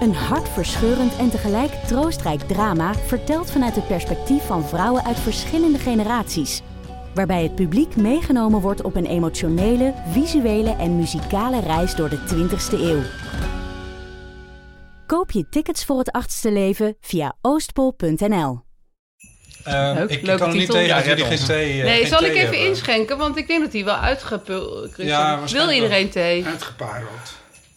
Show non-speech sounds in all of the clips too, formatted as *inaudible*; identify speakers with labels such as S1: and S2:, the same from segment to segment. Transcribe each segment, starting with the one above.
S1: Een hartverscheurend en tegelijk troostrijk drama... verteld vanuit het perspectief van vrouwen uit verschillende generaties waarbij het publiek meegenomen wordt op een emotionele, visuele en muzikale reis door de 20ste eeuw. Koop je tickets voor het achtste leven via oostpol.nl.
S2: Ehm,
S3: Leuk,
S2: ik
S3: leuke
S2: kan er niet
S3: titel.
S2: tegen
S3: Ja,
S2: dat
S4: red
S2: jullie geen
S4: ons.
S2: thee eh,
S3: Nee,
S2: geen
S3: zal
S2: thee
S3: ik even
S2: hebben.
S3: inschenken, want ik denk dat hij wel uitgepult is.
S2: Ja,
S3: Wil
S2: waarschijnlijk
S3: iedereen thee?
S5: Uitgepareld.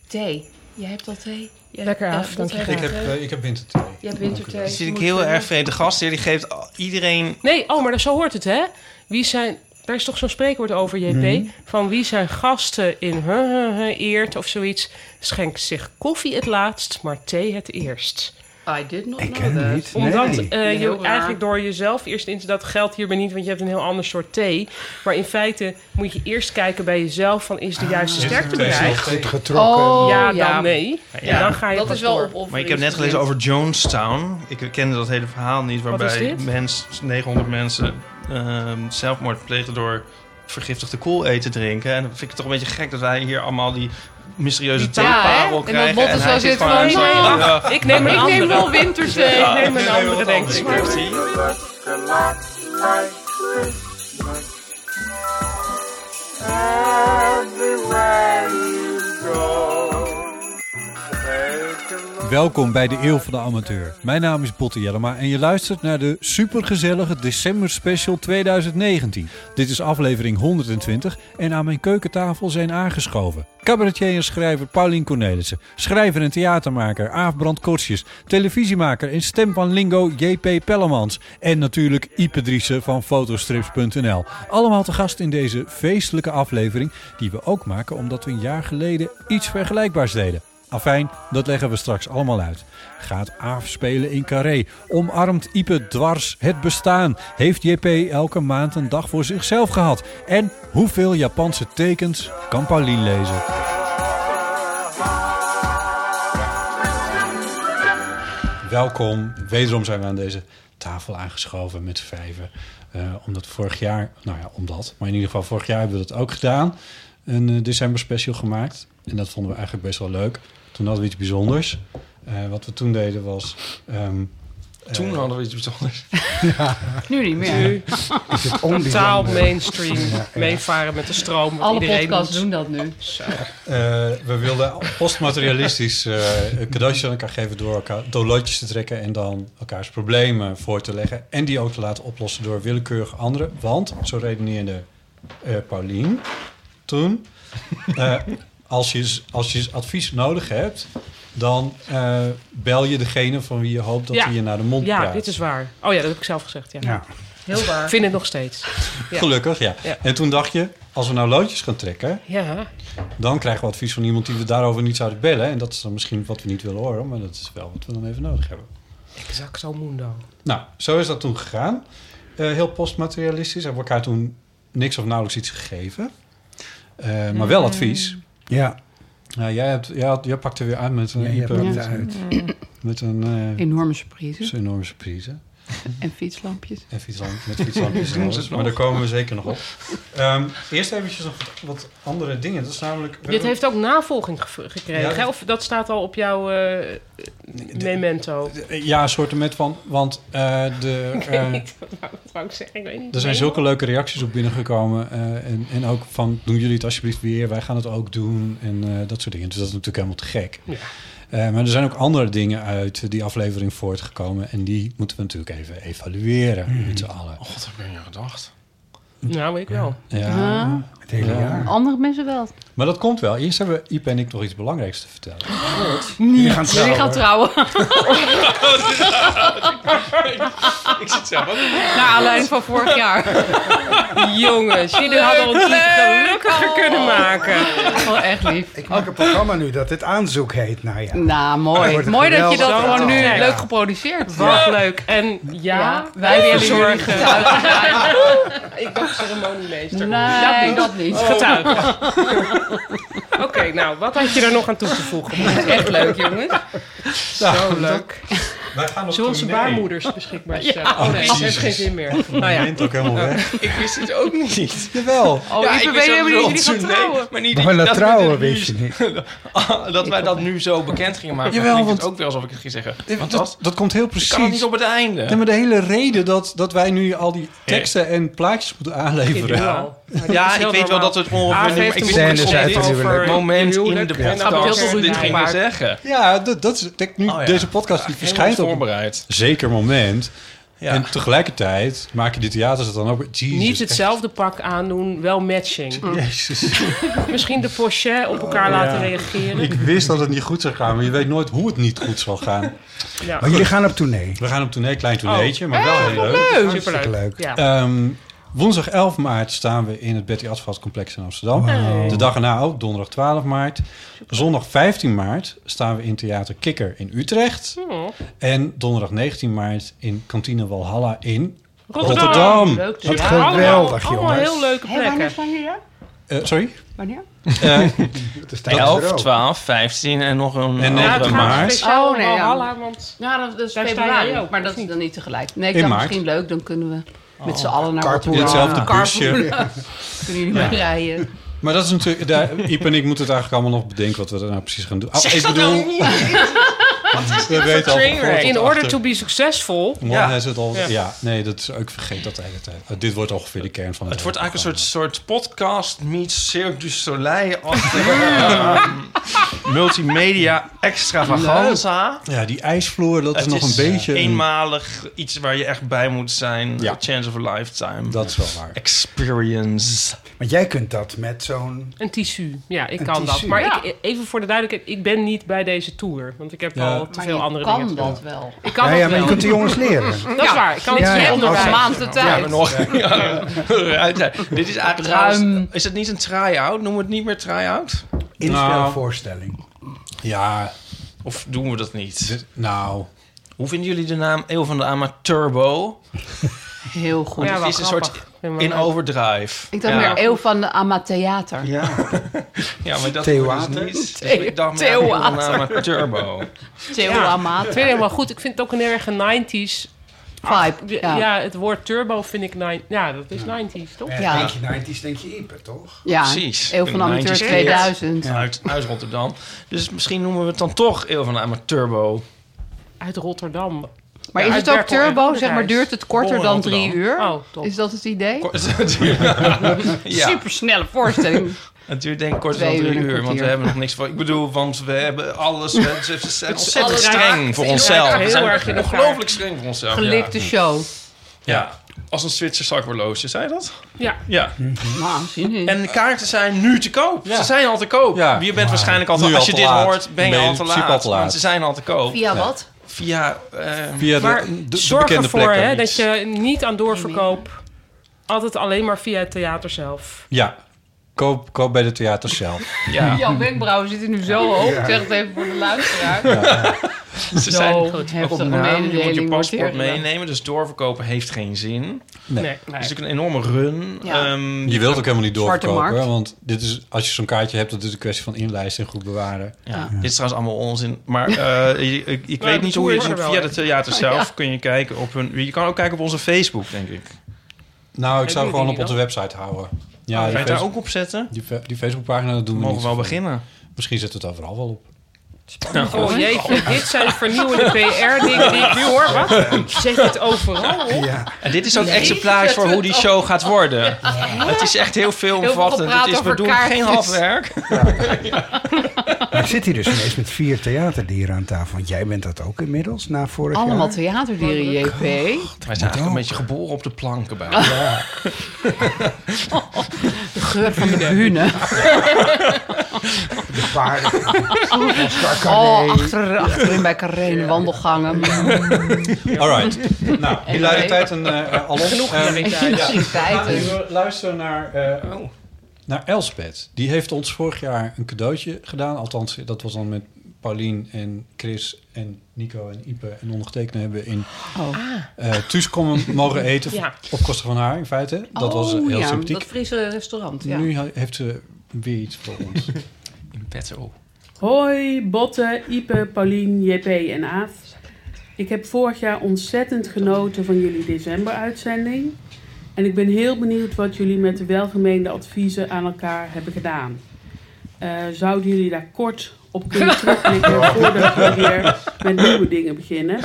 S3: Thee. Jij hebt al thee? Jij-
S6: Lekker
S3: ja,
S6: af,
S3: dat
S6: dank je.
S3: heb
S2: Ik heb, eh, ik heb winterthee.
S3: Je hebt winterthee.
S4: Dan zit ik
S3: Moet
S4: heel
S3: kunnen.
S4: erg vreemd. De gastheer die geeft al- iedereen...
S6: Nee, oh, maar dat- zo hoort het, hè? Wie zijn... Daar is toch zo'n spreekwoord over, JP? Van wie zijn gasten in huh, huh, huh, eert of zoiets... schenkt zich koffie het laatst, maar thee het eerst.
S3: I did not
S5: Ik
S3: know
S5: ken
S3: that.
S5: hem niet.
S6: Omdat
S5: nee.
S6: eh,
S3: Heel
S6: je
S3: raar.
S6: eigenlijk door jezelf eerst in te... dat geldt hierbij niet, want je hebt een heel ander soort thee. Maar in feite moet je eerst kijken bij jezelf... van is de juiste sterkte
S2: Thee is heel
S6: bereikt?
S2: goed.
S5: Getrokken.
S3: Oh,
S6: ja, dan
S3: ja.
S6: nee. En dan ga je
S3: dat
S6: pas
S3: is wel
S6: door.
S3: opoffering.
S4: Maar ik heb net gelezen over Jonestown. Ik kende dat hele verhaal niet.
S6: is
S4: Waarbij
S6: dit?
S4: mens, 900 mensen ehm, zelfmoord plegen door vergiftigde koel eten drinken. En dan vind ik het toch een beetje gek dat wij hier allemaal die mysterieuze
S3: taal, hè?
S4: theeparel
S3: En dat
S4: krijgen.
S3: Botte zo
S4: hij
S3: zit
S4: van...
S3: van,
S4: zo-
S3: nou,
S4: Ja.
S6: Ik neem een
S3: Ik
S6: andere.
S3: neem wel winterthee.
S6: Ik neem een
S2: Ja,
S6: andere,
S2: wat
S6: denk
S2: anders.
S6: ik.
S4: Ik zie.
S7: Welkom bij de Eeuw van de Amateur. Mijn naam is Botte Jellema en je luistert naar de supergezellige December Special 2019. Dit is aflevering 120 en aan mijn keukentafel zijn aangeschoven... cabaretier en schrijver Paulien Cornelissen... schrijver en theatermaker Aaf Brand Kortjes... televisiemaker en stem van Lingo J.P. Pellemans... en natuurlijk Ipe Driessen van fotostrips.nl. Allemaal te gast in deze feestelijke aflevering... die we ook maken omdat we een jaar geleden iets vergelijkbaars deden... Afijn, dat leggen we straks allemaal uit. Gaat Aaf spelen in Carré? Omarmt Ipe dwars het bestaan? Heeft JP elke maand een dag voor zichzelf gehad? En hoeveel Japanse tekens kan Paulien lezen? Welkom. Wederom zijn we aan deze tafel aangeschoven met z'n vijven. Eh, omdat vorig jaar, nou ja, omdat. Maar in ieder geval, vorig jaar hebben we dat ook gedaan. Een eh, december special gemaakt. En dat vonden we eigenlijk best wel leuk. Toen hadden we iets bijzonders. Eh, wat we toen deden was... ehm,
S4: Toen hadden we iets bijzonders.
S3: Nu niet meer.
S6: Totaal mainstream. Meevaren met de stroom. wat
S3: Alle
S6: iedereen
S3: podcasts
S6: doet.
S3: doen dat nu.
S7: Eh, we wilden postmaterialistisch eh, een cadeautje aan elkaar geven door elkaar doorloodjes te trekken en dan elkaars problemen voor te leggen en die ook te laten oplossen door willekeurige anderen. Want, zo redeneerde eh Paulien toen, eh, als, je, als je advies nodig hebt, dan eh, bel je degene van wie je hoopt dat
S6: Ja.
S7: hij je naar de mond
S6: Ja,
S7: praat.
S6: dit is waar. Oh ja, dat heb ik zelf gezegd. Ja.
S5: Ja.
S3: Heel
S6: Ik
S3: waar.
S6: vind het nog steeds. ja.
S7: Gelukkig, ja.
S6: Ja.
S7: En toen dacht je, als we nou loodjes gaan trekken,
S6: Ja,
S7: Dan krijgen we advies van iemand die we daarover niet zouden bellen. En dat is dan misschien wat we niet willen horen, maar dat is wel wat we dan even nodig hebben.
S6: exacto mundo.
S7: Nou, zo is dat toen gegaan. Eh, heel postmaterialistisch. Hebben we elkaar toen niks of nauwelijks iets gegeven. Eh, maar
S6: Mhm.
S7: wel advies.
S5: Ja,
S7: Nou, jij, hebt, jij, had- jij pakte weer aan met een,
S5: ja je
S7: hyper-
S5: pakt
S7: met,
S5: het uit.
S7: met een eh,
S3: Enorme surprise.
S7: zo'n enorme surprise.
S3: En fietslampjes.
S7: En fietslamp,
S6: *laughs*
S7: met fietslampjes en alles. Maar daar komen we zeker nog op. Ehm, eerst eventjes nog wat- wat andere dingen. Dat is namelijk... we
S6: Dit
S7: hebben-
S6: heeft ook navolging gev- gekregen.
S7: Ja,
S6: hè? Of dat staat al op jouw eh, memento.
S7: Ja, een soort met van... Want eh, de...
S6: *laughs*
S7: eh,
S6: Wat *laughs* wou ik zeggen? Ik weet niet.
S7: Er zijn zulke leuke reacties op binnengekomen. eh, en, en ook van, doen jullie het alsjeblieft weer. Wij gaan het ook doen. En eh, dat soort dingen. Dus dat is natuurlijk helemaal te gek.
S6: Ja.
S7: Eh, maar er zijn ook andere dingen uit die aflevering
S4: Hmm. Oh,
S7: voortgekomen. En die moeten we natuurlijk even evalueren met z'n allen.
S4: God, heb ik niet gedacht.
S6: Nou, ik wel.
S7: Ja.
S8: Het hele
S7: Ja.
S8: jaar.
S3: Andere mensen wel.
S7: Maar dat komt wel. Eerst hebben Iep en ik nog iets belangrijks te vertellen.
S8: Jullie gaan
S3: Jullie
S8: trouwen.
S3: gaan trouwen.
S4: Ik zit zelf ook.
S3: Naar aanleiding van vorig jaar.
S6: Jongens, jullie hadden ons niet gelukkiger kunnen maken.
S3: Wel echt lief.
S8: Ik maak een programma nu dat dit aanzoek heet.
S4: Ah,
S8: Nou ja.
S3: Nou,
S8: Dat
S3: mooi.
S8: wordt
S3: Mooi dat je
S8: geweldig.
S3: dat
S6: Zo
S3: gewoon nu
S6: tof.
S3: leuk geproduceerd.
S6: Wat leuk. En ja,
S3: Ja,
S6: wij willen
S3: jullie *laughs*
S6: zorgen.
S3: getuigen.
S6: Ik dacht ceremoniemeester.
S3: Nee, dat niet. Oh.
S6: Getuige. *laughs* Oké, nou, wat had je er nog aan toe te voegen?
S3: *laughs* Echt leuk, jongens. Nou,
S6: Zo leuk.
S9: Wij gaan op
S6: Zullen we onze
S9: tournee.
S6: baarmoeders beschikbaar stellen? oh nee, dat heeft geen zin meer. Nou ja,
S7: ook helemaal weg.
S4: Ik wist het ook niet.
S7: Jawel.
S3: Oh, ik ben helemaal niet jullie gaan trouwen.
S4: maar niet
S8: We willen
S4: dat we
S8: trouwen,
S4: dit nu-
S8: wist je niet.
S4: dat wij dat nu zo bekend gingen maken.
S7: Jawel,
S4: Jawel, want...
S7: want-
S4: het ook weer alsof ik het ging zeggen.
S7: Dat,
S4: *laughs* Want dat
S7: dat komt heel
S4: kan het niet
S7: precies.
S4: op het einde.
S7: Nee, maar de hele reden dat, dat wij nu al die teksten en plaatjes moeten aanleveren.
S6: individueel.
S4: Ja, ik weet wel dat we het
S6: Aaf
S4: ongeveer...
S6: heeft
S4: Ik
S6: een
S4: wist
S8: boek
S4: niet
S8: geschreven
S4: precies
S8: over
S4: het moment in de
S6: huwelijk. Ja.
S3: Heb ik heel
S4: podcast
S3: veel
S4: dat we dit
S3: ruzie
S4: gingen
S3: gemaakt.
S4: zeggen.
S7: Ja, dat, dat is, kijk, nu
S4: Oh ja.
S7: deze podcast die verschijnt
S4: Helemaal
S7: op een
S4: voorbereid.
S7: zeker moment.
S4: Ja.
S7: En tegelijkertijd maken die theaters het dan ook... Jezus,
S6: Niet hetzelfde pak aandoen, wel matching.
S7: Mm. Jezus. *laughs*
S6: Misschien de pochet op elkaar laten reageren.
S7: Ik wist dat het niet goed zou gaan, maar je weet nooit hoe het niet goed zal gaan.
S6: Ja.
S8: Maar jullie gaan op tournee.
S7: We gaan op tournee, Oh. klein tourneetje, maar wel heel leuk.
S6: Superleuk.
S8: leuk.
S6: Ja.
S7: Ehm, woensdag 11 maart staan we in het Betty Asphalt Complex in Amsterdam. De dag erna ook, donderdag 12 maart. Zondag 15 maart staan we in Theater Kikker in Utrecht.
S6: Hmm.
S7: En donderdag 19 maart in Kantine Walhalla in... Rotterdam.
S3: Hm.
S6: Leuk
S3: dus
S6: te
S8: Wat
S6: zien.
S8: geweldig,
S6: allemaal, Allemaal
S8: jongens.
S6: heel leuke plekken.
S7: eh, sorry?
S3: Wanneer?
S7: Eh,
S8: Dat is tijdens de
S4: 11,
S8: rook.
S4: 12, 15 en nog een
S7: En
S6: Ja,
S4: andere
S6: het
S7: negen
S6: gaat
S7: maart.
S6: speciaal
S3: Oh, nee, ja.
S6: Walhalla, want
S3: Ja, dat, dat is
S6: Daar sta jij
S3: februari.
S6: ook,
S3: Maar
S6: of
S3: dat is
S6: niet?
S3: dan niet tegelijk. Nee,
S7: In
S3: ik dacht
S7: maart.
S3: misschien leuk, dan kunnen we met z'n allen naar
S8: carpoolen.
S3: Rotterdam.
S7: Hetzelfde busje.
S3: Carpoolen. Kunnen jullie mee rijden?
S7: Maar dat is natuurlijk... Daar, Iep en ik moeten het eigenlijk allemaal nog bedenken wat we daar nou precies gaan doen. Ah, ik bedoel,
S3: nou
S4: nou
S7: we weten al van voor tot
S6: in order
S7: achter.
S6: to be successful...
S7: Morgen
S4: Ja.
S7: is het al... Ja.
S6: Ja.
S7: nee, dat is ook... Vergeet dat de hele tijd. Eh, dit wordt ongeveer de kern van het
S4: Het wordt
S7: hele
S4: eigenlijk een soort,
S7: programma.
S4: soort podcast meets Cirque du Soleil. *laughs* ehm multimedia extravaganza.
S7: Ja, die ijsvloer, dat is
S4: Het eh,
S7: nog een beetje... een-
S4: eenmalig iets waar je echt bij moet zijn.
S7: Ja.
S4: A chance of a lifetime.
S7: Dat is wel waar.
S4: Experience.
S8: Want jij kunt dat met zo'n...
S6: Een tissu. Ja, ik
S8: Een
S6: kan dat.
S8: tissu.
S6: Maar
S3: Ja.
S6: ik, even voor de duidelijkheid, ik ben niet bij deze tour. Want ik heb
S7: Ja.
S6: al te
S3: Maar
S6: veel
S3: je
S6: andere dingen
S3: kan
S6: te doen.
S3: dat wel.
S6: Ik kan
S8: Ja,
S6: dat
S8: ja, maar je
S6: wel.
S8: kunt de jongens leren.
S6: Dat is waar. Ik kan
S8: Ja,
S6: het
S8: ja.
S6: ja,
S3: Je hebt nog
S8: Als-
S3: een maand de
S4: Ja, maar
S3: tijd.
S4: nog. Ja. *laughs* Uit zijn. Dit is eigenlijk
S3: Ruim.
S4: trouwens- Is het niet een try-out? Noemen we het niet meer try-out?
S8: Inspelvoorstelling.
S7: Ja,
S4: Of doen we dat niet?
S7: dit- nou...
S4: Hoe vinden jullie de naam Eeuw van de Ama Turbo?
S3: Heel goed.
S6: Ja,
S4: Het
S6: wel
S4: is een soort
S6: grappig. Vind ik
S4: in
S6: wel leuk.
S4: overdrive.
S3: Ik dacht
S4: ja.
S3: meer eeuw van de Amatheater.
S4: Ja. ja, maar dat
S8: Theo
S4: wordt dus
S8: Water.
S4: niet. Dus
S3: Theo-
S4: ik dacht
S3: Theo
S4: meer aan
S3: Water.
S4: Ama Turbo.
S3: Theo
S6: Ja. Ik
S3: Amater.
S6: vind het helemaal goed. Ik vind het ook een erg 90s.
S3: Vibe.
S6: Ja.
S3: Ja. Ja.
S6: het woord turbo vind ik... nine- Ja, dat is 90s, toch?
S3: Ja.
S7: nou,
S8: Denk je 90's, denk je Ieper, toch?
S4: Precies.
S3: Eeuw van de
S4: Een
S3: Amateur
S4: 90s
S3: 2000.
S4: Uit, uit Rotterdam. Dus misschien noemen we het dan toch Eeuw van de Ama Turbo.
S6: Uit Rotterdam.
S3: Maar
S6: Ja,
S3: is
S6: uit
S3: het ook
S6: Berkel en
S3: turbo? Zeg maar
S6: Onderhuis.
S3: duurt het korter
S4: Bonn en
S3: dan drie uur?
S6: Oh, top.
S3: Is dat het idee?
S4: Kort- ja,
S3: Supersnelle *laughs* voorstelling.
S4: het duurt denk ik kort wel
S3: Twee uur
S4: drie
S3: en een
S4: uur, want we
S3: kwartier.
S4: hebben nog niks van. Ik bedoel, want we hebben alles. We ze- ze zijn ontzettend
S6: alles
S4: streng
S6: raakt
S4: voor
S6: in
S4: onszelf.
S6: elkaar,
S4: We
S6: heel
S4: zijn
S6: erg in elkaar.
S4: ongelooflijk streng voor onszelf. Ja.
S3: Gelikte show.
S4: ja, als een Zwitser zakhorloge, zei je dat?
S6: Ja.
S4: Ja.
S3: Nou, zin in.
S4: En de kaarten zijn nu te koop.
S7: Mhm. Ja.
S4: Ze zijn al te koop.
S7: Ja.
S4: Je bent waarschijnlijk al te,
S7: Nu al
S4: als je
S7: te
S4: dit
S7: laat.
S4: hoort, ben je,
S7: Ben je
S4: al
S7: in
S4: te
S7: principe
S4: laat.
S7: al te laat.
S4: Want ze zijn al te koop.
S3: Via wat?
S4: Via, eh,
S7: Via de,
S6: Maar
S7: de, de
S6: zorg
S7: bekende
S6: ervoor
S7: plekken.
S6: hè, dat je niet aan doorverkoop... Altijd alleen maar via het theater zelf.
S7: Ja, koop, koop bij de theater zelf.
S4: ja.
S3: Jouw wenkbrauwen zitten nu zo hoog. Ik zeg het even voor de luisteraar.
S4: Ze
S3: Zo
S4: zijn ook op
S3: heftige
S4: naam. Je moet je
S3: mededeling wordt hier
S4: paspoort
S3: gedaan.
S4: meenemen, dus doorverkopen heeft geen zin.
S7: Nee.
S6: Nee, nee.
S4: Het is natuurlijk een enorme run.
S3: Ja.
S4: Ehm,
S7: Je wilt ook helemaal niet
S3: Zwarte
S7: doorverkopen,
S3: markt.
S7: want dit is, als je zo'n kaartje hebt, dat is een kwestie van inlijsten en goed bewaren.
S4: ja. Dit is trouwens allemaal onzin. Maar eh, je- ik, ik
S6: Maar
S4: weet
S6: de
S4: niet hoe je
S6: tour
S4: het
S6: is er
S4: via
S6: wel,
S4: de theater zelf kun je kijken op hun. Je kan ook kijken op onze Facebook, denk ik.
S7: Nou, ik
S6: Ja,
S7: zou
S6: doe
S7: gewoon op
S6: die
S7: onze website houden. Ja,
S4: Ga je
S7: die,
S4: het daar
S7: face-
S4: Ah, ook op zetten?
S7: die, fe- die Facebookpagina, dat doen
S4: We
S7: we
S4: mogen
S7: niet.
S4: wel beginnen.
S7: Misschien zet het overal wel op.
S3: Spannend.
S6: Oh
S3: jee.
S6: jeetje, dit zijn vernieuwende PR-dingen die ik nu hoor. Wat? Je zet het overal op.
S8: Ja,
S4: En dit is ook
S3: Nee.
S4: exemplaars voor hoe die show gaat worden. Het is echt heel
S3: Heel
S4: veelomvattend.
S3: veel
S4: Het
S3: gepraat
S4: is, we
S3: over
S4: doen
S3: kaartjes.
S4: geen halfwerk.
S8: maar ik zit hier dus ineens met vier theaterdieren aan tafel. Want jij bent dat ook inmiddels, na vorig
S3: Allemaal
S8: jaar.
S3: theaterdieren, JP.
S4: Wij zijn eigenlijk een beetje geboren op de planken bij.
S3: De geur van de *laughs* bühne.
S8: De paarden.
S3: Oh, achter, achterin bij Carré in de wandelgangen.
S7: Alright. nou, hilariteit en eh, eh, alles.
S6: Genoeg
S7: Ehm,
S6: hilariteit.
S7: Laten
S3: Universiteiten.
S7: we luisteren naar, eh, naar Elspeth. Die heeft ons vorig jaar een cadeautje gedaan. Althans, dat was dan met Paulien en Chris en Nico en Ipe en ondergetekende hebben we in
S3: Oh.
S7: eh Thuis komen mogen eten.
S6: Ja.
S7: Op kosten van haar in feite. Dat was heel
S3: Oh, ja,
S7: sympathiek.
S3: dat Friese restaurant. Ja.
S7: Nu ha- heeft ze weer iets voor ons.
S4: In petto.
S10: Hoi Botte, Ipe, Paulien, JP en Aaf. Ik heb vorig jaar ontzettend genoten van jullie december-uitzending. En ik ben heel benieuwd wat jullie met de welgemeende adviezen aan elkaar hebben gedaan. Eh, zouden jullie daar kort op kunnen terugblikken voordat we weer met nieuwe dingen beginnen?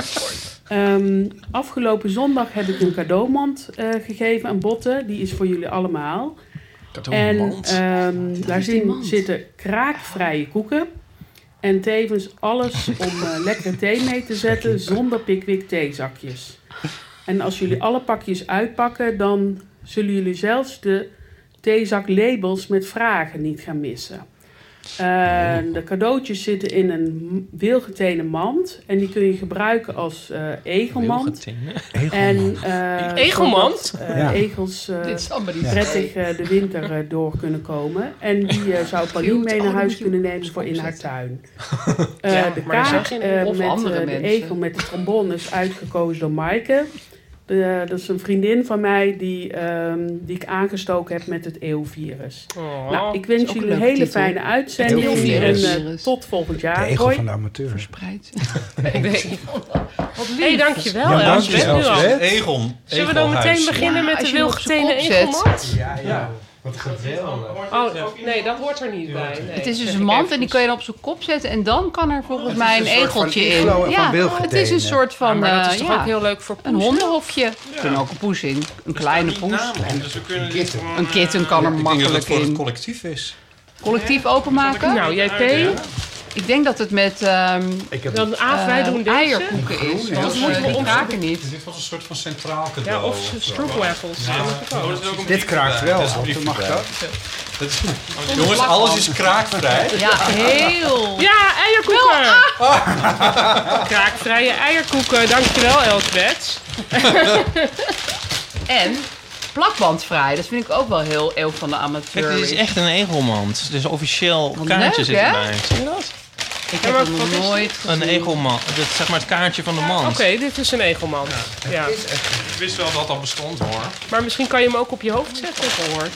S10: Ehm, afgelopen zondag heb ik een cadeaumand eh, gegeven aan Botte. Die is voor jullie allemaal. En ehm, daar
S3: is die
S10: zien-
S3: mand.
S10: zitten kraakvrije koeken. En tevens alles om eh, lekkere thee mee te zetten zonder pikwik theezakjes. En als jullie alle pakjes uitpakken, dan zullen jullie zelfs de theezaklabels met vragen niet gaan missen. Eh, de cadeautjes zitten in een wilgetenen mand. En die kun je gebruiken als eh, egelmand. En, eh,
S6: Egelmand?
S10: zodat, eh,
S8: Ja.
S10: Egels eh,
S3: Dit is allemaal niet
S10: prettig eh, de winter eh, door kunnen komen. En die eh, zou Paulien
S3: Cute.
S10: mee naar
S3: Oh,
S10: huis
S3: die
S10: kunnen
S3: moet je
S10: nemen voor in haar
S3: opzetten.
S6: *laughs*
S10: tuin.
S6: Ja,
S10: Eh de
S6: maar er zijn
S10: kaart
S6: geen-
S10: eh,
S3: of
S10: met
S3: andere
S10: eh, de
S3: mensen.
S10: egel met de trombone is uitgekozen door Maaike. De- dat is een vriendin van mij die, ehm, die ik aangestoken heb met het eeuwvirus.
S6: Oh.
S10: nou, ik
S3: is
S10: wens
S3: ook
S10: jullie
S3: een
S10: een
S3: leuke
S10: hele
S3: titel.
S10: fijne uitzending.
S8: Het
S10: En
S8: eeuwvirus.
S10: eh, tot volgend
S8: De
S10: jaar.
S8: egel
S10: Hoi.
S8: van de amateur.
S3: Verspreid.
S6: Nee.
S3: Wat lief.
S6: Hé, dankjewel.
S7: Ja,
S6: Els.
S7: dank je,
S6: Nu al.
S7: Els.
S4: Egon.
S6: Zullen we dan meteen beginnen
S3: Ja,
S6: met
S3: als
S6: de
S3: je hem op zijn
S6: wilgetenen
S3: kop zet.
S6: egelmand?
S8: Ja, ja. Wat geweldig.
S6: Oh, oh, nee, dat hoort er niet bij. Nee,
S3: Het is dus
S6: zeg
S3: een
S6: ik
S3: mand
S6: even.
S3: en die kun je dan op zijn kop zetten. En dan kan er volgens mij een,
S8: een soort van
S3: egeltje in.
S8: iglo en van wilgetenen.
S3: het is een soort
S6: Ja,
S3: van
S6: maar dat
S3: eh,
S6: is toch
S3: ja,
S6: ook heel leuk voor
S3: een
S6: poes?
S3: hondenhofje. Er kunnen ook een poes in. Een kleine poes.
S4: Dus we kunnen dit
S3: Een kitten kan er
S7: Ik denk eh, dat het
S3: makkelijk
S7: voor het
S3: in.
S7: collectief is.
S3: Collectief openmaken.
S6: Nou, JP,
S3: Ik denk dat het met ehm
S8: Ik heb
S6: dan Aaf, wij doen
S3: eh,
S6: deze.
S3: eierkoeken is.
S8: groene,
S3: want
S8: hè?
S3: moeten we
S6: Ja.
S3: kraken niet.
S7: Dit was een soort van centraal cadeau.
S6: Ja, of
S8: Oh,
S6: stroopwafels.
S8: Dit kraakt wel, want mag dat.
S7: Jongens, alles is kraakvrij.
S8: *laughs*
S3: Ja, heel.
S6: Ja, eierkoeken! Kraakvrije eierkoeken. Dankjewel, Elsbeth.
S3: En plakbandvrij. Dat vind ik ook wel heel eeuw van de amateur.
S4: Kijk, dit is echt een egelmand. Dus officieel
S3: Wat
S4: kaartje
S3: leuk,
S4: zit
S3: hè?
S4: erbij. Zie je dat?
S3: Ik
S6: Ja,
S3: heb
S6: maar
S3: hem
S6: wat
S3: nog
S6: is dit?
S3: nooit
S4: Een
S3: gezien.
S4: egelmand. Dat is zeg maar het kaartje van de mand.
S6: Oké, dit is een egelmand. Ja.
S4: Ik wist wel dat dat bestond hoor.
S6: Maar misschien kan je hem ook op je hoofd zetten, hoor.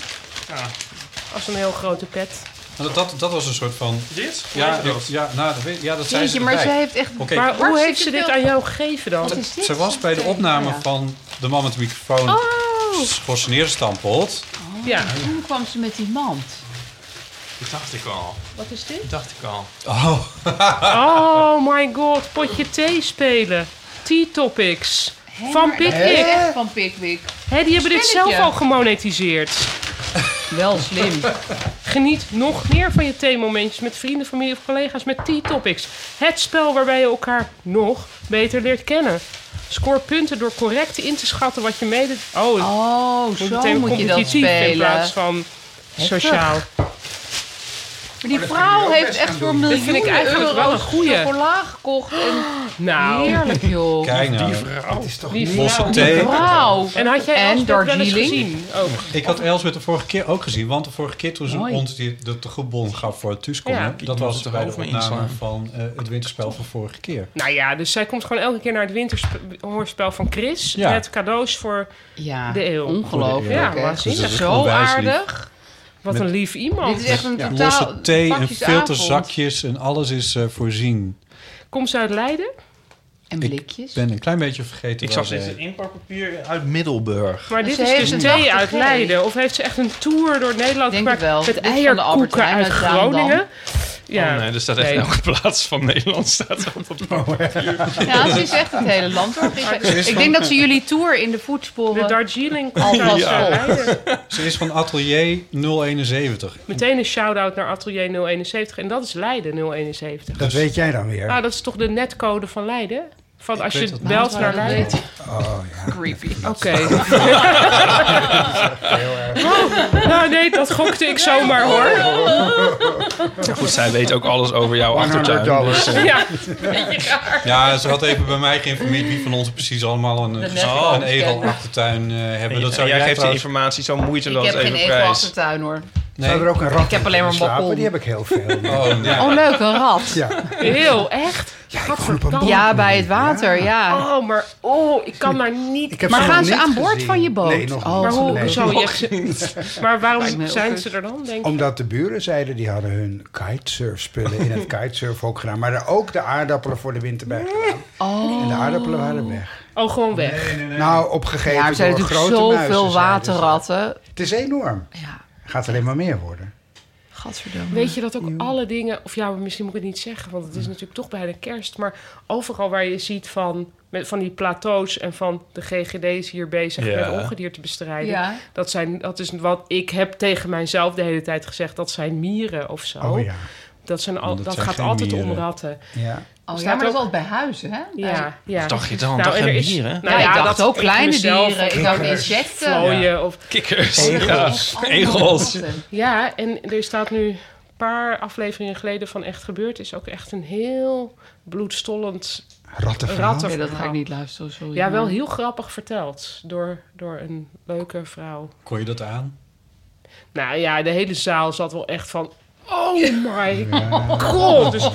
S6: Als een heel grote pet.
S7: Dat, Nou, dat, dat was een soort van...
S4: Dit?
S7: Ja, ja, nou, dat weet- ja dat zijn ze
S3: Jeetje, maar
S7: erbij.
S3: zij heeft echt...
S7: Oké.
S6: Maar hoe
S3: Hartstikke
S6: heeft ze dit
S3: veel.
S6: aan jou gegeven dan?
S3: Wat is dit?
S7: Ze was bij de opname
S3: Ja.
S7: van De Man met de Microfoon oh.
S6: Oh,
S7: gestampeld.
S6: ja.
S3: Toen kwam ze met die mand.
S4: Dat dacht ik al.
S6: Wat is dit?
S4: Dat dacht ik al.
S7: Oh,
S6: Oh my god, potje thee spelen. Tea topics.
S3: Hè,
S6: Van
S3: maar dat is
S6: Pickwick.
S3: echt Van Pickwick.
S6: Hé, die hebben dit zelf
S3: Spelletje.
S6: al gemonetiseerd.
S3: Wel slim.
S6: Geniet nog meer van je theemomentjes met vrienden, familie of collega's met Tea Topics. Het spel waarbij je elkaar nog beter leert kennen. Scoor punten door correct in te schatten wat je mede... Oh, het
S3: Oh,
S6: wordt
S3: zo
S6: meteen
S3: moet je dat
S6: competitief in
S3: spelen.
S6: plaats van sociaal.
S3: Maar die vrouw heeft echt voor miljoenen
S6: vind ik eigenlijk
S3: euro's
S6: wel een goeie.
S3: chocola gekocht. En
S6: Nou,
S3: heerlijk, joh.
S7: kijk nou.
S8: Het is toch
S6: die
S8: niet...
S7: Losse
S6: vrouw.
S7: thee.
S3: Wauw.
S6: En had jij
S3: En
S6: Elsbeth wel eens
S3: Darjeeling?
S6: gezien? Oh. Ook.
S7: Ik had Elsbeth de vorige keer ook gezien. Want de vorige keer toen ze
S3: Mooi.
S7: ons die, de, de goedbon gaf voor het thuiskomen...
S6: Ja.
S7: dat
S4: moet
S7: was
S4: het er
S7: bij de
S4: over me
S7: opname
S4: inslaan.
S7: van eh, het winterspel van vorige keer.
S6: Nou ja, dus zij komt gewoon elke keer naar het winterhoorspel van Chris.
S7: Ja.
S6: Met cadeaus voor...
S3: Ja,
S6: De eeuw.
S3: ongelooflijk.
S6: Ja,
S3: hè?
S7: Dus
S6: waanzinnig.
S7: dat is
S3: Zo
S7: onwijs lief.
S3: aardig.
S6: Wat
S7: Met-
S6: een lief iemand.
S3: Dit is echt een
S7: Ja.
S3: totaal
S7: Losse thee en
S3: pakjesavond.
S7: filterzakjes en alles is eh, voorzien.
S6: Komt ze uit Leiden?
S3: En
S7: Ik
S3: blikjes.
S7: Ik ben een klein beetje vergeten.
S4: Ik zag
S7: waar
S4: dit
S7: we-
S4: inpakpapier uit Middelburg.
S6: Maar
S3: Maar
S6: dit
S3: ze
S6: is
S3: heeft
S6: dus
S3: een
S6: thee
S3: nachtegeel.
S6: uit Leiden. Of heeft ze echt een tour door Nederland
S3: Denk het
S6: gemaakt
S3: wel.
S6: met
S3: Dit is van de Albert
S6: eierkoeken
S3: Heijn
S6: uit
S3: uit Zaandam.
S6: Groningen? Ja.
S4: Oh nee, er staat echt
S6: Nee.
S4: in elke *laughs* plaats van Nederland staat op het papier.
S3: Ja, ze is echt het hele land hoor. Ik, ik denk dat ze jullie tour in de
S6: De
S3: voetsporen...
S6: Darjeeling
S3: Alvast
S6: Alvast
S3: vol.
S6: verwijderd.
S8: Ze is van Atelier 071.
S6: Meteen een shout-out naar Atelier 071. En dat is Leiden 071.
S7: Dus-
S10: Dat weet jij dan weer.
S6: Ah, dat is toch de netcode van Leiden? Van als
S8: weet
S6: je
S8: dat
S6: belt naar Leiden.
S10: Oh ja.
S3: Creepy.
S6: Oké. Oh, nou nee, dat gokte ik zomaar hoor.
S4: Goed, zij weet ook alles over jouw achtertuin.
S10: $100.
S4: *laughs*
S6: Ja,
S7: Ja, ze had even bij mij geïnformeerd wie van ons precies allemaal een,
S3: net
S7: eh,
S4: wel
S7: een egel
S3: bekende.
S7: achtertuin eh, hebben. Dat zou
S4: jij geeft die
S7: trouwens-
S4: informatie zo
S3: Ik
S4: moeiteloos
S3: heb geen
S4: even
S3: egel
S4: prijs.
S3: achtertuin hoor.
S10: We hebben er ook een rat. Ik
S3: heb alleen maar een balkon.
S10: Die heb ik heel veel.
S7: Oh, ja.
S3: Oh leuk, een rat.
S10: Ja.
S6: heel echt.
S10: Ja, ik woon op een boot.
S3: Ja, bij het water, ja.
S6: Oh, maar oh, ik kan daar
S10: Ik
S6: niet.
S10: heb
S3: Maar
S10: nog
S3: gaan ze
S10: niet
S3: aan boord
S10: gezien.
S3: van je boot?
S10: Nee, nog
S3: Oh,
S10: niet.
S6: Maar hoe
S10: Nee.
S6: zou je? Maar
S3: Lijkt me
S6: waarom
S3: heel
S6: zijn
S3: goed.
S6: ze er dan? Denk ik?
S10: Omdat de buren zeiden, die hadden hun kitesurfspullen in
S3: *laughs*
S10: het kitesurfhok gedaan. Maar er ook de aardappelen voor de winter bij gedaan.
S3: Oh.
S10: En de aardappelen waren weg.
S6: Oh, gewoon weg.
S10: Nou, opgegeven
S3: Ja, er zijn
S10: door
S3: natuurlijk
S10: grote muizen,
S3: zoveel
S10: zeiden ze.
S3: waterratten.
S10: Het is enorm.
S3: Ja,
S10: Gaat alleen maar meer worden.
S3: gadverdamme.
S6: Weet je dat ook alle dingen, of ja, misschien moet ik het niet zeggen, want het is natuurlijk toch bijna kerst, maar overal waar je ziet van, met, van die plateaus en van de GGD's hier bezig
S4: Ja.
S6: met ongedierte bestrijden,
S3: Ja. Oh,
S6: dat, zijn, dat is wat ik heb tegen mijzelf de hele tijd gezegd, dat zijn mieren of zo.
S10: Oh, ja.
S6: Dat, zijn al, dat,
S7: Dat zijn
S6: gaat
S7: geen
S6: altijd
S7: mieren.
S6: om ratten.
S10: ja.
S3: Oh ja,
S6: Staat
S3: maar dat is
S6: ook-
S3: altijd bij huizen, hè?
S6: Ja, ja.
S4: Dacht je dan?
S6: Nou,
S4: dacht
S6: en
S4: je
S6: er is-
S4: mieren?
S6: Nou
S3: ja, ik
S6: ja,
S3: dacht
S6: dat
S3: ook kleine
S6: ik mezelf
S3: dieren. Ik
S6: of
S3: hou van
S6: kikkers,
S3: insecten.
S6: Vlooien of
S4: Kikkers.
S3: Egels.
S4: Ja. Egels.
S6: Ja, en er staat nu een paar afleveringen geleden van Echt Gebeurd. Is ook echt een heel bloedstollend...
S10: Rattenverhaal.
S6: Ratten.
S3: Nee, dat ga ik niet luisteren, sorry.
S6: Ja, wel
S3: maar-
S6: heel grappig verteld door, door een leuke vrouw.
S7: Kon je dat aan?
S6: Nou ja, de hele zaal zat wel echt van... Oh my
S3: *laughs*
S6: god! Dus,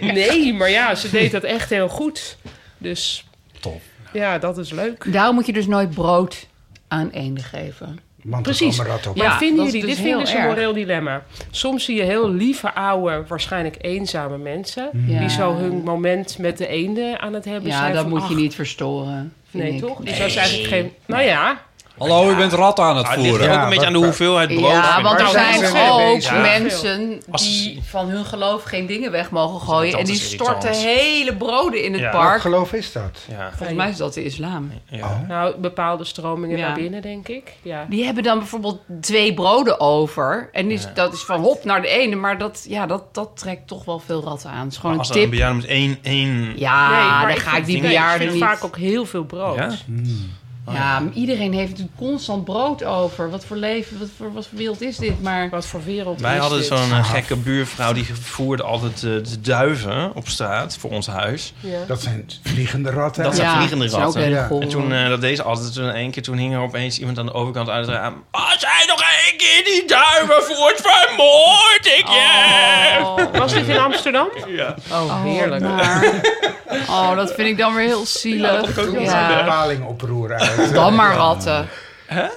S6: nee, maar ja, ze deed dat echt heel goed. Dus
S7: Top.
S6: ja, dat is leuk.
S3: Daarom moet je dus nooit brood aan eenden geven.
S10: Want
S6: Precies.
S10: er komen ratten op.
S3: Ja.
S6: Maar vinden
S3: dat is
S6: jullie,
S3: dus
S6: dit vind ik
S3: heel
S6: dus een
S3: erg.
S6: moreel dilemma. Soms zie je heel lieve, oude, waarschijnlijk eenzame mensen...
S3: Ja.
S6: die zo hun moment met de eenden aan het hebben
S3: Ja,
S6: zijn.
S3: dat
S6: van,
S3: moet je
S6: ach,
S3: niet verstoren. vind
S6: Nee,
S3: ik. Ah,
S6: toch? Dus dat is eigenlijk geen... Nou ja,
S7: Hallo, u bent rat aan het
S4: Ah, het ligt
S7: voeren.
S4: ook
S10: Ja,
S4: een beetje
S10: maar-
S4: aan de hoeveelheid brood.
S3: Ja,
S4: vind
S3: want
S4: ik.
S3: er
S6: Nou, daar
S3: zijn
S6: zijn ze
S10: mee
S3: ook
S10: bezig.
S3: mensen
S4: Als-
S3: die van hun geloof geen dingen weg mogen gooien.
S4: Dat
S3: En die
S4: is irritant.
S3: storten hele broden in het
S4: Ja.
S10: Welk
S3: park.
S10: geloof is dat? Oh.
S4: Ja,
S3: Volgens mij is dat de islam.
S4: ja.
S6: nou, bepaalde stromingen
S3: Ja.
S6: naar binnen, denk ik. Ja.
S3: Die hebben dan bijvoorbeeld twee broden over. En die is, dat is van hop naar de ene. Maar dat, ja, dat, dat trekt toch wel veel ratten aan. Het is gewoon
S4: Als
S3: een
S4: er een
S3: tip.
S4: bejaarde met één... één
S3: ja, oh,
S6: maar
S3: dan
S6: ik
S3: ga
S6: vind-
S3: ik die
S6: nee,
S3: bejaarden
S6: Ik
S3: niet.
S6: vind vaak ook heel veel brood.
S4: Ja?
S10: Hmm.
S3: Ja, maar iedereen heeft natuurlijk constant brood over. Wat voor leven, wat voor, wat voor wereld is dit? Maar
S6: Wat voor wereld
S4: Wij
S6: is
S4: hadden
S6: dit?
S4: zo'n eh, gekke buurvrouw die voerde altijd eh, de duiven op straat voor ons huis.
S6: Ja.
S10: Dat zijn vliegende ratten.
S4: Dat zijn
S3: ja,
S4: vliegende
S3: het zijn ook
S4: ratten.
S3: hele
S10: Ja.
S3: gore.
S4: En toen, eh, dat deed ze altijd. Toen één keer toen hing er opeens iemand aan de overkant uit het raam. Als hij nog één keer die duiven voert, vermoord ik je!
S6: Was dit
S3: *laughs*
S6: in Amsterdam?
S3: Oh,
S6: heerlijk.
S3: maar- Oh, dat vind ik dan weer heel zielig.
S10: Toen
S3: Ja,
S10: zijn de paling oproeren uit. eh.
S3: Dan maar ratten.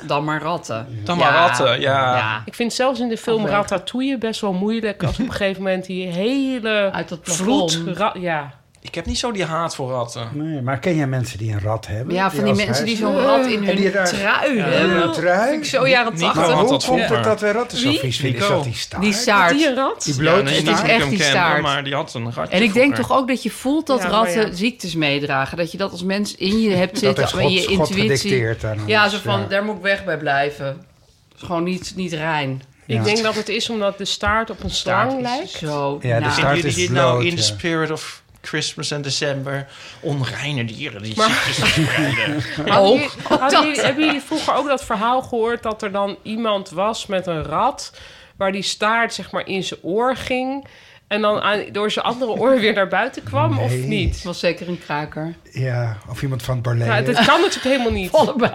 S3: Dan maar ratten.
S4: Dan maar
S3: Ja.
S4: ratten, ja.
S3: Ja,
S6: Ik vind zelfs in de film
S3: Afwegen.
S6: Ratatouille best wel moeilijk... als op een gegeven moment die hele
S3: uit dat plafond.
S6: vloed... ra- ja.
S4: Ik heb niet zo die haat voor ratten.
S10: Nee, maar ken jij mensen die een rat hebben?
S3: Ja, van die
S10: als
S3: mensen die
S10: huis-
S3: zo'n rat in
S10: En die
S3: hun
S10: daar-
S3: trui
S10: Een
S3: hebben.
S10: trui?
S3: Vind ik zo jaren
S4: Nico.
S10: Maar
S3: tachtig.
S4: had
S10: hoe
S4: dat
S10: komt
S4: vroeger.
S10: het dat wij ratten zo
S6: Wie?
S10: vies vinden? Is
S4: Nico.
S10: dat die staart?
S3: Die
S6: Had die
S3: staart.
S6: een rat?
S10: Die
S4: Ja,
S10: blote
S4: nee, niet
S10: staart?
S4: dat ik
S3: echt
S4: hem
S3: die
S4: kende,
S3: staart.
S4: maar die had een ratje
S3: En ik denk
S4: vroeger.
S3: toch ook dat je voelt dat
S6: Ja, maar
S3: ratten
S6: ja.
S3: ziektes meedragen. Dat je dat als mens in je hebt
S10: Dat
S3: zitten.
S10: is
S3: in
S10: God,
S3: je
S10: God
S3: intuïtie.
S10: gedicteerd aan
S3: Ja,
S10: ons,
S3: zo van, daar moet ik weg bij blijven. Dat is Gewoon niet, niet rein.
S10: Ja.
S6: Ik denk dat het is omdat de staart op een
S3: Staart
S6: slang
S3: is
S6: lijkt.
S3: Zo.
S10: Ja,
S3: naar.
S10: de staart-
S4: Zijn
S10: Taart
S4: jullie
S10: is
S4: dit nou
S10: bloot,
S4: in de
S10: ja.
S4: spirit of Christmas en december onreine dieren die
S6: Maar-
S4: ziektes verspreiden?
S6: Hadden
S3: Ook.
S6: jullie- hadden
S3: Oh, dat.
S6: jullie- hebben jullie vroeger ook dat verhaal gehoord dat er dan iemand was met een rat waar die staart zeg maar in zijn oor ging en dan aan- door zijn andere oor weer naar buiten kwam of
S10: Nee.
S6: niet?
S3: was zeker een kraker.
S10: Ja, of iemand van het ballet.
S6: Nou, dat kan natuurlijk helemaal niet.
S3: Allebei.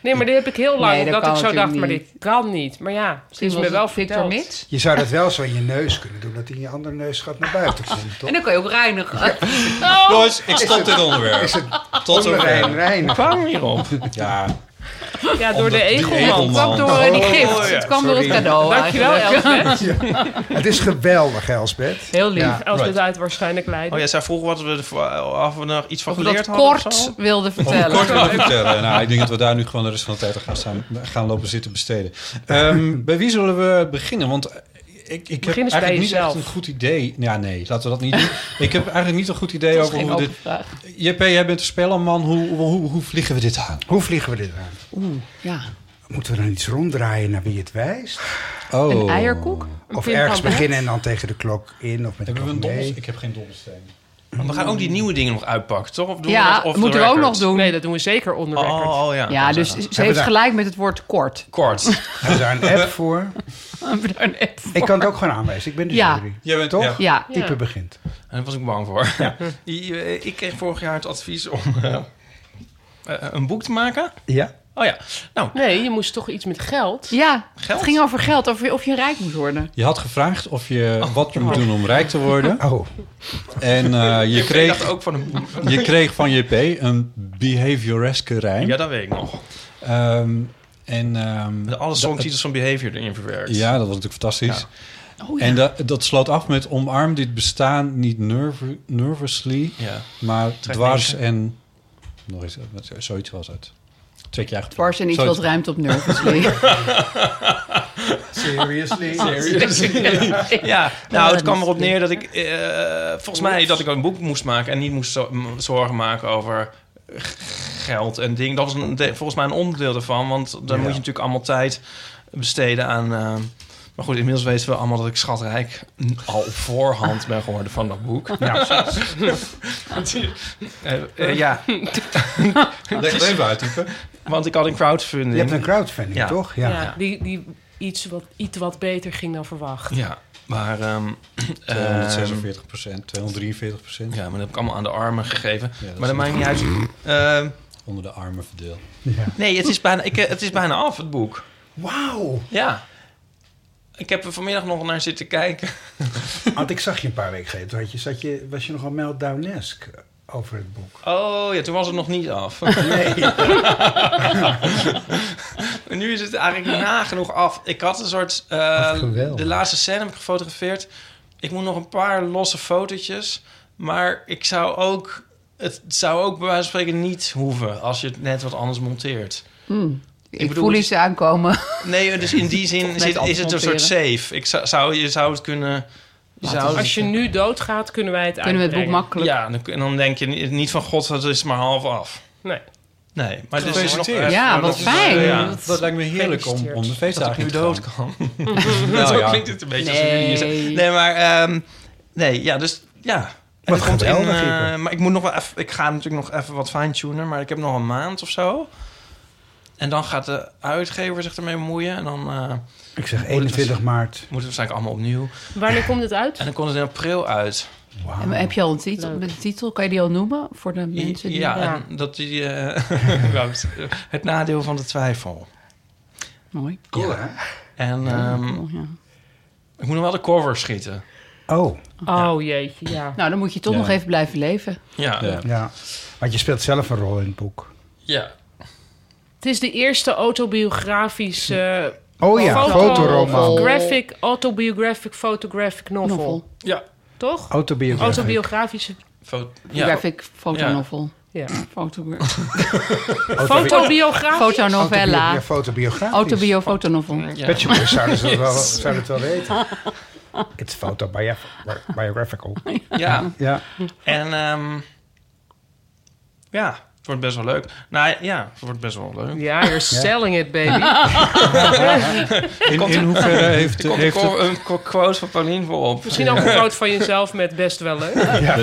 S6: Nee, maar dit heb ik heel lang
S3: Nee, dat
S6: omdat
S3: kan
S6: ik zo dacht,
S3: natuurlijk
S6: maar dit kan niet. Maar ja, het is me wel
S3: Victor
S6: verteld.
S3: Mits.
S10: Je zou dat wel zo in je neus kunnen doen, dat in je andere neus gaat naar buiten komt, toch?
S3: En dan kan je ook *laughs* reinigen.
S7: Ah, Jongens, ik stop dit onderwerp.
S10: Is het
S7: Tot
S10: onrein,
S7: zover.
S10: rein?
S3: *laughs*
S4: Kwam hierop.
S7: Ja,
S6: Ja, door de
S7: Omdat die
S6: egelman.
S7: egelman-
S3: Het kwam
S4: Oh,
S3: door eh, die gift. het kwam door het
S10: sorry.
S3: cadeau.
S6: Dankjewel,
S3: eigenlijk.
S6: Elsbeth.
S10: Het is geweldig, Elsbeth.
S3: Heel lief.
S10: Ja.
S6: Elsbeth
S7: Right.
S6: uit waarschijnlijk Leiden.
S4: Oh ja, zij vroeg wat we er, of we nog iets van
S3: Of we
S4: geleerd
S3: dat
S4: hadden of
S3: kort
S4: zo.
S3: wilde
S7: om het kort
S3: vertellen.
S7: te vertellen. Nou, ik denk dat we daar nu gewoon de rest van de tijd aan gaan, staan- gaan lopen zitten besteden. Ehm, bij wie zullen we beginnen? Want ik, ik heb
S6: Begin eens bij
S7: eigenlijk niet echt
S6: jezelf.
S7: een goed idee. Ja, nee, laten we dat niet
S3: *laughs*
S7: doen. ik heb eigenlijk niet een goed idee
S3: Dat is
S7: over
S3: geen
S7: hoe we
S3: open
S7: dit...
S3: vraag.
S7: JP, jij bent de spellerman. Hoe, hoe, hoe, hoe vliegen we dit aan?
S10: Hoe vliegen we dit aan?
S3: Oeh, ja.
S10: Moeten we dan iets ronddraaien naar wie het wijst?
S7: Oh.
S3: Een eierkoek?
S10: Of
S6: Pim
S10: ergens
S6: Pam Pet?
S10: beginnen en dan tegen de klok in of met
S7: Hebben
S10: de
S7: we
S10: klok
S7: een
S10: mee?
S7: dobbelsteen? Ik heb geen dobbelsteen.
S4: Maar we gaan ook die nieuwe dingen nog uitpakken, toch? Of doen
S3: Ja,
S4: we dat off
S3: moeten
S4: the
S3: we ook
S4: record?
S3: nog doen.
S6: Nee, dat doen we zeker onder record.
S4: Oh, oh, ja.
S3: ja, dus
S4: Hebben
S3: ze heeft
S10: daar-
S3: gelijk met het woord kort.
S4: Kort.
S10: Hebben we daar een app voor?
S3: Hebben *laughs* we daar een app
S10: Ik
S3: voor?
S10: kan het ook gewoon aanwijzen. Ik ben de
S3: Ja.
S10: jury.
S7: Jij bent-
S10: Toch?
S7: ja.
S3: Ja.
S10: Type begint.
S4: Daar was ik bang voor. *laughs* I- eh, Ik kreeg vorig jaar het advies om eh, eh, een boek te maken.
S10: Ja.
S4: Oh ja,
S6: Nee, je moest toch iets met geld.
S3: Ja,
S4: Geld?
S3: het ging over geld, over of je rijk moet worden.
S7: Je had gevraagd of je, wat je moet doen om rijk te worden.
S10: Oh,
S7: En eh, je,
S4: Ik kreeg
S7: kreeg,
S4: ook van een boek.
S7: je kreeg van JP een behavioreske rijm.
S4: Ja, dat weet ik nog.
S7: Ehm, en, ehm,
S4: Met alle songtitels van Behavior erin verwerkt.
S7: ja, dat was natuurlijk fantastisch.
S3: Oh, ja.
S7: En dat, dat sloot af met omarm dit bestaan niet nerv- nervously,
S4: Ja.
S7: maar
S4: Trek
S7: dwars
S4: linker.
S7: en... Nog eens, wat- zoiets was het. Twee keer achter
S3: Dwars en iets
S7: Zoiets.
S3: wat ruimt op nervously.
S7: *laughs*
S10: seriously?
S4: *laughs* Ja, nou, het kwam erop neer dat ik... eh, volgens mij dat ik een boek moest maken... en niet moest zo- m- zorgen maken over g- geld en ding. Dat was een, de- volgens mij een onderdeel daarvan. Want dan moet je natuurlijk allemaal tijd besteden aan... eh, maar goed, inmiddels weten we allemaal dat ik schatrijk... n- al op voorhand ben geworden van dat boek. *laughs* Eh, eh, ja,
S7: Leg het even uit, type.
S4: want ik had een crowdfunding.
S10: Je hebt een crowdfunding,
S4: Ja.
S10: toch?
S6: Ja,
S10: Ja.
S6: Die, die iets, wat, iets wat beter ging dan verwacht.
S4: Ja, maar... ehm, ehm,
S7: 246 243
S4: Ja, maar dat heb ik allemaal aan de armen gegeven.
S7: Ja, dat
S4: maar dat
S7: is
S4: maakt niet uit. Ehm,
S7: onder de armen verdeeld.
S4: nee, het is, bijna, ik, eh, het is bijna af, het boek.
S10: Wauw.
S4: Ja. Ik heb er vanmiddag nog naar zitten kijken.
S10: *laughs* Want ik zag je een paar weken geleden. Toen had je, zat je, was je nogal meltdown-esque over het boek.
S4: Oh ja, toen was het nog niet
S10: *laughs*
S4: af. *laughs* En nu is het eigenlijk nagenoeg af. Ik had een soort... eh,
S10: Wat geweldig.
S4: de laatste scène heb ik gefotografeerd. Ik moet nog een paar losse fotootjes. Maar ik zou ook... Het zou ook bij wijze van spreken niet hoeven... als je het net wat anders
S3: ik
S4: monteert. bedoel, dus-
S3: voel
S4: het-
S3: iets aankomen.
S4: Nee, dus in die zin
S3: net
S4: zit,
S3: alles
S4: is het een soort safe. Ik zou, zou, je zou het kunnen... Je zou het-
S6: Als je nu doodgaat, kunnen wij het
S3: Kunnen we het boek
S6: uitbrengen.
S3: makkelijk...
S4: ja, dan- en dan denk je ni- niet van god, dat is maar half af.
S6: Nee.
S4: Nee, maar het is nog...
S7: Gefeliciteerd.
S3: Ja, wat
S4: is-
S3: fijn.
S4: ja.
S7: Dat lijkt me heerlijk om, om de feestdagen
S6: Gefeliciteerd.
S4: Dat ik nu
S7: te gaan.
S3: *laughs*
S4: dood kan. *laughs*
S7: Nou
S4: Zo
S7: ja.
S4: klinkt het een beetje dus als
S3: Nee.
S4: jullie hier zijn. Nee, maar... ehm, nee, ja, dus... Ja. En
S10: Wat
S4: er komt in,
S10: geweldig,
S4: eh,
S10: Ieper.
S4: maar ik moet nog wel even... Ik ga natuurlijk nog even wat fine-tunen, maar ik heb nog een maand of zo. En dan gaat de uitgever zich ermee bemoeien. En dan eh,
S10: Ik zeg
S4: Hoe het was.
S10: 21 maart.
S4: moet het waarschijnlijk allemaal opnieuw.
S6: Wanneer komt het uit?
S4: En dan komt het in april uit.
S3: En heb je al een titel, een titel? Kan je die al noemen voor de mensen die...
S4: Ja,
S6: Ja.
S4: en dat die, eh, *laughs* wou het- het nadeel van de twijfel.
S3: Mooi.
S10: Cool, hè?
S4: En ehm,
S3: Oh, ja.
S4: ik moet nog wel de cover schieten.
S10: Oh,
S6: Oh jeetje, ja.
S3: Nou, dan moet je toch
S7: Ja.
S3: nog even blijven leven.
S4: Ja, ja.
S7: Ja.
S10: ja. Want je speelt zelf een rol in het boek.
S6: Het is de eerste autobiografische
S10: Oh ja,
S6: Foto-
S10: fotoroman.
S6: graphic, autobiographic, photographic novel.
S3: Novel.
S6: Toch?
S7: Oh,
S10: Autobiografie.
S6: Autobiografische.
S4: Fo- ja.
S3: Graphic fotonovel.
S6: Ja.
S3: Foto-
S6: Autobiografisch.
S10: Autobio-
S3: Fotonovella.
S10: ja, Fotobiografisch.
S3: Autobio fotonovel.
S10: Pet Shop Boys zouden ze dat wel, zouden het wel
S6: *laughs*
S10: weten. It's photobiographical.
S4: Ja.
S10: Ja.
S4: En ehm, ja, het wordt best wel leuk. Nou ja, het wordt best wel leuk.
S6: Ja, you're selling it, baby.
S3: *laughs*
S7: In, in
S6: eh,
S7: hoeverre heeft,
S4: Er komt een,
S7: heeft het...
S4: co- een co- quote van Paulien voorop.
S6: Misschien ook een foto van jezelf met best wel leuk.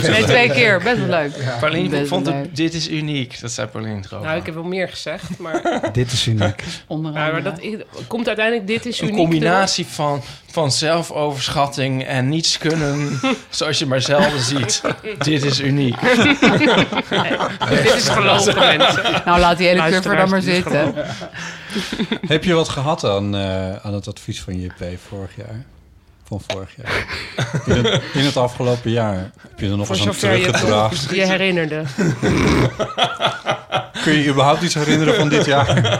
S3: Nee, twee keer. Best wel leuk.
S4: Paulien
S3: Best
S4: vond
S3: wel
S4: het-
S3: leuk.
S4: dit is uniek. Dat zei Paulien trouwens.
S6: Nou, ik heb wel meer gezegd, maar,
S10: Dit is uniek.
S3: Onder
S6: maar,
S4: Oh,
S3: andere.
S6: dat ik- komt uiteindelijk dit is uniek. eh,
S4: een combinatie van, van zelfoverschatting en niets
S10: *laughs*
S4: kunnen, zoals je maar zelden ziet. Dit is uniek.
S6: erop. Dit is
S4: *laughs*
S6: gelogen, mensen.
S3: Nou, laat die hele
S6: Luisteraars,
S3: cover dan maar
S6: dit is
S3: zitten.
S7: Heb je wat gehad aan, eh, aan het advies van JP vorig jaar? Van vorig
S6: *laughs*
S7: jaar. In het, in het afgelopen jaar heb je er nog
S6: Voor
S7: eens aan
S6: zover je
S7: teruggedragen.
S6: het je herinnerde.
S7: Kun je je überhaupt iets herinneren van dit jaar?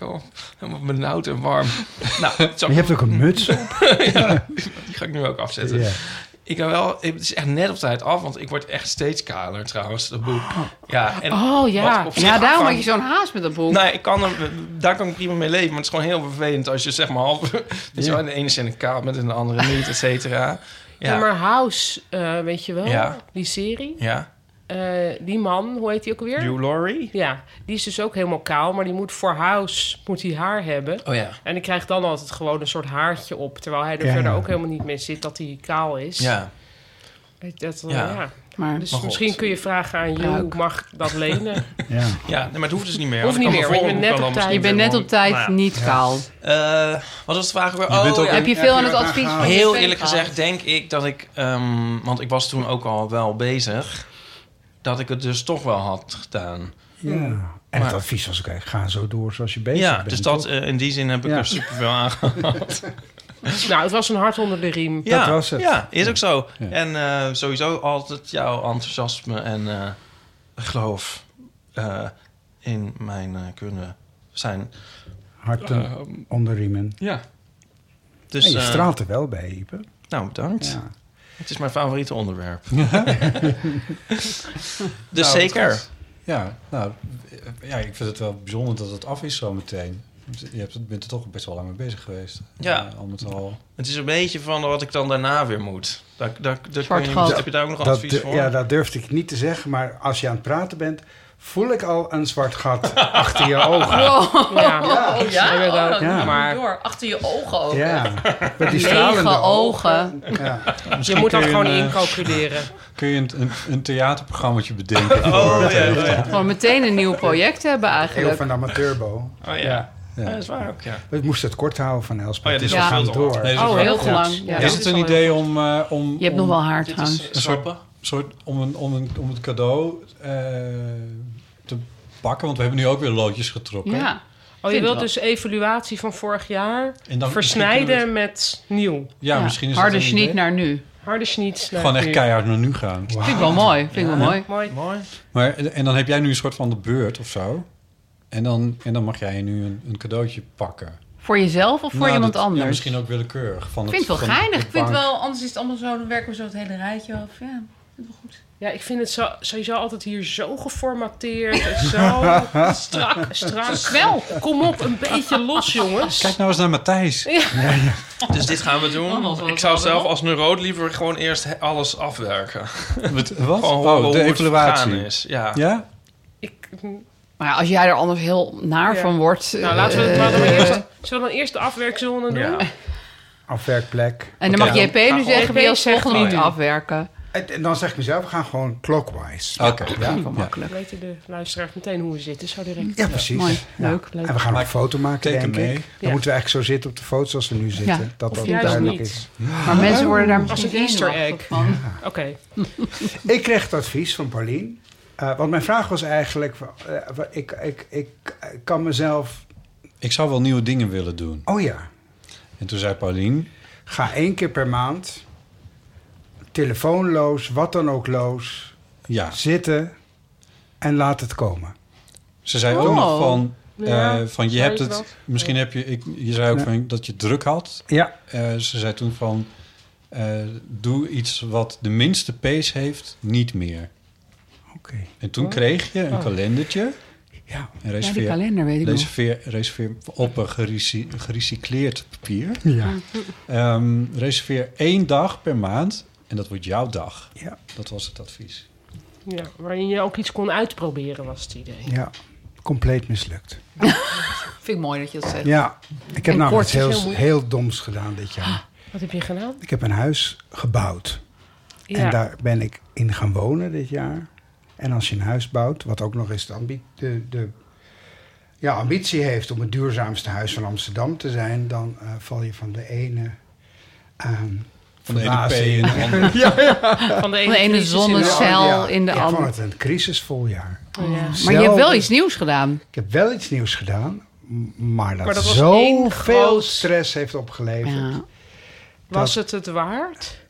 S4: Joh, helemaal benauwd en warm. Nou, zo, *laughs*
S10: Maar je hebt ook een muts op.
S4: die ga ik nu ook afzetten.
S10: Ja.
S4: Ik heb wel, het is echt net op tijd af, want ik word echt steeds kaler trouwens, dat boek. Ja, en
S3: oh ja.
S4: wat op zich
S3: Ja, daarom had
S4: afhangt-
S3: je zo'n haast met dat boek.
S4: Nee, ik kan er, daar kan ik prima mee leven. Maar het is gewoon heel vervelend als je zeg maar half... *laughs* weet je wel, in de ene zin een kaart met en in de andere niet, et cetera. Ja.
S6: Ja, maar House, eh, weet je wel,
S4: Ja.
S6: die serie.
S4: ja.
S6: Eh, die man, hoe heet die ook weer?
S4: Hugh Laurie?
S6: Ja, die is dus ook helemaal kaal, maar die moet voor House moet hij haar hebben.
S4: Oh ja.
S6: En die krijgt dan altijd gewoon een soort haartje op, terwijl hij er
S4: Ja.
S6: verder ook helemaal niet mee zit dat hij kaal is.
S4: Ja.
S6: Weet je, Dat, eh,
S4: Ja.
S6: ja.
S3: Maar-
S6: dus
S4: Maar goed.
S6: misschien kun je vragen aan Hugh,
S3: Pruik.
S6: mag ik dat
S4: *laughs*
S6: lenen?
S4: Ja, nee, maar het hoeft dus niet meer.
S6: Hoeft
S4: want ik
S6: niet
S4: kan
S6: meer,
S4: mijn
S6: want je bent
S4: voorhoofd
S6: net
S4: wel
S6: op
S4: dan
S3: tijd. Je
S4: misschien
S3: bent
S4: weer
S3: net op tijd
S4: worden.
S3: niet kaal.
S4: Eh, wat was de vraag? weer?
S7: Je bent
S4: Oh,
S7: ook
S4: ja.
S3: Heb je veel aan het advies van
S4: Heel
S3: JP
S4: eerlijk
S3: gehad?
S4: gezegd denk ik dat ik... ehm, want ik was toen ook al wel bezig... dat ik het dus toch wel had gedaan.
S10: Ja. En het advies was ook, eigenlijk, ga zo door zoals je bezig
S4: ja,
S10: bent.
S4: dus dat,
S10: toch?
S4: eh, in die zin heb ik
S10: Ja.
S4: er superveel aan
S10: *laughs*
S4: gehad.
S6: nou, het was een hart onder de riem.
S4: Ja,
S10: Dat was het.
S4: Ja, is ook zo.
S10: Ja.
S4: En eh, sowieso altijd jouw enthousiasme en eh, geloof eh, in mijn eh, kunnen zijn.
S10: Harten
S4: Eh,
S7: Ehm,
S10: onder riemen.
S4: ja.
S10: Dus,
S4: Dus,
S10: je
S4: eh,
S10: straalt er wel bij, Ipe.
S4: Nou, bedankt.
S10: Ja.
S4: Het is mijn favoriete onderwerp.
S7: Nou,
S4: *laughs* dus zeker.
S7: dat- Ja, nou, ja, ik vind het wel bijzonder dat het af is zo meteen. Je hebt- je bent er toch best wel lang mee bezig geweest.
S4: Ja.
S7: Eh, al met al.
S4: Het is een beetje van wat ik dan daarna weer moet. Daar, daar, daar
S3: Zwart
S4: kun je-
S3: gat.
S4: Heb je daar ook nog
S10: Dat
S4: advies
S10: du-
S4: voor?
S10: Ja, dat durfde ik niet te zeggen, maar als je aan het praten bent, voel ik al een zwart
S7: *laughs*
S10: gat achter je ogen.
S6: Ja.
S3: Oh ja,
S6: Ja.
S3: Oh, dat
S10: Ja.
S3: doe je
S6: Maar-
S3: door. Achter je ogen ook.
S10: Ja, met die stralende
S3: Lege ogen.
S10: Ja.
S6: Je moet dat
S7: kun je
S6: gewoon
S7: een, eh,
S6: incalculeren.
S7: Kun je een, een, een theaterprogrammaatje
S10: *laughs*
S7: bedenken?
S10: Oh,
S7: voor
S4: ja,
S7: het hele-
S4: ja, ja.
S3: Gewoon meteen een nieuw project hebben
S10: Heel
S3: eigenlijk.
S10: van de amateurbo.
S4: Oh ja.
S10: Ja.
S4: Ja, dat is waar ook, ja.
S10: We moesten het kort houden van Elspeth.
S4: Oh ja, dit is
S10: dus we
S3: al
S10: gaan
S4: veel te
S10: door.
S4: lang.
S7: Nee,
S3: Oh,
S7: dat is
S3: heel
S7: wel-
S3: lang. Ja,
S7: Is
S3: dat
S7: het
S3: al
S7: een
S3: heel-
S7: idee om... eh, om
S3: Je hebt nog
S7: om-
S3: wel haar
S4: Dit is
S3: trouwens.
S7: een soort,
S4: Sappen.
S7: soort om, een, om, een, om het cadeau eh, te pakken. Want we hebben nu ook weer loodjes getrokken.
S3: Ja.
S6: *laughs* Oh, je
S3: Vind
S6: wilt
S3: wel.
S6: dus evaluatie van vorig
S10: Nou,
S6: jaar
S7: En dan-
S6: versnijden
S7: misschien
S6: met nieuw.
S7: Ja,
S3: Ja.
S7: misschien is
S3: Harde
S7: dat een idee.
S3: niet naar nu.
S6: Harde sniet.
S7: Gewoon echt keihard naar nu gaan.
S3: Vind ik wel mooi. Vind ik wel mooi.
S6: Mooi.
S7: Maar, en dan heb jij nu een soort van de beurt of zo. En dan, en dan mag jij nu een, een cadeautje pakken.
S3: Voor jezelf of voor
S7: Nou,
S3: iemand
S7: dat- ja,
S3: anders?
S7: misschien ook willekeurig. Van
S3: Ik vind het wel geinig. Ik vind
S7: wel.
S3: wel, anders is het allemaal zo, dan werken we zo het hele rijtje af. Ja, ik vind het wel goed.
S6: Ja, ik vind het zo, sowieso altijd hier zo geformateerd en zo *laughs* strak. strak.
S3: Wel.
S6: Kom op, een beetje los, jongens.
S7: Kijk nou eens naar Matthijs.
S4: Dus dit gaan we
S3: Oh, wat
S4: doen.
S3: was
S4: Ik zou
S3: dat
S4: zelf
S3: dan?
S4: als neuroot liever gewoon eerst he- alles
S10: *laughs*
S4: afwerken.
S7: Wat? wat?
S4: Gewoon horen
S7: Oh,
S4: hoe
S7: de
S4: het
S7: evaluatie.
S4: gegaan is. Ja.
S7: Ja?
S6: Ik,
S3: Maar ja, als jij er anders heel naar
S6: Ja.
S3: van wordt...
S6: nou,
S3: eh,
S6: laten we het maar dan eerst... Zullen we dan eerst de afwerkzone doen?
S4: Ja.
S10: Afwerkplek.
S3: en dan
S4: Oké,
S3: mag
S4: dan
S3: JP nu
S4: gaan we-
S3: zeggen, wil je
S6: JP Nou, zegt
S3: alsnog niet
S6: nu.
S3: afwerken?
S10: En, en dan zeg ik mezelf, we gaan gewoon clockwise.
S7: Oké.
S3: Ja,
S7: Ja.
S3: wel
S6: Dan
S3: makkelijk.
S6: weten de luisteraars meteen hoe we zitten, zo direct.
S10: Ja, precies.
S3: Mooi,
S10: Ja.
S3: leuk.
S10: En we gaan ook een foto maken,
S7: teken
S10: denk
S7: mee.
S10: ik. Dan
S6: Ja.
S10: moeten we eigenlijk zo zitten op de foto zoals we nu zitten.
S3: Ja,
S10: dat
S6: of
S10: dat
S6: juist
S10: duidelijk
S6: niet.
S10: is.
S3: Maar mensen worden daar misschien
S6: een easter
S3: zenuwachtig
S6: egg.
S3: van.
S6: Oké.
S10: Ik kreeg het advies van Paulien. eh, want mijn vraag was eigenlijk... eh, wa- ik, ik, ik, ik kan mezelf...
S7: Ik zou wel nieuwe dingen willen doen.
S10: Oh ja,
S7: En toen zei Paulien...
S10: ga één keer per maand... telefoonloos, wat dan ook loos...
S7: Ja,
S10: zitten en laat het *laughs* komen.
S7: ze zei
S3: Oh.
S7: ook nog van... eh,
S6: Ja,
S7: van je
S6: zei
S7: hebt
S6: ik
S7: het...
S6: dat.
S7: Misschien heb je... Ik, je zei ook
S10: Ja.
S7: van, dat je het druk had.
S10: Ja,
S7: Eh, ze zei toen van... eh, doe iets wat de minste pace heeft, niet meer.
S10: oké.
S7: En toen kreeg je een kalendertje.
S10: Ja.
S7: En
S3: Ja, die
S7: reserveer,
S3: kalender weet ik nog.
S7: reserveer, reserveer op een gerecy- gerecycleerd papier.
S10: Ja.
S7: Ehm, reserveer één dag per maand en dat wordt jouw dag.
S10: Ja.
S7: Dat was het advies.
S6: Ja, waarin je ook iets kon uitproberen, was het idee.
S10: ja, compleet mislukt.
S3: Vind ik mooi dat je dat zegt.
S10: Ja, ik heb
S3: En
S10: namelijk
S3: kort
S10: iets
S3: is heel
S10: heel,
S3: moeilijk.
S10: heel doms gedaan dit jaar.
S6: Wat heb je gedaan?
S10: Ik heb een huis gebouwd. En daar ben ik in gaan wonen dit jaar. En als je een huis bouwt, wat ook nog eens de, ambi- de, de ja, ambitie heeft om het duurzaamste huis van Amsterdam te zijn, dan eh, val je van de ene. ehm
S7: Van de ene P
S10: verbazing.
S7: en
S10: *laughs*
S7: de andere.
S6: van de ene,
S3: Van de ene
S6: crisis in de
S3: zonnecel in de
S10: ik vond
S3: andere.
S10: het een crisisvol jaar.
S6: andere. Ja.
S3: Maar je hebt wel
S10: Zelden-
S3: iets nieuws gedaan.
S10: Ik heb wel iets nieuws gedaan, m- maar dat,
S6: Maar dat was
S10: zo
S6: één
S10: veel
S6: groot-
S10: stress heeft opgeleverd.
S3: Ja.
S6: Was het het waard?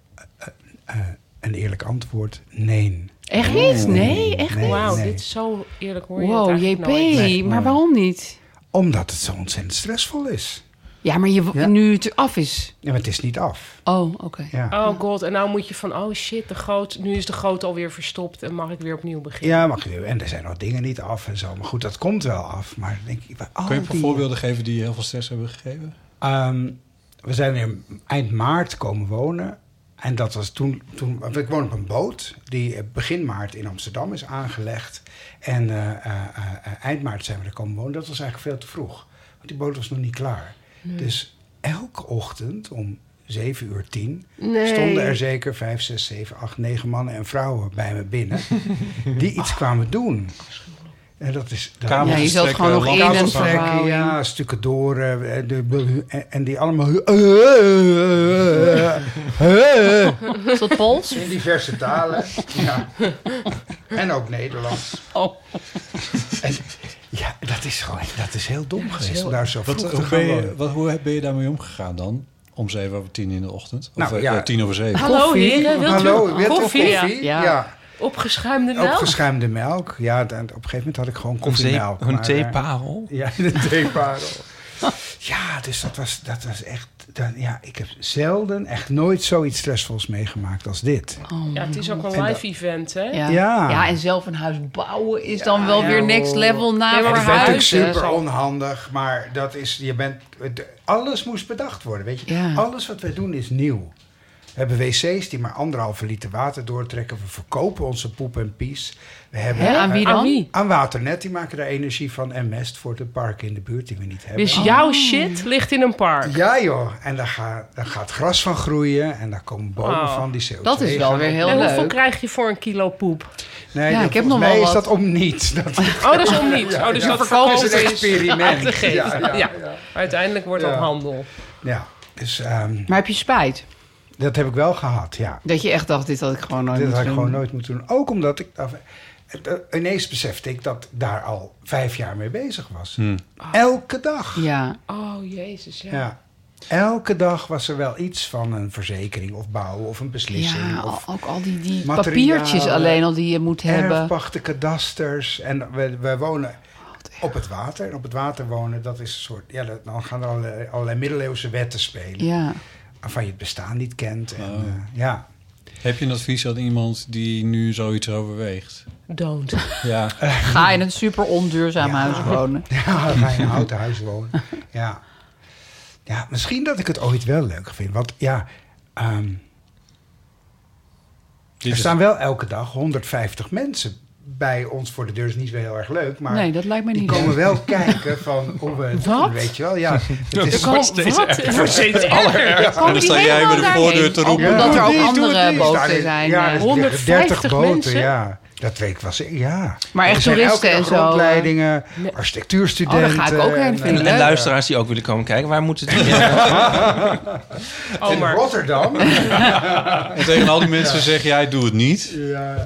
S10: Een eerlijk antwoord, nee.
S3: Echt niet? Nee, echt niet?
S10: Nee,
S6: Wauw,
S10: nee.
S6: dit is zo eerlijk hoor je het
S3: Wow,
S6: eigenlijk
S3: JP,
S6: nooit.
S3: maar waarom niet?
S10: Omdat het zo ontzettend stressvol is.
S3: Ja, maar je, nu het af is.
S8: Ja, maar het is niet af.
S3: Oh, oké.
S8: Ja.
S6: Oh god, en nou moet je van, oh shit, de groot, nu is de groot alweer verstopt en mag ik weer opnieuw beginnen.
S8: Ja, mag je. En er zijn nog dingen niet af en zo. Maar goed, dat komt wel af. Maar dan denk ik, bij al
S7: Kun je een paar
S8: die-
S7: voorbeelden geven die je heel veel stress hebben gegeven?
S8: Ehm, we zijn in eind maart komen wonen. En dat was toen, toen. want Ik woon op een boot die eh, begin maart in Amsterdam is aangelegd. En eh, eh, eh, eh, eind maart zijn we er komen wonen. Dat was eigenlijk veel te vroeg. Want die boot was nog niet klaar. Dus elke ochtend om 7 uur 10
S6: Nee.
S8: stonden er zeker 5, 6, 7, 8, 9 mannen en vrouwen bij me binnen. die iets kwamen doen. En dat is. Dat
S7: Kabels
S3: Ja, je zult
S7: verstrekken,
S3: gewoon nog in en
S7: kabels verstrekken.
S8: Trekken,
S3: verbouwen.
S8: ja, stukken door. eh, eh, de- en- En die allemaal... Eh, In
S3: Is dat Pools?
S8: diverse talen. Ja. *laughs* En ook Nederlands.
S3: Oh.
S8: En, ja, dat is gewoon... Dat is heel dom
S7: is
S8: geweest
S7: heel-
S8: om daar zo vroeg
S7: Wat,
S8: te
S7: hoe,
S8: gaan
S7: ben je,
S8: wonen.
S7: wat, hoe ben je daarmee omgegaan dan? Om 7 over 10 in de ochtend? Of
S8: Nou,
S7: eh,
S8: ja.
S7: eh, 10 over 7?
S6: Hallo
S3: Koffie.
S6: heren, wilt u
S8: Hallo, wilt u
S6: koffie?
S8: koffie?
S3: Ja.
S8: Ja.
S6: Opgeschuimde melk?
S8: Opgeschuimde melk. Ja, dan- op een gegeven moment had ik gewoon
S4: Een, zee-
S8: koffiemelk.
S4: een
S8: maar, eh,
S4: theeparel.
S8: *laughs* Ja, de theeparel. ja, dus dat was, dat was echt... Dat, ja, ik heb zelden, echt nooit zoiets stressvols meegemaakt als dit.
S6: Ja, het is ook
S8: En
S6: een live event, hè?
S3: Ja.
S8: Ja.
S3: en zelf een huis bouwen is dan wel
S8: ja,
S3: weer next
S8: hoor.
S3: level na
S6: Nee, maar
S8: Het is natuurlijk
S3: verhuizen.
S8: super onhandig, maar dat is, je bent, het- alles moest bedacht worden. Weet je?
S3: Ja.
S8: Alles wat wij doen is nieuw. We hebben wc's die maar anderhalve liter water doortrekken. We verkopen onze poep en pies. We hebben
S3: Hè, aan wie
S6: Aan
S3: dan?
S6: wie?
S8: aan Waternet, die maken daar energie van. En mest voor de parken in de buurt die we niet hebben. Oh.
S7: Oh.
S6: Dus jouw shit ligt in een park.
S8: Ja joh, en daar, ga, daar gaat gras van groeien en daar komen bomen
S6: Oh.
S8: van die CO2.
S3: Dat is wel
S8: gaan
S3: weer
S8: op-
S3: heel
S6: en hoeveel
S3: leuk.
S6: krijg je voor een kilo poep?
S8: Nee,
S3: Ja,
S8: dat-
S3: ik heb
S8: volgens
S3: nog wel
S8: mij is
S3: wat.
S8: dat om niets. *laughs* Dat
S6: Oh, dat is om niet. Oh, dus
S8: ja.
S6: dat
S8: dat is
S6: verkopen
S8: een
S6: is aan
S8: experiment.
S6: te geven. Ja,
S8: ja, ja.
S6: Uiteindelijk wordt
S8: Ja.
S6: dat handel.
S8: Ja, dus ehm,
S3: Maar heb je spijt?
S8: dat heb ik wel gehad, ja.
S3: Dat je echt dacht, dit had ik gewoon nooit
S8: Dit had
S3: moeten
S8: ik
S3: doen.
S8: gewoon nooit moeten doen. Ook omdat ik... af- eh, Ineens besefte ik dat ik daar al vijf jaar mee bezig was. Elke dag. Ja.
S3: Ja,
S6: Oh, jezus, ja.
S8: Elke dag was er wel iets van een verzekering of bouwen of een beslissing.
S3: ja oh.
S8: of
S3: al- ook al die, die
S8: materialen.
S3: papiertjes alleen al die je moet hebben.
S8: erfpachten, kadasters. En we, we wonen op het water. En op het water wonen, dat is een soort... Ja, dat- dan gaan er allerlei, allerlei middeleeuwse wetten spelen.
S3: Ja.
S8: Waarvan je het bestaan niet kent. En,
S7: Oh.
S8: eh, ja.
S7: Heb je een advies aan iemand die nu zoiets overweegt?
S6: Don't.
S7: Ja,
S3: Ga in een super onduurzaam
S8: Ja.
S3: huis wonen.
S8: Ja, ga in een houten huis wonen. Ja. ja, misschien dat ik het ooit wel leuk vind. Want ja, ehm,
S7: dit
S8: er
S7: is-
S8: staan wel elke dag 150 mensen bij ons voor de deur. is niet zo heel erg leuk, maar...
S3: nee, dat lijkt me
S8: die
S3: niet
S8: komen
S3: leuk.
S8: wel kijken van hoe
S3: *laughs*
S8: we het doen,
S6: Wat?
S8: weet je wel. Ja, het is
S6: Kan, wat? Het
S10: eh,
S4: *laughs*
S6: wordt
S10: *laughs*
S6: steeds erger.
S7: En dan sta jij bij de voordeur te roepen.
S8: Ja,
S3: Omdat er
S8: doe
S3: ook
S8: het niet, doe het
S3: andere
S8: niet. Daar
S3: boten
S8: is-
S3: zijn.
S8: Ja,
S3: eh.
S8: er liggen
S6: 150
S8: 30 boten,
S6: mensen?
S8: ja. Dat weet ik wel zeker, ja.
S3: Maar echt
S8: Er zijn
S3: toeristen
S8: elke dag
S3: en zo, eh.
S8: rondleidingen, architectuurstudenten.
S3: Oh, daar ga ik ook heen,
S8: en,
S3: vind
S8: eh,
S3: ik
S4: En,
S3: leuk.
S4: en luisteraars die ook willen komen kijken, waar moeten die?
S10: *laughs*
S4: Ja.
S6: Oh,
S8: in
S6: maar
S8: Rotterdam.
S7: En tegen
S8: *laughs*
S7: al die mensen zeg jij, doe het niet.
S8: Ja, eh,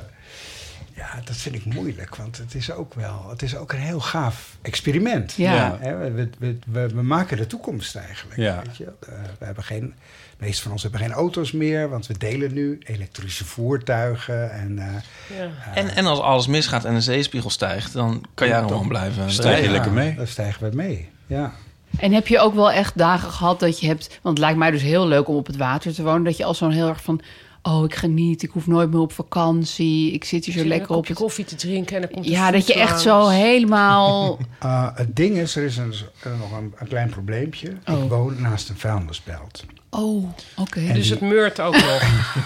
S8: ja, dat vind ik moeilijk, want het is ook wel, het is ook een heel gaaf experiment.
S3: Ja.
S7: Ja.
S8: Hè, we- we, we, we, we maken de toekomst eigenlijk.
S7: Ja.
S8: Weet je? Eh, we hebben geen, de meeste van ons hebben geen auto's meer, want we delen nu elektrische voertuigen en eh,
S6: ja.
S4: En, en als alles misgaat en de zeespiegel stijgt, dan kan jij gewoon blijven.
S7: Stijg je
S4: rijden.
S7: lekker mee.
S8: daar stijgen we mee. Ja.
S3: En heb je ook wel echt dagen gehad dat je hebt... Want het lijkt mij dus heel leuk om op het water te wonen. Dat je al zo'n heel erg van... Oh, ik geniet. Ik hoef nooit meer op vakantie. Ik zit hier zo
S6: Zit
S3: lekker op
S6: een kopje
S3: het...
S6: koffie te drinken en dan komt de
S3: Ja, dat je
S6: voet
S3: echt zo
S6: langs.
S3: helemaal...
S8: Eh, het ding is, er is een, er nog een, een klein probleempje.
S3: Oh.
S8: Ik woon naast een vuilnisbelt.
S3: *laughs* Oh, oké.
S6: Dus het meurt ook
S3: *laughs*
S6: nog.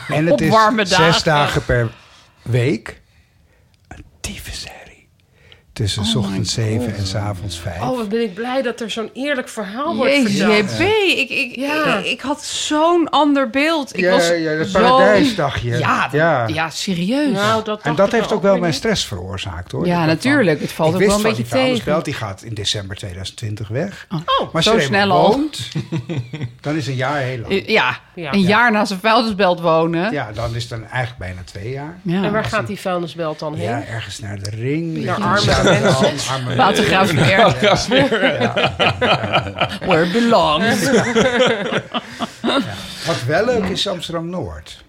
S8: En het
S3: Op
S8: is
S3: warme
S8: zes
S3: dagen.
S8: dagen per week. Een tieve serie. Tussen
S3: Oh
S8: s ochtends zeven en s avonds vijf.
S6: Oh, wat ben ik blij dat er zo'n eerlijk verhaal wordt
S3: Jezus,
S6: verteld.
S3: JP, ik, ik, ik, ik had zo'n ander beeld. Ik
S8: ja,
S3: was
S8: ja, dat
S3: zo...
S8: paradijsdagje.
S3: Ja, ja.
S8: Ja.
S3: serieus.
S6: Nou, dat
S8: En
S6: dacht
S8: dat
S6: ik
S8: heeft ook
S6: ook
S8: wel
S6: weer
S8: mijn
S6: niet.
S8: stress veroorzaakt hoor.
S3: Ja,
S8: Ik dacht
S3: natuurlijk. Het valt
S8: ik
S3: ook wel
S8: wist
S3: een
S8: van
S3: beetje
S8: die vuilnisbelt,
S3: tegen.
S8: die gaat in december 2020 weg.
S6: Oh,
S8: maar
S3: zo
S8: er eenmaal
S3: snel al.
S8: woont, dan is een jaar heel lang.
S3: Eh, ja,
S6: Ja.
S3: een
S6: Ja.
S3: jaar naast een vuilnisbelt wonen.
S8: Ja, dan is het dan eigenlijk bijna twee jaar.
S3: Ja.
S6: En waar gaat die vuilnisbelt dan heen?
S8: Ja, ergens naar de ring.
S6: Naar
S8: in
S6: arme
S8: Zaandam,
S6: mensen.
S8: arme
S3: Watergraafsmeer. Where it belongs.
S8: Wat wel leuk is Amsterdam Noord.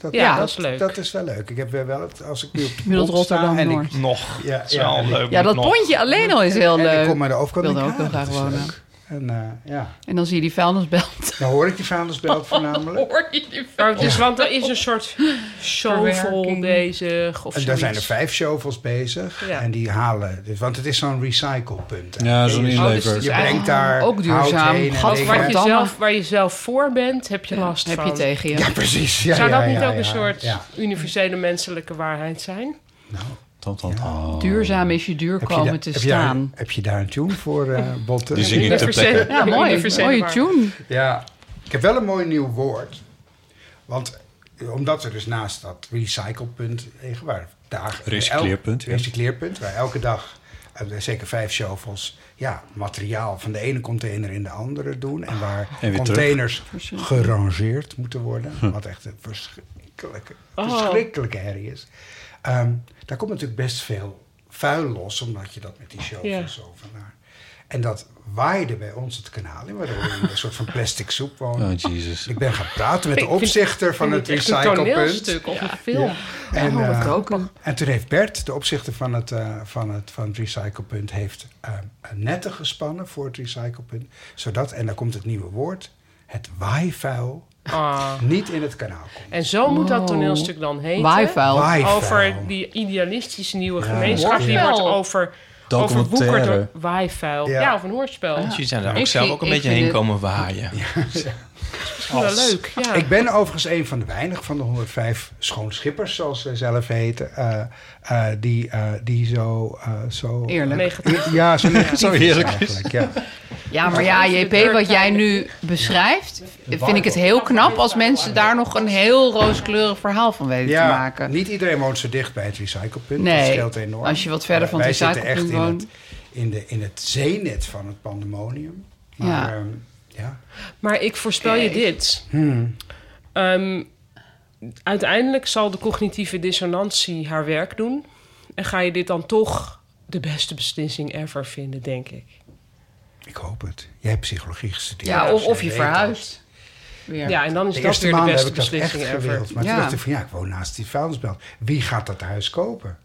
S8: Dat,
S6: Ja, dat is leuk.
S8: Dat is wel leuk. Ik heb weer wel het, als ik nu op de
S3: Middels
S8: pont sta
S3: Rotterdam
S8: en ik-
S3: Noord.
S4: Nog.
S8: Ja,
S4: Dat is
S8: ja,
S4: wel
S8: en ik-
S4: leuk.
S3: Ja, dat
S4: nog.
S3: pontje alleen al is heel
S8: en ik
S3: leuk.
S8: kom aan de overkant.
S3: Ik eh, wilde
S8: denk
S3: ook heel
S8: ah, dat
S3: graag
S8: is
S3: wonen.
S8: leuk.
S10: En eh, ja,
S3: En dan zie je die vuilnisbelt.
S6: *laughs*
S10: dan hoor ik die vuilnisbelt *laughs* voornamelijk.
S3: Hoor je die
S6: Maar
S3: vuilnis-
S6: dus, want er is een soort shovel
S3: Verwerking.
S6: bezig of
S10: En daar
S6: zoiets.
S10: zijn er vijf shovels bezig.
S6: Ja.
S10: En die halen, dus, want het is zo'n recyclepunt. hè.
S7: Ja, zo'n
S8: Oh,
S10: je,
S7: inlever.
S6: dus
S10: je
S6: eigenlijk
S10: brengt daar
S3: ook duurzaam.
S10: hout heen en
S3: Gat
S10: dingen.
S6: Wat je
S3: Verdamme.
S6: zelf, waar je zelf voor bent, heb je last
S3: heb
S6: van.
S3: je tegen je.
S10: Ja, precies. Ja,
S6: Zou
S10: ja,
S6: dat niet
S10: ja,
S6: ook
S10: ja,
S6: een soort
S10: ja.
S6: universele menselijke waarheid zijn?
S7: Tam, tam, tam.
S3: Duurzaam is je duur
S10: Heb je
S3: komen
S10: daar-
S3: te
S10: heb je daar-
S3: staan.
S10: heb je daar een tune voor, eh Botte?
S7: Die zing ik te plekken.
S3: Ja, mooi.
S6: universele
S3: Mooie
S6: waarheid.
S3: tune.
S10: Ja, ik heb wel een mooi nieuw woord. Want eh, omdat er dus naast dat recyclepunt liggen, waar dagen...
S7: Recycleerpunt,
S10: elk-
S7: ja.
S10: Recycleerpunt, waar elke dag eh, zeker vijf shovels ja, materiaal van de ene container in de andere doen. En waar
S7: En weer Hm.
S10: containers gerangeerd moeten worden. Wat echt een verschrikkelijke,
S6: Oh.
S10: verschrikkelijke herrie is. Ehm, daar komt natuurlijk best veel vuil los, omdat je dat met die shovels
S6: Ja.
S10: zo van naar... En dat waaide bij ons het kanaal in, waardoor we in een soort van plastic soep wonen.
S7: Oh, Jesus.
S10: Ik ben gaan praten met
S6: *laughs*
S10: de
S6: Ik vind-
S10: opzichter van
S6: Vind
S10: het
S6: je echt een
S10: recyclepunt.
S6: toneelstuk of een film.
S10: En,
S3: oh, dat
S10: eh,
S3: koken.
S10: en toen heeft Bert, de opzichter van het, eh, van het, van het recyclepunt, heeft eh, een netten gespannen voor het recyclepunt. Zodat, en daar komt het nieuwe woord, het waaivuil
S6: Ah.
S10: niet in het kanaal komt.
S6: En zo moet dat
S3: Wow.
S6: toneelstuk dan heten.
S3: Waaivuil.
S10: Waaivuil.
S6: Over die idealistische nieuwe
S10: Ja.
S6: gemeenschap. Die
S3: Hoorspel.
S6: wordt over, overwoekerd
S7: Documentaire.
S6: door waaivuil. Ja.
S10: Ja.
S6: of een hoorspel.
S4: Jullie zijn daar ook
S3: Ik
S4: zelf
S3: vind-
S4: ook een
S3: ik
S4: beetje
S3: vind
S4: heen
S3: het-
S4: komen waaien.
S6: Wel leuk, ja.
S10: Ik ben overigens een van de weinig van de 105 schoonschippers, zoals zij zelf heten, eh, eh, die, eh, die zo... eh, zo
S3: Eerlijk.
S6: Negatief. *laughs*
S10: Ja, zo,
S7: Zo eerlijk is.
S10: eigenlijk, ja.
S3: Ja, maar ja, JP, wat jij nu beschrijft, vind ik het heel knap als mensen daar nog een heel rooskleurig verhaal van weten te maken.
S10: Niet iedereen woont zo dicht bij het recyclepunt.
S3: Nee,
S10: dat scheelt enorm.
S3: als je wat verder
S10: Eh,
S3: van het
S10: wij zitten
S3: recyclepunt
S10: echt in
S3: woont.
S10: het- In, de, in het zeenet van het pandemonium. Maar,
S3: Ja.
S10: ja. ja.
S6: Maar ik voorspel je dit.
S10: Hmm.
S6: Ehm, uiteindelijk zal de cognitieve dissonantie haar werk doen. En ga je dit dan toch de beste beslissing ever vinden, denk ik.
S10: Ik hoop het. Jij hebt psychologie gestudeerd.
S3: Ja, of,
S10: dus
S3: of
S10: jij
S3: je
S10: weet dat.
S3: verhuist. Weer.
S6: Ja, en dan is
S10: De
S6: dat
S10: eerste
S6: weer de
S10: maanden heb
S6: beste
S10: ik dat echt
S6: beslissing ever.
S10: gewild. Maar
S3: Ja.
S10: toen dacht ik van ja, ik woon naast die vuilnisbelt. Wie gaat dat huis kopen?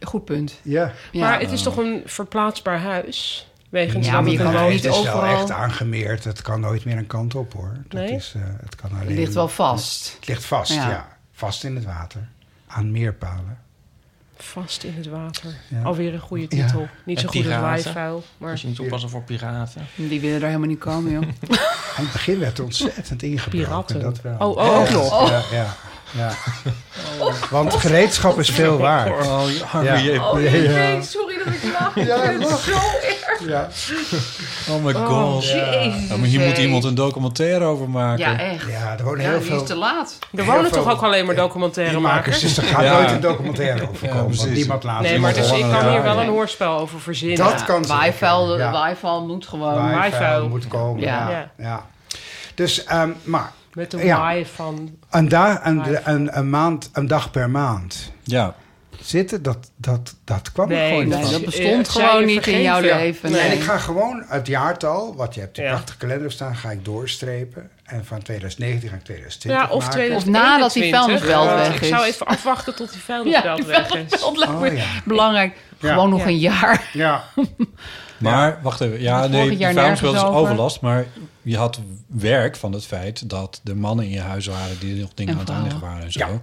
S3: Goed punt.
S10: Ja.
S3: Ja.
S6: Maar het is toch een verplaatsbaar huis? Wegens
S3: Ja,
S6: dat
S3: maar je kan
S6: het een
S3: wel
S10: Nee,
S6: wijk-
S3: niet
S10: het is wel
S3: overal-
S10: echt aangemeerd. Het kan nooit meer een kant op hoor. Dat
S6: Nee?
S10: is, eh, het kan alleen...
S3: Het ligt wel vast.
S10: Het ligt vast,
S3: Ja.
S10: ja. Vast in het water. Aan meerpalen.
S6: Vast in het water.
S10: Ja. Dus
S6: Alweer een goede titel. Niet
S4: En
S6: zo goed als
S4: piraten.
S6: waaivuil, maar
S4: Als je moet toepassen voor piraten.
S3: Die willen daar helemaal niet komen, *laughs* joh.
S10: Aan het begin werd er ontzettend ingebroken.
S6: piraten.
S10: Dat wel.
S6: Oh, oh, ook nog.
S10: Ja, ja, ja. Want gereedschap is veel waard.
S7: Oh, ja.
S10: Ja.
S3: jee, sorry dat ik lach.
S10: Ja, lach.
S3: zo erg.
S10: Ja.
S7: Oh my god.
S3: Jezus.
S7: Ja, maar hier moet
S3: hé.
S7: iemand een documentaire over maken.
S3: Ja, echt. Ja,
S10: ja, er wonen heel
S3: die is te
S10: veel
S3: laat.
S6: Er wonen
S10: Heel
S6: toch
S10: veel-
S6: ook alleen maar documentairemakers?
S10: makers. Dus er gaat
S7: Ja.
S10: nooit een documentaire over
S7: Ja,
S10: komen. want
S7: precies.
S10: niemand laat
S6: Nee, maar
S10: iemand
S6: dus ik
S10: horen.
S6: kan hier
S10: Ja,
S6: wel
S10: ja.
S6: een hoorspel over verzinnen.
S10: Dat
S6: Ja.
S10: kan zeker.
S3: Waaivuil
S10: Ja.
S3: waaivuil moet gewoon.
S6: waaivuil.
S10: Waaivuil moet eh, komen.
S3: Ja.
S10: Ja. Ja. Dus, ehm, maar
S6: Met de
S10: Ja.
S6: waai van...
S10: een, da een, een, een, maand, een dag per maand
S7: Ja.
S10: zitten, dat, dat, dat kwam er gewoon niet
S3: nee,
S10: van.
S3: dat bestond
S6: eh, zij
S3: gewoon niet
S6: vergeven.
S3: in jouw
S6: Ja.
S3: leven.
S6: Nee.
S10: En ik ga gewoon het jaartal, wat je hebt in
S6: Ja.
S10: de prachtige kalender staan, ga ik doorstrepen. En van 2019 ga ik 2020
S6: Ja, of
S10: maken.
S6: 2021.
S3: Of nadat die vuilnisbelt
S6: Eh,
S3: weg
S6: Ik
S3: is.
S6: zou even afwachten tot die
S3: Ja,
S6: vuilnisbelt
S3: die
S6: weg
S3: *laughs*
S6: is.
S3: vuilnisbelt lijkt me
S10: Oh, ja.
S3: belangrijk.
S10: Ja.
S3: Gewoon nog
S6: Ja.
S3: een jaar.
S10: Ja,
S7: Maar wacht even. Ja,
S3: Het
S7: nee,
S3: vorig
S7: de
S3: jaar
S7: vuilnisbelt is
S3: nergens over.
S7: overlast. Maar je had werk van het feit dat de mannen in je huis waren... die nog dingen
S3: En
S7: aan het aanleggen
S3: vrouwen.
S7: waren en zo.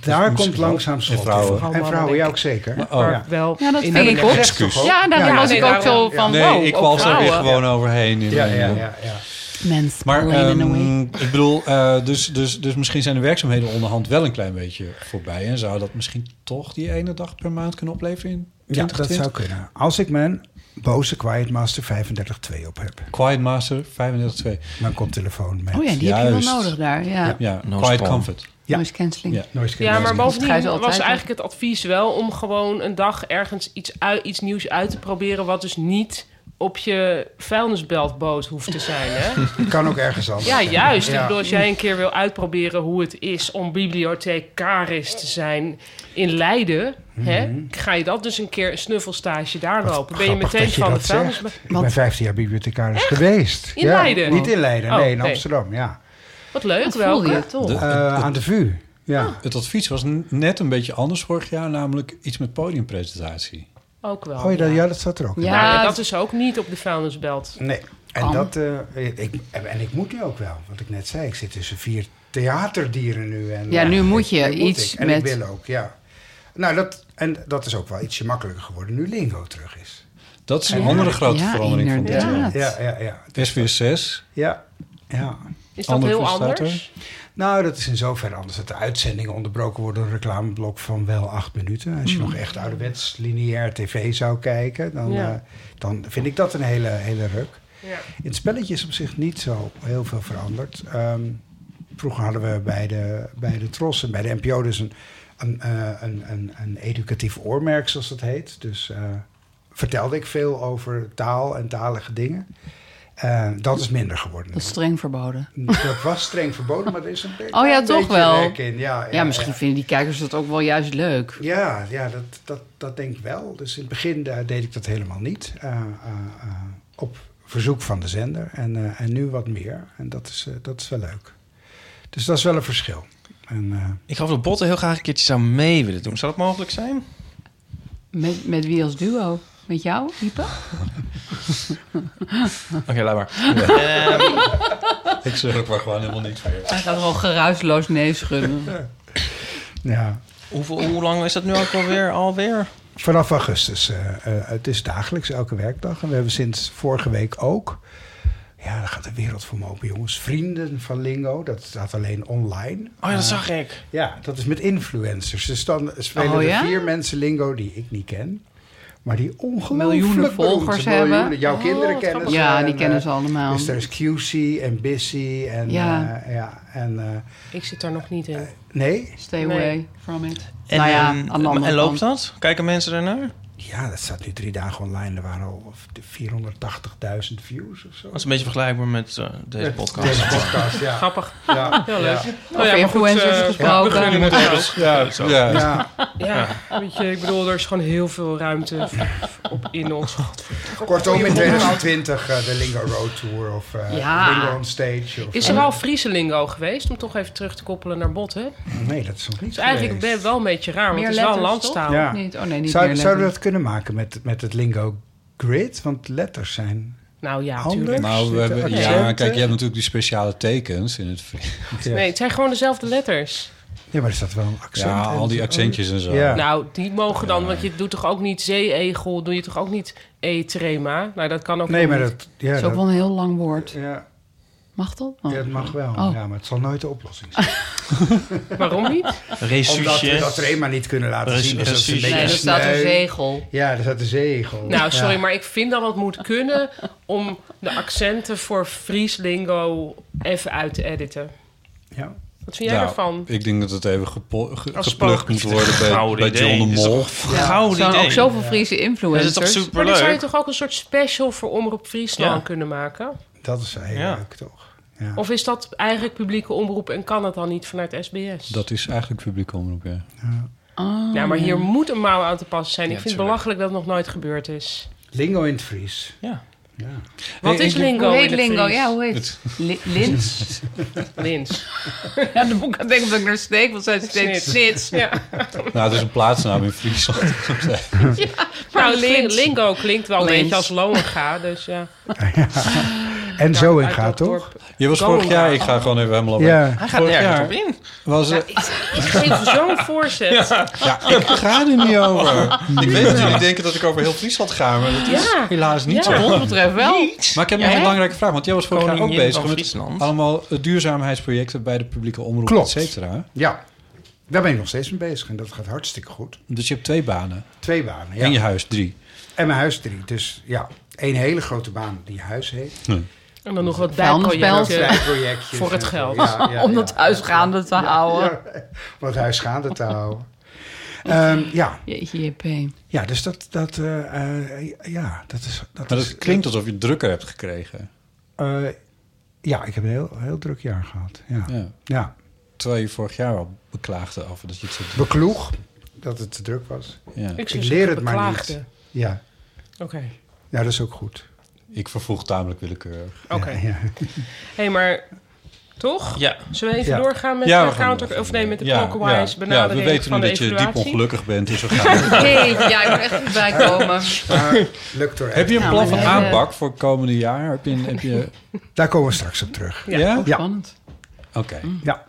S10: Ja.
S3: Oh,
S10: daar komt
S7: wel.
S10: langzaam schot
S7: En vrouwen.
S10: in. En vrouwen, ja ook zeker.
S7: Oh.
S6: Maar wel
S3: Ja, dat
S6: in
S3: vind
S6: de-
S3: ik ook.
S10: Recht toch ook?
S3: Ja, daar
S10: Ja,
S3: was
S6: ja,
S3: ik
S6: nee,
S3: ook
S6: daarom.
S3: zo van,
S7: Nee,
S3: wow,
S7: ik
S3: ook
S7: was er weer
S3: vrouwen.
S7: gewoon overheen. In
S10: Ja,
S7: een-
S10: ja, ja, ja.
S3: Mens,
S7: Maar
S3: Lenin
S7: ehm,
S3: away.
S7: ik bedoel, eh, dus, dus, dus misschien zijn de werkzaamheden onderhand wel een klein beetje voorbij. En zou dat misschien toch die ene dag per maand kunnen opleveren in
S10: Ja, dat
S7: 2020?
S10: zou kunnen. Als ik mijn boze Quiet Master 35.2 op heb,
S7: Quiet Master 35.2.
S10: mijn koptelefoon met.
S3: Oh ja, die heb je
S7: Juist.
S3: wel nodig daar. Ja,
S7: Ja,
S4: No
S7: Quiet
S4: spawn.
S7: Comfort.
S10: Ja.
S3: noise cancelling.
S7: Ja.
S10: Noise
S6: Ja, maar
S10: cancelling.
S3: Dat ga je
S6: bovendien
S3: zo altijd
S6: was
S3: doen.
S6: eigenlijk het advies wel om gewoon een dag ergens iets, uit, iets nieuws uit te proberen... wat dus niet op je vuilnisbeltboot hoeft te zijn,
S10: *laughs*
S6: hè?
S10: Het kan ook ergens anders.
S6: Ja,
S10: zijn.
S6: juist. Ik
S10: Ja.
S6: bedoel, als jij een keer wil uitproberen hoe het is om bibliothecaris te zijn in Leiden, hè, ga je dat dus een keer een snuffelstage daar
S10: Mhm. Wat
S6: lopen. Ben je
S10: grappig
S6: meteen
S10: dat je
S6: van de
S10: dat
S6: vuilnis.
S10: zegt. Ik ben 15 jaar bibliothecaris geweest.
S6: In
S10: Ja,
S6: Leiden?
S10: Niet in Leiden,
S6: Oh,
S10: nee, in
S6: nee.
S10: Amsterdam, ja.
S6: Wat leuk,
S3: Dat voelde je
S6: wel.
S3: toch?
S7: De-
S10: Eh,
S7: het,
S10: aan de VU, ja.
S3: Oh.
S7: het advies was n- net een beetje anders vorig jaar, namelijk iets met podiumpresentatie.
S6: Ook wel.
S10: Oh, ja, dat, ja, dat staat er ook in.
S3: Ja.
S6: Nou, ja, dat is ook niet op de vuilnisbelt.
S10: Nee. En,
S3: Am.
S10: dat, eh, ik, en, en ik moet nu ook wel, wat ik net zei. Ik zit tussen vier theaterdieren nu. En, eh,
S3: Ja, nu moet je
S10: en
S3: iets
S10: ik. En
S3: met-
S10: ik wil ook, ja. Nou, dat, en dat is ook wel ietsje makkelijker geworden nu Lingo terug is.
S7: Dat is een
S10: Ja.
S7: andere grote
S3: Ja,
S7: verandering van dit jaar.
S3: inderdaad.
S10: Ja, ja, ja.
S7: SW6.
S10: Ja, ja.
S6: Is dat
S7: Andere
S6: heel
S7: presentator?
S6: anders?
S10: Nou, dat is in zoverre anders dat de uitzendingen onderbroken worden door een reclameblok van wel acht minuten. Als je nog echt ouderwets lineair tv zou kijken, dan,
S6: Ja.
S10: eh, dan vind ik dat een hele, hele ruk.
S6: Ja.
S10: In het spelletje is op zich niet zo heel veel veranderd. Ehm, vroeger hadden we bij de, bij de Tros en bij de NPO dus een, een, eh, een, een, een educatief oormerk, zoals dat heet. Dus eh, vertelde ik veel over taal en talige dingen. Eh, dat is minder geworden.
S3: Dat is streng verboden.
S10: Dat was streng verboden, maar er is een be-
S3: Oh ja,
S10: een
S3: toch
S10: beetje
S3: wel.
S10: rek in. Ja, ja,
S3: Ja, misschien vinden die kijkers dat ook wel juist leuk.
S10: Ja, ja, ja, dat, dat, dat denk ik wel. Dus in het begin eh, deed ik dat helemaal niet. Eh, eh, eh, op verzoek van de zender. En, eh, en nu wat meer. En dat is, eh, dat is wel leuk. Dus dat is wel een verschil. En, eh,
S4: Ik geloof dat Botten heel graag een keertje zou mee willen doen. Zou dat mogelijk
S3: *laughs*
S4: zijn?
S3: Met, met wie als duo? Met jou, Ipe?
S4: Oké, laat maar.
S7: Ik zeg ook maar gewoon helemaal niks meer.
S3: Hij gaat gewoon geruisloos nee schudden.
S10: ja.
S4: Hoeveel, hoe lang is dat nu ook alweer? alweer?
S10: Vanaf augustus. eh, eh, het is dagelijks, elke werkdag. En we hebben sinds vorige week ook. Ja, daar gaat de wereld voor me open, jongens. Vrienden van Lingo, dat staat alleen online.
S4: Oh ja, dat zag ik.
S10: Ja, dat is met influencers. Dus dan spelen
S3: Oh,
S10: er
S3: ja?
S10: vier mensen lingo die ik niet ken. Maar die ongelooflijk
S3: Miljoenen
S10: beroemd zijn.
S3: volgers hebben.
S10: Jouw
S6: Oh,
S10: kinderen
S6: wat
S10: kennen ze.
S3: *laughs* Ja,
S10: en,
S3: die kennen ze
S10: eh,
S3: allemaal.
S10: Dus er is QC en Busy en...
S3: Ja.
S10: Ja. ja en eh,
S6: Ik zit daar nog niet in.
S10: nee,
S3: Stay
S6: Nee.
S3: away from it. nou ja,
S4: ehm,
S3: aan de andere
S4: en loopt
S3: kant.
S4: dat? Kijken mensen ernaar?
S10: ja, dat staat nu drie dagen online. Er waren al of de 480.000 views of zo.
S4: Dat is een beetje vergelijkbaar met eh, deze podcast.
S10: Deze podcast, ja.
S6: Grappig.
S10: ja.
S6: Heel leuk.
S3: Over influencers
S6: eh,
S3: gesproken.
S6: we gunnen het ook.
S4: Ja, zo.
S7: Ja.
S10: Ja,
S6: Ja, weet je, ik bedoel, er is gewoon heel veel ruimte v- op in *laughs* ons.
S10: kortom in 2020 eh, de Lingo Road Tour of eh,
S3: Ja.
S10: Lingo on Stage. Of, eh,
S6: Is er al Friese lingo geweest? Om toch even terug te koppelen naar Botten. Het
S10: Nee, dat is nog niet
S6: is Dus eigenlijk
S10: geweest.
S6: ben- wel een beetje raar, want
S3: Meer
S6: het is wel een
S3: letters,
S6: landstaal.
S10: Ja.
S3: Niet, oh nee, niet
S10: Zou,
S3: meer
S10: zouden we
S3: letters.
S10: dat kunnen maken met, met het lingo grid? Want letters zijn
S6: Nou ja,
S10: Anders?
S6: natuurlijk.
S7: Nou, we hebben,
S10: Accenten.
S7: ja, kijk, je hebt natuurlijk die speciale tekens in het
S6: Nee, het zijn gewoon dezelfde letters.
S10: Ja, maar er staat wel een accent.
S7: Ja,
S10: in.
S7: al die accentjes en zo.
S10: Ja.
S6: Nou, die mogen dan, want je doet toch ook niet zeeegel, doe je toch ook niet e-trema? Nou, dat kan ook
S10: Oh. Nee,
S6: nog
S10: maar
S6: niet.
S10: dat, ja,
S3: Dat is ook
S10: dat,
S3: wel een heel lang woord.
S10: ja,
S3: Mag dat?
S10: ja,
S3: Oh.
S10: dat mag wel.
S3: Oh.
S10: Ja, maar het zal nooit de oplossing zijn.
S6: Waarom niet?
S4: *laughs*
S10: Omdat we
S4: Resuusje.
S10: dat er eenmaal niet kunnen laten
S4: Precies,
S10: zien. Dus dat is een
S4: precies.
S10: beetje
S3: Nee, er staat een
S10: sneu.
S3: zegel.
S10: Ja, er staat een zegel.
S6: Nou, sorry,
S10: Ja.
S6: maar ik vind dat het moet kunnen om de accenten voor Fries lingo even uit te editen.
S10: Ja.
S6: Wat vind jij
S7: Nou,
S6: daarvan?
S7: Ik denk dat het even gepo- ge-
S4: Als
S7: geplukt
S4: spook-
S7: moet worden bij,
S4: Gouden
S7: bij John
S4: idee.
S7: de
S4: Dit is
S7: Mol.
S4: toch een Gouden
S3: Er zijn ook
S4: idee.
S3: zoveel Friese
S4: Dat
S3: influencers.
S4: is toch
S6: Maar dan zou je
S4: superleuk?
S6: toch ook een soort special voor Omroep Friesland
S4: Ja.
S6: kunnen maken?
S10: Dat is wel heel
S4: Ja.
S10: leuk, toch? Ja.
S6: Of is dat eigenlijk publieke omroep en kan dat dan niet vanuit SBS?
S7: Dat is eigenlijk publiek omroep, ja.
S3: Ah.
S6: Ja, maar hier moet een mouw aan te passen zijn.
S4: Ja,
S6: ik vind het
S4: tuurlijk.
S6: belachelijk dat het nog nooit gebeurd is.
S10: Lingo in het Fries.
S4: Ja.
S10: Ja.
S6: Wat
S7: Hey,
S6: is
S7: ik-
S6: lingo?
S3: Hoe
S6: in
S3: heet
S6: het
S3: lingo?
S6: Fries?
S3: Ja, hoe heet Li- Lins? *laughs*
S6: Lins.
S3: ja, dan moet ik aan denken dat ik naar steek, want zij
S6: Snits.
S3: steeds snits.
S6: Ja.
S7: Nou, het is een plaatsnaam in Friesland.
S6: Maar
S3: Nou, Lins.
S6: lingo klinkt wel een
S3: Lins.
S6: beetje als Lohenga, dus ja. Nou,
S10: En zo in
S6: Uit
S10: gaat,
S6: dat
S10: toch?
S6: dorp.
S7: Je was
S6: Gouden.
S7: vorig jaar, ik ga gewoon even helemaal op.
S10: Ja.
S4: Hij gaat
S7: Vorig
S4: nergens
S7: jaar.
S4: op in.
S7: Was, eh,
S6: Ik geef zo'n voorzet. Ja, *laughs*
S7: ja, ik ga er niet over. Ik weet dat jullie denken dat ik over heel Friesland ga, maar dat is
S6: Ja.
S7: helaas niet
S3: Wat
S7: zo.
S3: ons betreft wel.
S7: Maar ik heb nog een
S6: Ja.
S7: belangrijke vraag, want jij was vorig jaar ook
S4: Koningin
S7: bezig
S4: van
S7: met
S4: Friesland.
S7: allemaal eh, duurzaamheidsprojecten bij de publieke omroep,
S10: Klopt.
S7: et cetera.
S10: ja, daar ben ik nog steeds mee bezig. En dat gaat hartstikke goed.
S7: Dus je hebt twee banen
S10: Twee banen, ja.
S7: en je huis drie.
S10: En mijn huis drie. Dus ja, één hele grote baan die huis heet.
S6: En dan nog wat
S3: Vuilnisbelt.
S6: bijprojecten.
S10: Projectjes
S6: Voor het
S10: en zo.
S6: geld.
S10: Ja, ja,
S3: *laughs* Om dat
S10: ja.
S3: huis gaande te houden.
S10: Ja, om het huis gaande te houden. Ehm, ja.
S3: Jeetje, JP.
S10: ja, dus dat, dat, eh, eh, ja, dat is... Dat
S7: Maar
S10: is-
S7: dat klinkt alsof je het drukker hebt gekregen.
S10: eh, ja, ik heb een heel, heel druk jaar gehad. Ja. Ja.
S7: Ja. Terwijl je vorig jaar al beklaagde over dat je het zo druk
S10: Bekloeg dat het te druk was.
S7: ja.
S6: Ik,
S10: Ik leer het maar niet.
S6: beklaagde.
S10: Ja,
S6: Oké.
S10: ja dat is ook goed.
S7: Ik vervoeg tamelijk willekeurig.
S6: Oké.
S10: Ja, ja.
S6: Hé, hey, maar Toch?
S4: Ja.
S6: Zullen we even
S7: Ja.
S6: doorgaan met
S7: Ja, we
S6: de
S7: gaan
S6: counter...
S7: even
S6: Of nee, met de
S7: Ja,
S6: clockwise
S7: ja. Ja,
S6: benadering
S7: we weten
S6: van
S7: nu
S6: de
S7: dat je diep
S6: evaluatie?
S7: ongelukkig bent, dus
S6: *laughs*
S7: we gaan.
S3: Nee, ja, ik moet echt goed bijkomen.
S10: Maar lukt er
S7: Heb je een
S3: Nou,
S7: plan van
S3: eh,
S7: aanpak voor het komende jaar? Heb je, een- heb je,
S10: Daar komen we straks op terug.
S7: ja?
S10: Ja.
S3: Spannend.
S7: Oké.
S3: Mm.
S10: Ja.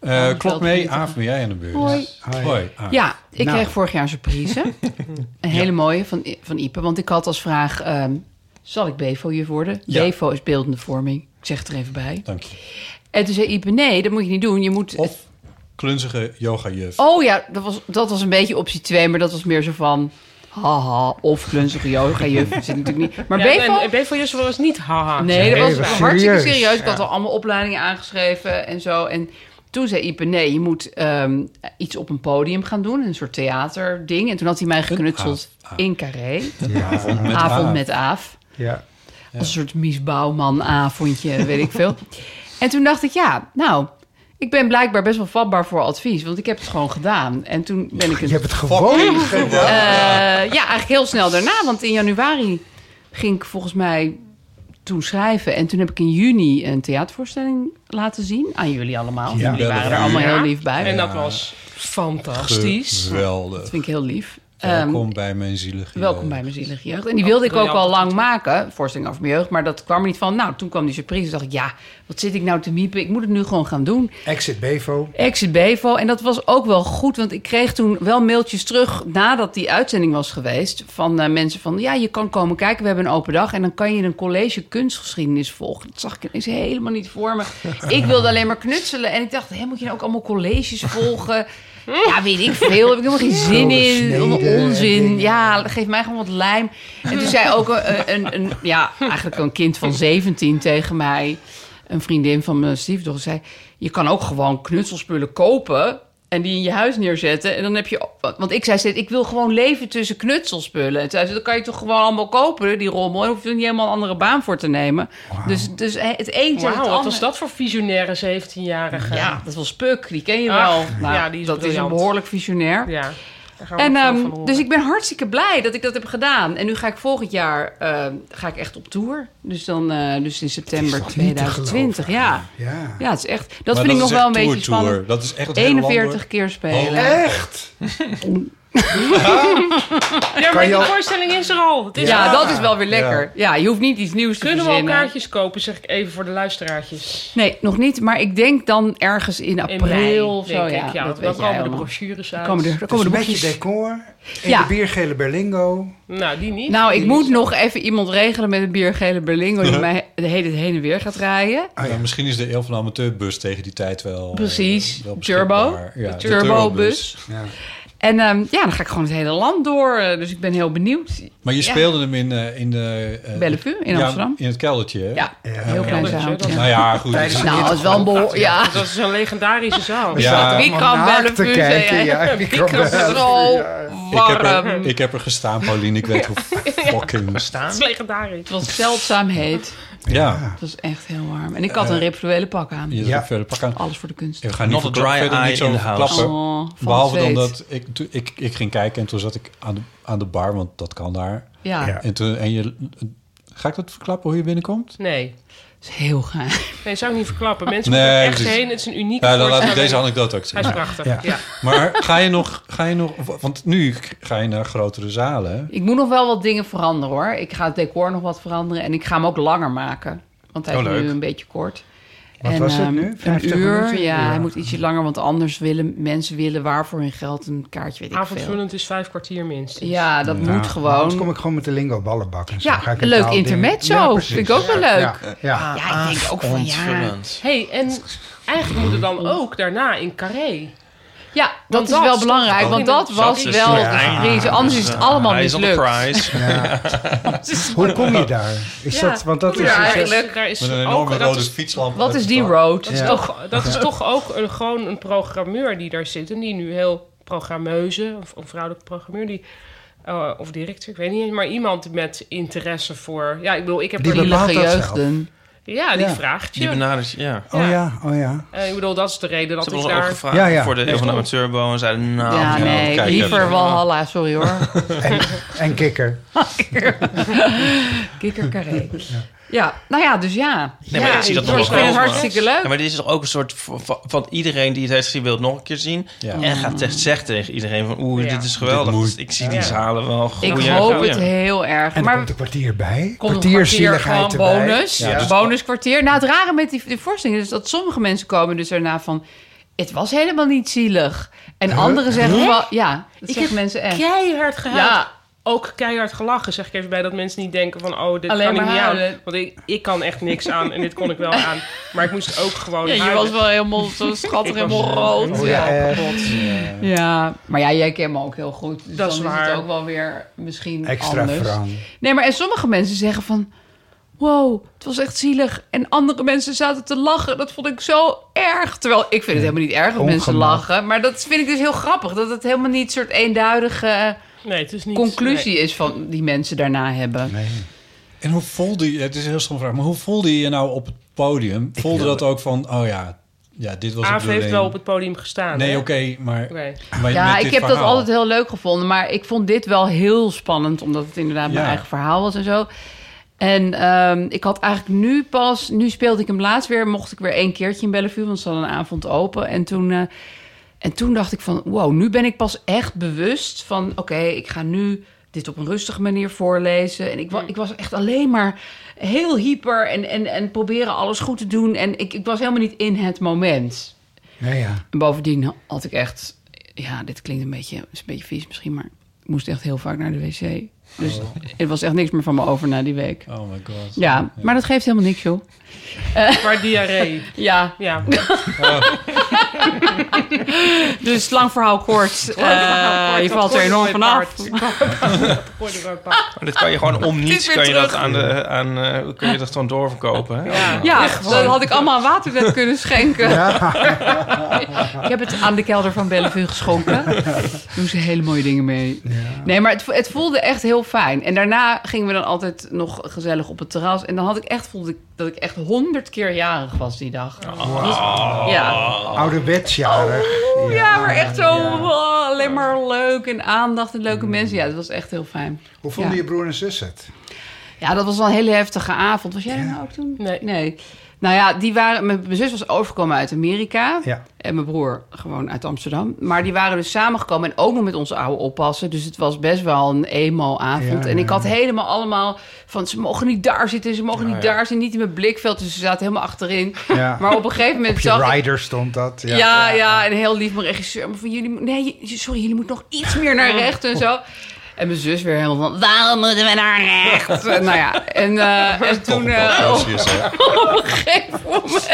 S7: Eh,
S3: Oh,
S7: klok mee,
S3: Veldvliet.
S7: Aaf, ben jij aan de beurt?
S3: Hoi.
S10: Hi.
S7: Hoi, Ah, Aaf.
S3: Ja, ik
S10: Nou.
S3: kreeg vorig jaar een surprise. een hele mooie van, I- van Ipe. Want ik had als vraag, ehm, zal ik BEVO-juf worden?
S7: Ja.
S3: BEVO is beeldende vorming. Ik zeg het er even bij.
S7: Dank je.
S3: En toen zei Ipe, nee, dat moet je niet doen. Je moet...
S7: Of klunzige yoga-juf.
S3: Oh ja, dat was, dat was een beetje optie 2. Maar dat was meer zo van... Haha, of klunzige yoga-juf. zit natuurlijk niet... Maar
S6: Ja,
S3: BEVO...
S6: en- en BVO's was niet haha.
S3: Nee, dat was
S10: Nee,
S3: hartstikke
S10: serieus.
S3: serieus. Ik had al allemaal opleidingen aangeschreven en zo. En toen zei Ipe, nee, je moet ehm, iets op een podium gaan doen. Een soort theaterding. En toen had hij mij geknutseld
S7: aaf, aaf.
S3: in Carré.
S7: Avond met
S3: avond
S7: Aaf.
S3: met Aaf.
S10: Ja.
S3: Als een soort Mies Bouwman avondje, weet ik
S10: *laughs*
S3: veel. En toen dacht ik, ja, nou... Ik ben blijkbaar best wel vatbaar voor advies, want ik heb het gewoon gedaan. En toen ben ik
S10: Je
S3: het
S10: hebt het gewoon gedaan.
S3: eh, ja, eigenlijk heel snel daarna. Want in januari ging ik volgens mij toen schrijven. En toen heb ik in juni een theatervoorstelling laten zien. Aan jullie allemaal.
S10: Ja.
S3: jullie waren er
S7: Ja.
S3: allemaal heel lief bij.
S6: En
S3: dat
S6: dat was fantastisch.
S7: Geweldig.
S3: vind ik heel lief.
S7: Welkom
S3: Ehm,
S7: bij mijn zielige
S3: welkom
S7: jeugd.
S3: bij mijn zielige jeugd. En die wilde ik
S6: Dat kan
S3: ook
S6: je
S3: al
S6: altijd
S3: lang maken. Voorstelling over mijn jeugd. Maar dat kwam er niet van. Nou, toen kwam die surprise. Toen dacht ik, ja, wat zit ik nou te miepen? Ik moet het nu gewoon gaan doen.
S10: Exit Bevo.
S3: Exit Bevo. En dat was ook wel goed, want ik kreeg toen wel mailtjes terug nadat die uitzending was geweest. Van eh, mensen van, ja, je kan komen kijken, we hebben een open dag. En dan kan je een college kunstgeschiedenis volgen. Dat zag ik ineens helemaal niet voor
S10: *laughs*
S3: me. Ik wilde alleen maar knutselen. En ik dacht, hé, moet je nou ook allemaal colleges volgen? Ja, weet ik veel. Heb ik helemaal geen zin in.
S10: Sneden
S3: Allemaal
S10: en
S3: onzin.
S10: dingen.
S3: Ja, geef mij gewoon wat lijm. En toen zei ook een, een, een ja, eigenlijk een kind van 17 tegen mij een vriendin van mijn stiefdochter zei... je kan ook gewoon knutselspullen kopen en die in je huis neerzetten. En dan heb je... Want ik zei steeds, ik wil gewoon leven tussen knutselspullen. En toen zei ze, dan kan je toch gewoon allemaal kopen, die rommel. En hoef je er niet helemaal een andere baan voor te nemen. Dus, dus het een tegen het
S6: Wauw, wat
S3: ander.
S6: was dat voor visionaire 17-jarige?
S3: Ja, dat was Puk, die ken je
S6: Ach,
S3: wel. Nou,
S6: ja, die is
S3: dat is
S6: briljant.
S3: een behoorlijk visionair.
S6: Ja, daar gaan we
S3: En,
S6: nog veel
S3: ehm,
S6: van horen.
S3: dus ik ben hartstikke blij dat ik dat heb gedaan. En nu ga ik volgend jaar ehm, ga ik echt op tour. Dus, dan, eh, dus in september
S10: Het is toch niet te
S3: 2020. Ja.
S10: Ja.
S3: ja, het is echt. Dat
S7: Maar
S3: vind ik nog
S7: is
S3: wel een
S7: echt
S3: beetje
S7: tour, tour.
S3: spannend.
S7: Dat is echt het hele land, hoor.
S3: 41 keer spelen.
S10: Oh, Echt?
S6: Ja, maar
S10: je
S6: die
S10: al-
S6: voorstelling is er al. Het
S3: ja.
S6: is er al.
S3: dat is wel weer lekker. Ja. je hoeft niet iets nieuws te
S6: Kunnen we al
S3: verzinnen.
S6: kaartjes kopen, zeg ik even voor de luisteraartjes.
S3: Nee, nog niet. Maar ik denk dan ergens in
S6: In
S3: april
S6: mei,
S3: of zo.
S6: denk
S3: Ja,
S6: ik. Ja,
S3: dat
S6: dan
S3: weet jij
S6: komen de
S3: allemaal.
S6: brochures
S3: Dan
S6: uit.
S3: komen de, dan
S10: Het is
S3: komen
S10: een
S3: de
S10: beetje
S3: boekjes.
S10: decor. En
S3: Ja.
S10: de biergele Berlingo.
S6: Nou, die niet.
S3: Nou, ik
S6: Die
S3: moet
S6: niet.
S3: nog even iemand regelen met een biergele Berlingo... die mij de hele tijd heen en weer gaat rijden.
S10: Ah, ja.
S7: Nou, misschien is de eeuw van de amateurbus tegen die tijd wel. eh,
S3: Precies.
S7: wel
S3: Turbo.
S7: beschikbaar. Ja, de
S3: de turbobus.
S10: Ja.
S3: En ehm, ja, dan ga ik gewoon het hele land door. eh, Dus ik ben heel benieuwd.
S7: Maar je
S3: Ja.
S7: speelde hem in, eh, in de. eh,
S3: Bellevue in
S7: ja,
S3: Amsterdam.
S7: in het keldertje. hè?
S3: Ja,
S10: Ja.
S3: heel klein
S6: Ja,
S3: zaal.
S6: dat is-
S3: Ja.
S7: Nou ja, goed. het is-
S3: Nou, dat is wel een bol. Ja.
S6: Dat is een legendarische zaal.
S7: Ja.
S3: Wie
S10: allemaal
S3: kan
S10: naakt
S3: bellen
S10: te
S3: vuur,
S10: kijken,
S3: zei jij? *laughs*
S10: ja,
S3: Wie
S10: wie
S3: kan
S10: kan bellen
S3: zo
S10: vuur, ja. eh,
S7: ik, heb
S3: warm.
S7: er, ik heb er gestaan, Pauline. Ik
S3: *laughs*
S7: weet hoe fucking.
S4: Staan?
S6: Dat is legendarisch.
S3: Het was zeldzaam heet.
S7: Ja.
S3: Het was echt heel warm. En ik had een rituele pak aan.
S7: Je
S10: Eh, Ja.
S7: ja. verder pakken.
S3: Alles voor de kunst.
S7: En we gaan niet
S4: Not a dry
S7: verder
S4: eye
S7: niet zo
S4: in the house.
S7: klappen.
S3: Oh, van
S7: Behalve
S3: het
S7: dan
S3: zweet.
S7: dat ik, toen- ik, ik ging kijken en toen zat ik aan de, aan de bar, want dat kan daar.
S3: Ja,
S10: Ja.
S3: het
S7: En toen, en je, ga ik dat verklappen hoe je binnenkomt?
S6: Nee.
S3: is heel gaaf. *laughs*
S6: Nee, zou ik niet verklappen. Mensen
S7: Nee,
S6: moeten er echt
S7: precies.
S6: heen. Het is een unieke
S7: Ja, dan laat ik
S6: voorstelling.
S7: deze anekdote ook
S6: Hij is
S7: zien.
S6: prachtig, ja.
S10: Ja.
S7: Maar ga je nog, ga je nog, want nu ga je naar grotere zalen. hè?
S3: Ik moet nog wel wat dingen veranderen hoor. Ik ga het decor nog wat veranderen en ik ga hem ook langer maken. Want hij
S4: Oh,
S3: is
S4: leuk.
S3: nu een beetje kort.
S10: Wat was het
S3: ehm,
S10: nu? 50
S3: een uur.
S10: minuten?
S3: Ja,
S10: Ja.
S3: hij moet ietsje langer, want anders willen mensen willen waar voor hun geld een kaartje weet ik veel.
S6: Avondvullend is vijf kwartier minstens.
S3: Ja, dat moet
S10: Nou, Anders kom
S3: gewoon.
S10: ik gewoon met de lingo ballenbak. En zo.
S3: Ja,
S10: Ga ik
S3: een
S10: een
S3: leuk
S10: taalding-
S3: intermezzo.
S10: precies.
S3: Vind ik ook wel
S10: Ja,
S3: leuk. Ah,
S10: ja, ja.
S3: Ja, ik denk ook van ja.
S4: Ontvullend.
S6: hey, en eigenlijk moet het dan ook daarna in Carré.
S3: Ja, dat
S6: Want
S3: is
S6: dat
S3: wel
S6: stond
S3: belangrijk,
S6: ook
S3: want
S6: in de-
S3: dat was
S4: Dat is
S3: wel de
S4: ja.
S3: surprise. Anders is het allemaal
S4: Eyes on the
S3: mislukt.
S4: prize.
S3: *laughs*
S10: Hoe kom je daar? Is
S3: Ja.
S10: dat, want dat
S3: Ja,
S10: is...
S6: Daar Dus is-
S3: eigenlijk.
S6: Daar is
S7: Met een
S6: ook,
S7: enorme
S6: dat,
S7: rode
S6: is,
S7: fietslamp.
S3: Wat Oh, is die
S7: road?
S3: road?
S6: dat is toch, dat is toch ook een, gewoon een programmeur die daar zit. En die nu heel programmeuze, of een vrouwelijke programmeur, die, eh, of directeur, ik weet niet. Maar iemand met interesse voor... Ja, ik bedoel, ik heb
S10: Die
S6: er...
S10: bepaalt
S3: Zielige
S10: dat zelf.
S3: jeugden.
S6: Ja, die
S10: Ja.
S6: vraagt je.
S4: Die benadert je, ja.
S10: Oh ja, oh ja.
S6: Eh, ik bedoel, dat is de reden dat
S4: Ze
S6: ik
S4: hebben ons ook
S6: daar...
S4: gevraagd
S10: Ja, ja.
S4: voor de Eeuw van de Amateurbo en zeiden, nou,
S3: Ja,
S7: ja,
S3: nee,
S7: kijk,
S3: liever
S7: even.
S3: Walhalla, sorry *laughs* hoor.
S10: En, en kikker.
S3: Kikker Carré. Ja, nou ja, dus ja.
S4: Nee, maar
S3: ja,
S4: ik zie dat nog
S3: ik
S4: wel
S3: vind het
S4: komen.
S3: hartstikke
S4: Ja,
S3: leuk.
S4: maar dit is toch ook een soort van, van- van iedereen die het heeft gezien wil het nog een keer zien. En gaat te- zegt tegen iedereen van oeh, dit is geweldig.
S7: moet.
S4: ik zie die zalen wel
S3: Ik
S4: groeien en
S3: hoop
S4: groeien.
S3: het heel erg.
S10: En er
S3: maar
S10: komt een kwartier bij.
S3: komt een
S10: Kwartierzieligheid
S3: gewoon
S10: erbij.
S3: bonus.
S10: Ja, dus-
S3: Bonuskwartier. Nou, het rare met die, die voorstellingen is dat sommige mensen komen dus daarna van... Het was helemaal niet zielig. En anderen zeggen wel... Ja, dat
S6: Ik
S3: zeggen
S6: heb
S3: mensen echt.
S6: Keihard gehaald.
S3: Ja,
S6: Ook keihard gelachen, zeg ik even bij. Dat mensen niet denken van, oh, dit
S3: Alleen
S6: kan ik
S3: maar
S6: niet aan.
S3: huilen.
S6: Want ik, ik kan echt niks aan en dit kon ik wel aan. Maar ik moest ook gewoon
S3: ja, je
S6: huilen.
S3: was wel helemaal zo schattig
S6: Ik was-
S3: helemaal rood.
S10: Oh ja, echt.
S3: Ja, maar ja, jij kent me ook heel goed. Dus
S6: Dat
S3: dan
S6: is
S3: is,
S6: waar.
S3: het ook wel weer misschien
S10: Extra
S3: anders.
S10: Frank.
S3: Nee, maar en sommige mensen zeggen van... Wow, het was echt zielig. En andere mensen zaten te lachen. Dat vond ik zo erg. Terwijl ik vind het helemaal niet erg dat mensen
S10: Ongemak.
S3: lachen. Maar dat vind ik dus heel grappig. Dat het helemaal niet een soort eenduidige
S6: Nee, het is niet...
S3: conclusie is van die mensen daarna hebben.
S7: En hoe voelde je, het is een heel stom vraag, maar hoe voelde je je nou op het podium? Voelde dat ook van, oh ja, ja dit was
S6: Nee. Aaf
S7: het
S6: heeft wel op het podium gestaan.
S7: Nee,
S6: hè?
S7: oké, maar...
S6: Oké.
S7: maar
S3: Ja,
S7: met
S3: ik
S7: dit
S3: heb dat
S7: verhaal.
S3: altijd heel leuk gevonden. Maar ik vond dit wel heel spannend. Omdat het inderdaad mijn
S7: Ja.
S3: eigen verhaal was en zo. En ehm, ik had eigenlijk nu pas... Nu speelde ik hem laatst weer. Mocht ik weer één keertje in Bellevue. Want ze hadden een avond open. En toen, eh, en toen dacht ik van... Wow, nu ben ik pas echt bewust van... Oké, ik ga nu dit op een rustige manier voorlezen. En ik, wa- ik was echt alleen maar heel hyper... en, en, en proberen alles goed te doen. En ik, ik was helemaal niet in het moment.
S10: Ja, ja.
S3: En bovendien had ik echt... Ja, dit klinkt een beetje, is een beetje vies misschien, maar ik moest echt heel vaak naar de wc. Dus er was echt niks meer van me over na die week.
S7: Oh my god.
S3: Ja, maar dat geeft helemaal niks, joh.
S6: Maar diarree.
S3: Ja, *laughs*
S6: Ja.
S3: dus lang verhaal kort. Eh, je valt er enorm van af.
S6: *laughs*
S4: Maar dit kan je gewoon om
S3: is
S4: niets
S3: weer
S4: kan je dat
S3: terug.
S4: aan de aan eh, kun je dat gewoon doorverkopen. Hè? Allemaal.
S3: Ja, dat Oh, had ik allemaal aan *laughs* waterwet kunnen schenken. *laughs* ik heb het aan de kelder van Bellevue geschonken. Daar doen ze hele mooie dingen mee. Nee, maar het, vo- het voelde echt heel fijn. En daarna gingen we dan altijd nog gezellig op het terras. En dan had ik echt, voelde ik dat ik echt honderd keer jarig was die dag. Dus- ja.
S10: Ouderwetsjarig.
S3: Oh, ja, Mm. maar echt zo oh, alleen maar leuk en aandacht en leuke mensen. Ja, dat was echt heel fijn.
S10: Hoe vonden
S3: Ja.
S10: je broer en zus het?
S3: Ja, dat was wel een hele heftige avond. Was jij er nou ook toen?
S6: Nee.
S3: Nee. Nou ja, die waren, mijn mijn zus was overgekomen uit Amerika.
S10: Ja.
S3: En mijn broer gewoon uit Amsterdam. Maar die waren dus samengekomen en ook nog met onze oude oppassen. Dus het was best wel een emo-avond.
S10: Ja,
S3: en ik
S10: ja.
S3: had helemaal allemaal van... ze mogen niet daar zitten, ze mogen niet daar zitten. Niet in mijn blikveld, dus ze zaten helemaal achterin.
S10: Ja.
S3: *laughs* Maar op een gegeven moment
S10: Op
S3: zag
S10: je
S3: ik...
S10: rider stond dat.
S3: Ja, ja, en heel lief mijn regisseur. Maar van jullie, moet- nee, j- sorry, jullie moeten nog iets meer naar rechts en zo. En mijn zus weer helemaal van, waarom moeten we naar
S6: *laughs*
S3: rechts? Eh, nou ja, en, eh, en toen eh, op, op een gegeven moment...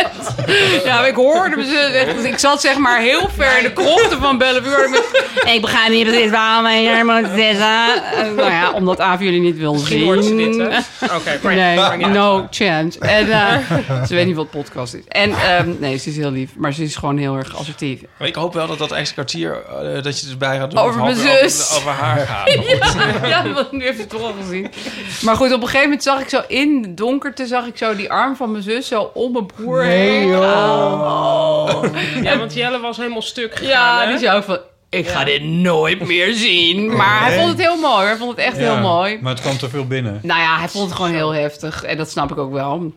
S3: Ja, maar ik hoorde mijn zus echt. Ik zat zeg maar heel ver in de krochten van Bellevue. Met, ik begrijp niet precies waarom je hier moet zitten. Eh, Nou ja, omdat Aaf jullie niet wil zien.
S6: Misschien hoort ze dit, hè? Oké, maar maar
S3: Nee,
S6: niet
S3: no chance. En, eh, ze weet niet wat podcast is. En ehm, nee, ze is heel lief, maar ze is gewoon heel erg assertief.
S4: Maar ik hoop wel dat dat extra kwartier eh, dat je erbij gaat doen.
S3: Over
S4: of
S3: mijn
S4: over-
S3: zus.
S4: Over, haar gaat.
S3: *laughs* ja, want nu heeft het toch al gezien. Maar goed, op een gegeven moment zag ik zo in de donkerte... zag ik zo die arm van mijn zus zo om mijn broer heen. gaan.
S6: Ja, want Jelle was helemaal stuk gegaan,
S3: Ja,
S6: hè?
S3: die zei ook van... Ik ga dit nooit meer zien. Maar hij vond het heel mooi. hoor. Hij vond het echt
S7: Ja,
S3: heel mooi.
S7: Maar het kwam te veel binnen.
S3: Nou ja, hij vond het gewoon heel heftig. En dat snap ik ook wel.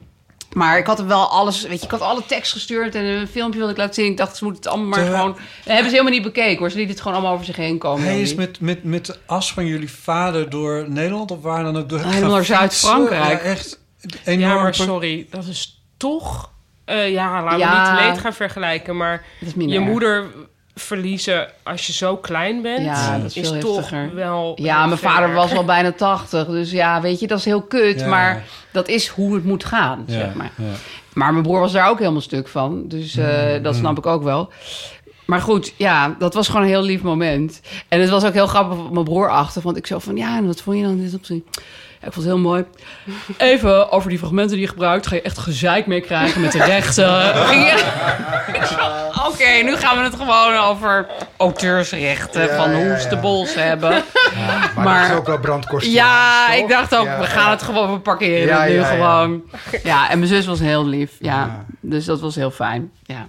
S3: Maar ik had hem wel alles... Weet je, ik had alle tekst gestuurd en een filmpje wilde ik laten zien. Ik dacht, ze moeten het allemaal maar
S7: Te-
S3: gewoon... Dat hebben ze helemaal niet bekeken hoor. Ze lieten het gewoon allemaal over zich heen komen.
S7: Hij is
S3: Johnny.
S7: met, met, met de as van jullie vader door Nederland of waar dan ook door.
S3: Helemaal naar Zuid-Frankrijk.
S7: Ja, echt
S6: Ja,
S7: enorm.
S6: maar sorry, dat is toch... eh, ja, laten
S3: Ja.
S6: we niet leed gaan vergelijken, maar
S3: Dat is minder
S6: je
S3: erg.
S6: moeder verliezen als je zo klein bent...
S3: Ja, dat is veel
S6: toch
S3: heftiger.
S6: wel...
S3: Ja,
S6: heel
S3: mijn
S6: ver.
S3: vader was al bijna 80. Dus ja, weet je, dat is heel kut.
S7: Ja.
S3: Maar dat is hoe het moet gaan,
S7: Ja,
S3: zeg maar.
S7: ja.
S3: Maar mijn broer was daar ook helemaal stuk van. Dus eh,
S10: Mm,
S3: dat snap ik ook wel. Maar goed, ja, dat was gewoon een heel lief moment. En het was ook heel grappig op mijn broer achter. Want ik zo van, ja, en wat vond je dan dit opzien? Ja, ik vond het heel mooi. Even over die fragmenten die je gebruikt. Ga je echt gezeik mee krijgen met de *laughs* rechten. Ging je- Ik zo, Oké, nu gaan we het gewoon over auteursrechten.
S10: Ja,
S3: van
S10: ja,
S3: hoe ze
S10: ja.
S3: de bols hebben.
S10: Maar,
S3: Maar-
S10: dat is ook wel brandkosten.
S3: Ja,
S10: toch?
S3: ik dacht ook,
S10: Ja,
S3: we gaan
S10: ja.
S3: het gewoon, we parkeren
S10: Ja,
S3: het nu
S10: ja, ja.
S3: gewoon. Ja. en mijn zus was heel lief, ja.
S10: Ja.
S3: Dus dat was heel fijn, ja.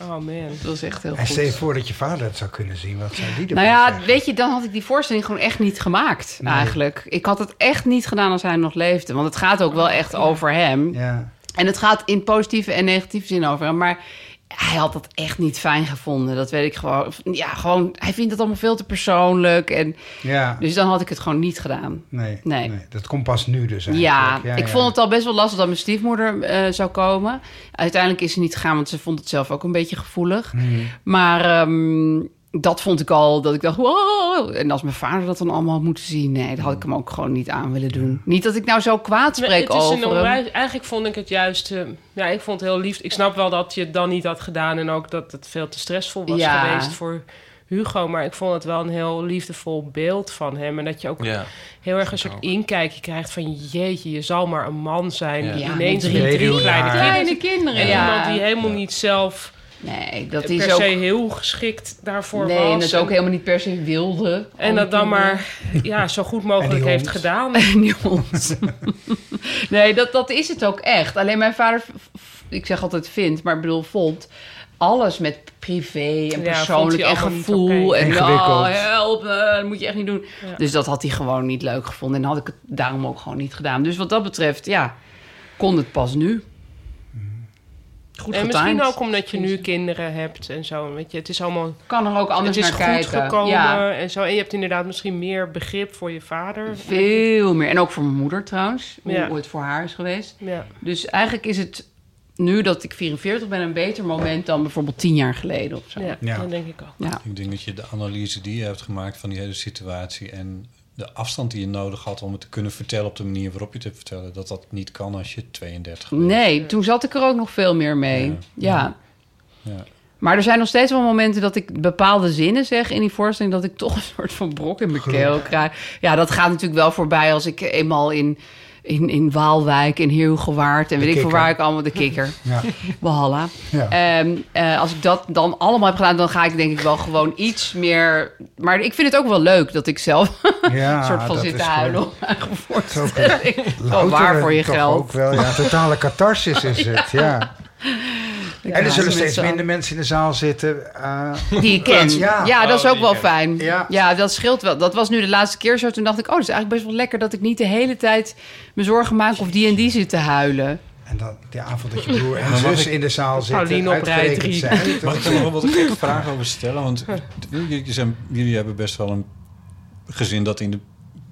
S6: Oh man.
S3: Dat is echt heel
S10: En
S3: goed.
S10: stel je voor dat je vader het zou kunnen zien. Wat zou die ervan
S3: Nou ja,
S10: zeggen?
S3: weet je, dan had ik die voorstelling gewoon echt niet gemaakt, eigenlijk. Ik had het echt niet gedaan als hij nog leefde. Want het gaat ook wel echt over hem.
S10: Ja.
S3: En het gaat in positieve en negatieve zin over hem. Maar hij had dat echt niet fijn gevonden. Dat weet ik gewoon. Ja, gewoon, hij vindt het allemaal veel te persoonlijk. En,
S10: Ja.
S3: dus dan had ik het gewoon niet gedaan.
S10: nee, nee.
S3: Nee.
S10: Dat komt pas nu dus
S3: Ja,
S10: eigenlijk.
S3: ik vond het al best wel lastig dat mijn stiefmoeder eh, zou komen. Uiteindelijk is ze niet gegaan, want ze vond het zelf ook een beetje gevoelig. Maar ehm, dat vond ik al, dat ik dacht, wow. En als mijn vader dat dan allemaal had moeten zien, nee, dat had ik hem ook gewoon niet aan willen doen. Niet dat ik nou zo kwaad
S6: Nee,
S3: spreek
S6: het is een
S3: over hem.
S6: onwijs- Eigenlijk vond ik het juist... eh, ja, ik vond het heel lief. Ik snap wel dat je het dan niet had gedaan... en ook dat het veel te stressvol was
S3: Ja.
S6: geweest voor Hugo. Maar ik vond het wel een heel liefdevol beeld van hem. En dat je ook
S4: Ja.
S6: heel erg een soort inkijkje krijgt van... jeetje, je zal maar een man zijn.
S4: Ja.
S6: die
S3: Ja,
S6: ineens
S3: met
S6: drie,
S10: drie
S6: drie kleine
S10: jaar.
S6: kinderen...
S3: Kleine kinderen,
S6: En iemand die
S3: ja.
S6: helemaal niet zelf
S3: Nee, dat
S6: per
S3: is ook...
S6: se heel geschikt daarvoor
S3: Nee,
S6: was.
S3: en dat
S6: En-
S3: ook helemaal niet per se wilde.
S6: en dat dan maar ja, zo goed
S10: En
S6: mogelijk
S10: die
S6: heeft
S3: *laughs*
S10: hond.
S6: gedaan.
S3: Die hond. *laughs* nee, dat, dat is het ook echt. Alleen mijn vader, v- v- ik zeg altijd vindt, maar ik bedoel vond... alles met privé en
S6: Ja, vond
S3: persoonlijk
S6: hij
S3: en
S6: allemaal niet
S3: gevoel.
S6: oké.
S3: En
S10: Ingewikkeld.
S3: oh, help, eh, dat moet je echt niet doen.
S6: Ja.
S3: Dus dat had hij gewoon niet leuk gevonden. En had ik het daarom ook gewoon niet gedaan. Dus wat dat betreft, ja, kon het pas nu. Goed
S6: En misschien
S3: getimed.
S6: ook omdat je nu kinderen hebt en zo. Weet je, het is allemaal
S3: Kan er ook anders
S6: het is
S3: naar
S6: goed
S3: kijken.
S6: gekomen
S3: Ja,
S6: en zo. En je hebt inderdaad misschien meer begrip voor je vader.
S3: veel meer. En ook voor mijn moeder trouwens. Hoe,
S6: Ja.
S3: hoe het voor haar is geweest.
S6: Ja.
S3: Dus eigenlijk is het nu dat ik 44 ben een beter moment dan bijvoorbeeld 10 jaar geleden of zo.
S6: Ja,
S10: Ja.
S6: dat denk ik ook.
S3: Ja.
S7: Ik denk dat je de analyse die je hebt gemaakt van die hele situatie en de afstand die je nodig had om het te kunnen vertellen op de manier waarop je het hebt vertellen, dat dat niet kan als je 32 bent.
S3: Nee, toen zat ik er ook nog veel meer mee.
S7: Ja.
S3: Ja.
S7: Ja.
S3: Maar er zijn nog steeds wel momenten dat ik bepaalde zinnen zeg in die voorstelling... dat ik toch een soort van brok in mijn keel krijg. Ja, dat gaat natuurlijk wel voorbij als ik eenmaal in, in, in Waalwijk, in Heerhugowaard... en weet ik
S10: kikker.
S3: voor waar ik allemaal de kikker... *laughs*
S10: Ja.
S3: Walhalla.
S10: Ja.
S3: Ehm, eh, als ik dat dan allemaal heb gedaan, dan ga ik denk ik wel gewoon iets meer... Maar ik vind het ook wel leuk dat ik zelf
S10: Ja,
S3: een soort van
S10: Ah, dat
S3: zit te
S10: is gewoon-
S3: huilen om eigen *laughs*
S10: ook
S3: voorstelling. Gewoon
S10: Louter
S3: waar voor je
S10: toch
S3: geld.
S10: Ook wel, ja. Totale catharsis
S3: *laughs*
S10: is het, ja. en er
S3: Ja,
S10: zullen
S3: met
S10: steeds
S3: z'n
S10: minder mensen in de zaal zitten. eh,
S3: Die ik ken.
S10: Ja.
S3: Ja, dat is
S4: Oh,
S3: ook
S4: die
S3: wel
S4: ken.
S3: fijn.
S10: Ja.
S3: Ja. dat scheelt wel. Dat was nu de laatste keer zo. Toen dacht ik, oh, dat is eigenlijk best wel lekker... dat ik niet de hele tijd me zorgen maak of die en die zit te huilen.
S10: en dan de avond dat je broer en zus in de zaal zitten.
S6: Pauline op rij
S10: uitgerekend
S6: drie.
S10: zij,
S7: Mag
S10: toch?
S7: ik er nog wel wat gekke vragen over stellen? Want jullie, zijn, jullie hebben best wel een gezin dat in de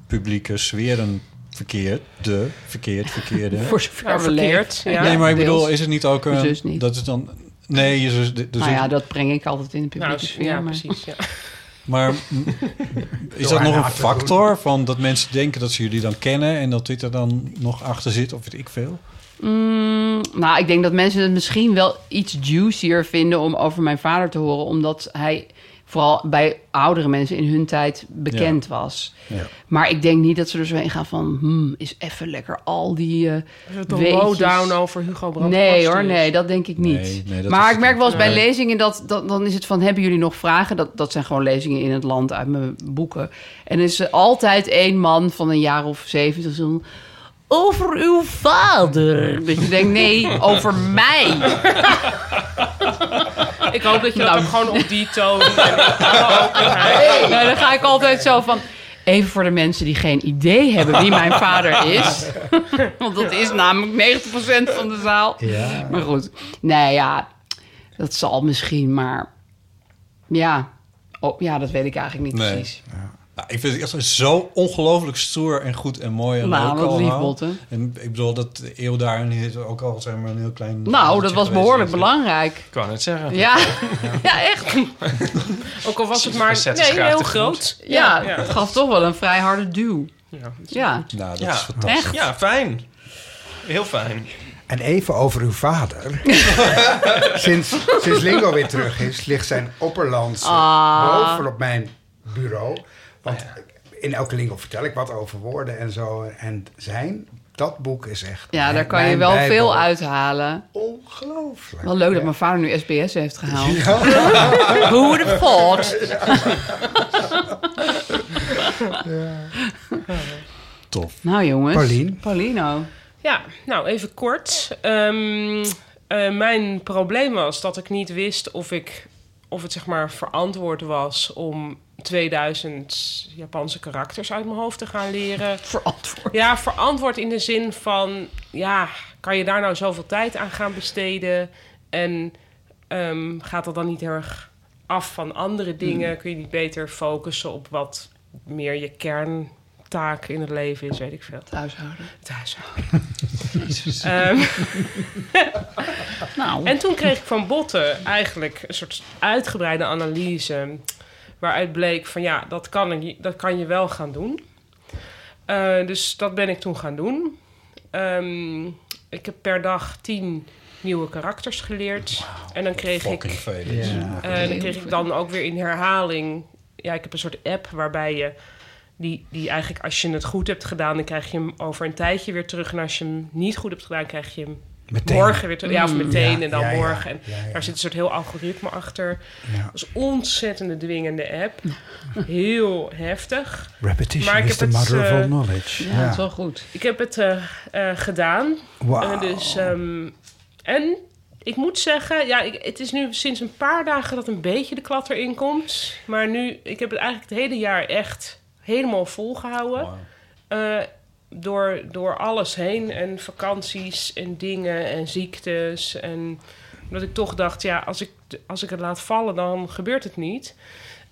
S7: publieke sferen verkeert. De verkeerd, verkeerde.
S3: *laughs* Voor zover
S6: Ja,
S3: we
S6: verkeerd,
S3: leeft.
S6: ja.
S7: nee, maar ik
S3: deels.
S7: bedoel, is het niet ook... een
S3: Mijn zus niet.
S7: Dat is dan... Nee, je zus... de- de
S3: Nou
S7: zus-
S3: ja, dat breng ik altijd in de publieke
S6: Nou,
S3: sfeer.
S6: ja,
S3: maar-
S6: precies. Ja.
S7: Maar
S3: *laughs*
S7: m, is dat
S10: haar
S7: nog een
S10: na te
S7: factor van dat mensen denken dat ze jullie dan kennen en dat dit er dan nog achter zit of weet ik veel?
S3: Mm, nou, ik denk dat mensen het misschien wel iets juicier vinden om over mijn vader te horen, omdat hij vooral bij oudere mensen in hun tijd bekend was.
S7: Ja.
S3: Maar ik denk niet dat ze er zo heen gaan van, hmm, is even lekker al die. eh,
S6: De
S3: Weetjes.
S6: lowdown over Hugo Brandt.
S3: nee hoor,
S6: Kastjes.
S3: nee, dat denk ik niet.
S7: Nee, nee, dat is
S3: maar ik
S7: het
S3: merk
S7: niet.
S3: wel eens bij
S7: Nee.
S3: lezingen dat, dat dan is het van, hebben jullie nog vragen? Dat, dat zijn gewoon lezingen in het land uit mijn boeken. En er is er altijd één man van een jaar of zeventig zo'n, over uw vader. Dat je denkt, nee, over mij.
S6: *laughs* Ik hoop dat je dat
S3: Nou.
S6: ook gewoon op die
S3: *laughs*
S6: toon. en in alle openheid.
S3: Nee, dan ga ik altijd zo van. Even voor de mensen die geen idee hebben wie mijn vader is. *laughs* Want dat is namelijk 90% van de zaal.
S10: Ja.
S3: Maar goed, nee ja, dat zal misschien, maar ja, oh, ja dat weet ik eigenlijk niet
S7: Nee.
S3: precies.
S7: Nou, ik vind het echt zo ongelooflijk stoer en goed en mooi en
S3: Nou,
S7: leuk
S3: wat lief,
S7: allemaal.
S3: Botte.
S7: En ik bedoel dat de eeuw daarin is ook al zeg maar een heel klein.
S3: Nou, dat was
S7: geweest.
S3: behoorlijk belangrijk.
S4: Ik wou net
S3: *laughs*
S4: zeggen.
S3: Ja, ja echt.
S6: Ook al was het
S4: We
S6: maar
S4: zetten
S6: nee,
S4: schaar
S6: heel
S4: te
S6: groot.
S3: Ja, het gaf toch wel een vrij harde duw.
S6: Ja.
S3: Ja,
S7: Nou, dat
S4: Ja.
S7: is fantastisch.
S3: echt.
S4: Ja, fijn. Heel fijn.
S10: En even over uw vader. *laughs* sinds, sinds Lingo weer terug is, ligt zijn opperlands
S3: Ah.
S10: boven op mijn bureau. Want in elke Lingo vertel ik wat over woorden en zo. En zijn, dat boek is echt...
S3: Ja, daar
S10: mijn-
S3: kan je
S10: mijn
S3: wel
S10: bijbel.
S3: veel uithalen.
S10: Ongelooflijk.
S3: Wel leuk dat mijn vader nu SBS heeft gehaald.
S6: *laughs*
S3: Who would have thought?
S7: Tof.
S3: Nou jongens.
S10: Paulien.
S3: Paulino.
S6: Ja, nou even kort. nou, Ehm, Eh, mijn probleem was dat ik niet wist of, ik, of het zeg maar verantwoord was om 2000 Japanse karakters uit mijn hoofd te gaan leren.
S3: Verantwoord.
S6: Ja, verantwoord in de zin van, ja, kan je daar nou zoveel tijd aan gaan besteden? En ehm, gaat dat dan niet heel erg af van andere dingen? Kun je niet beter focussen op wat meer je kerntaak in het leven is, weet ik veel.
S3: Thuishouden.
S6: Het
S7: *laughs*
S6: huishouden. Ehm,
S3: Nou,
S6: en toen kreeg ik van Botten eigenlijk een soort uitgebreide analyse. Waaruit bleek van ja, dat kan, je- dat kan je wel gaan doen. Eh, dus dat ben ik toen gaan doen. Ehm, ik heb per dag tien nieuwe karakters geleerd. En dan kreeg
S7: Fucking
S6: ik
S7: veel.
S10: Ja.
S6: eh, dan kreeg ik dan ook weer in herhaling. Ja, ik heb een soort app waarbij je. Die, die eigenlijk, als je het goed hebt gedaan, dan krijg je hem over een tijdje weer terug. En als je hem niet goed hebt gedaan, krijg je hem
S10: Meteen. Mm,
S6: morgen weer terug. Ja, of meteen
S10: Ja,
S6: en dan
S10: ja, ja.
S6: morgen. En
S10: Ja, ja.
S6: daar zit een soort heel algoritme achter.
S10: Ja.
S6: Dat is een ontzettende dwingende app. Heel heftig.
S10: Repetition
S6: Maar ik
S10: is
S6: heb
S10: the
S6: het,
S10: mother of
S6: eh,
S10: all knowledge.
S3: ja, het is wel goed.
S6: Ik heb het eh, eh, gedaan.
S10: Wauw.
S6: Eh, dus, ehm, en ik moet zeggen, ja, ik, het is nu sinds een paar dagen dat een beetje de klat erin komt. Maar nu, ik heb het eigenlijk het hele jaar echt helemaal volgehouden. Eh, door, door alles heen en vakanties en dingen en ziektes. En omdat ik toch dacht, ja, als ik, als ik het laat vallen, dan gebeurt het niet.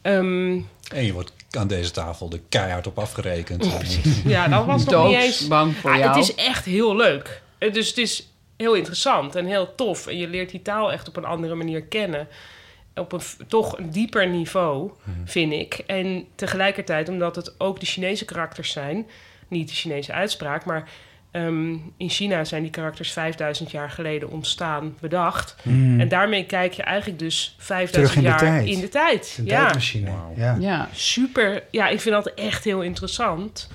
S6: Ehm,
S7: En je wordt aan deze tafel er keihard op afgerekend.
S6: *laughs* ja, dat was nog niet eens...
S3: Doodsbang voor
S6: Ah,
S3: jou.
S6: Het is echt heel leuk. Eh, Dus het is heel interessant en heel tof. En je leert die taal echt op een andere manier kennen. Op een v- toch een dieper niveau,
S10: Hmm.
S6: vind ik. En tegelijkertijd, omdat het ook de Chinese karakters zijn... niet de Chinese uitspraak, maar... ehm, in China zijn die karakters 5000 jaar geleden ontstaan, bedacht. En daarmee kijk je eigenlijk dus 5000
S10: Hmm. Terug in
S6: jaar
S10: de tijd.
S6: in de tijd.
S10: Een
S6: ja
S10: tijdmachine. Ja.
S3: Ja.
S6: super. Ja, ik vind dat echt heel interessant.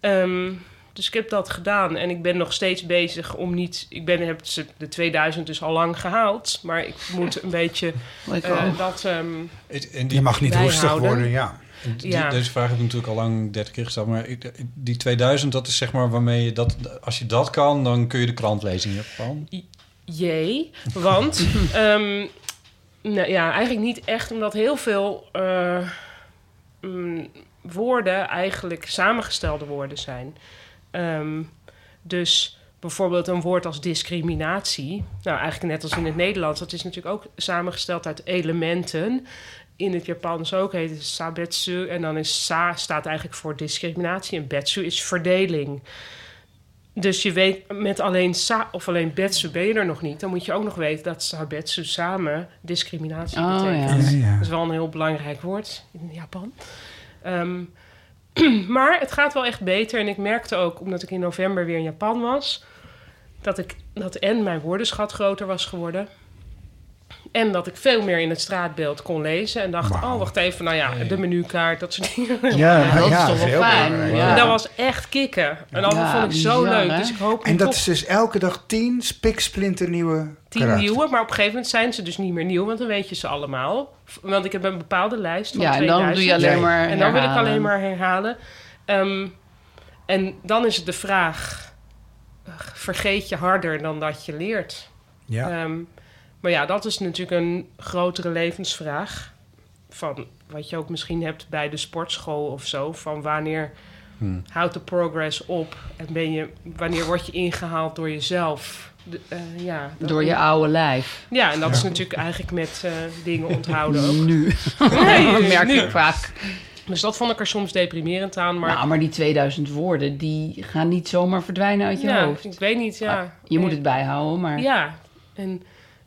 S6: Ehm, dus ik heb dat gedaan en ik ben nog steeds bezig om niet. Ik ben, heb ze- de 2000 dus al lang gehaald, maar ik moet een beetje
S3: Lekker.
S6: eh, dat. ehm,
S7: Het- en die,
S10: Je mag niet
S6: Bijhouden.
S10: roestig worden, ja.
S7: die-
S6: ja.
S7: Deze vraag heb ik natuurlijk al lang 30 keer gesteld. Maar ik- die 2000, dat is zeg maar waarmee je dat... Als je dat kan, dan kun je de krant lezen in Japan.
S6: Jee, want ehm, nou ja, eigenlijk niet echt, omdat heel veel eh, mm, woorden eigenlijk samengestelde woorden zijn. Ehm, dus bijvoorbeeld een woord als discriminatie, nou eigenlijk net als in het Nederlands, dat is natuurlijk ook samengesteld uit elementen. In het Japans ook heet het sabetsu en dan is sa staat eigenlijk voor discriminatie en betsu is verdeling. Dus je weet met alleen sa of alleen betsu ben je er nog niet. Dan moet je ook nog weten dat sabetsu samen discriminatie
S3: Oh,
S6: betekent.
S3: ja.
S10: Ja, ja.
S6: Eh, Dat is wel een heel belangrijk woord in Japan. Ehm, *clears throat* maar het gaat wel echt beter. En ik merkte ook, omdat ik in november weer in Japan was, dat ik dat en mijn woordenschat groter was geworden. En dat ik veel meer in het straatbeeld kon lezen. En dacht,
S10: Wauw.
S6: oh, wacht even, nou ja, de menukaart, dat soort dingen.
S10: Ja,
S3: dat
S10: ja,
S3: is toch
S10: veel
S3: wel fijn.
S10: belangrijker.
S3: Ja.
S6: *laughs* En dat was echt kikken. En dat
S3: Ja,
S6: vond ik zo
S3: bizar,
S6: leuk.
S3: hè?
S6: Dus ik hoop nu
S10: En dat
S6: toch
S10: is dus elke dag tien spiksplinternieuwe
S6: tien
S10: karakters.
S6: nieuwe. Maar op een gegeven moment zijn ze dus niet meer nieuw, want dan weet je ze allemaal. V- Want ik heb een bepaalde lijst van
S3: Ja, en dan doe
S6: 2000.
S3: je alleen
S10: Ja.
S3: maar
S6: En dan wil ik
S3: herhalen.
S6: alleen maar herhalen. Ehm, en dan is het de vraag: ach, vergeet je harder dan dat je leert?
S10: Ja.
S6: Ehm, maar ja, dat is natuurlijk een grotere levensvraag. Van wat je ook misschien hebt bij de sportschool of zo. Van wanneer houdt de progress op? En ben je, wanneer word je ingehaald door jezelf? De- eh, ja, dat-
S3: Door je oude lijf.
S6: Ja, en dat is natuurlijk eigenlijk met eh, dingen onthouden ook.
S3: Nu.
S6: Nee,
S3: *laughs* dat merk
S6: nu.
S3: ik vaak.
S6: Dus dat vond ik er soms deprimerend aan. Maar
S3: Nou, maar die 2000 woorden, die gaan niet zomaar verdwijnen uit je
S6: ja,
S3: hoofd.
S6: ik weet niet, ja.
S3: Je moet het bijhouden, maar...
S6: Ja, en,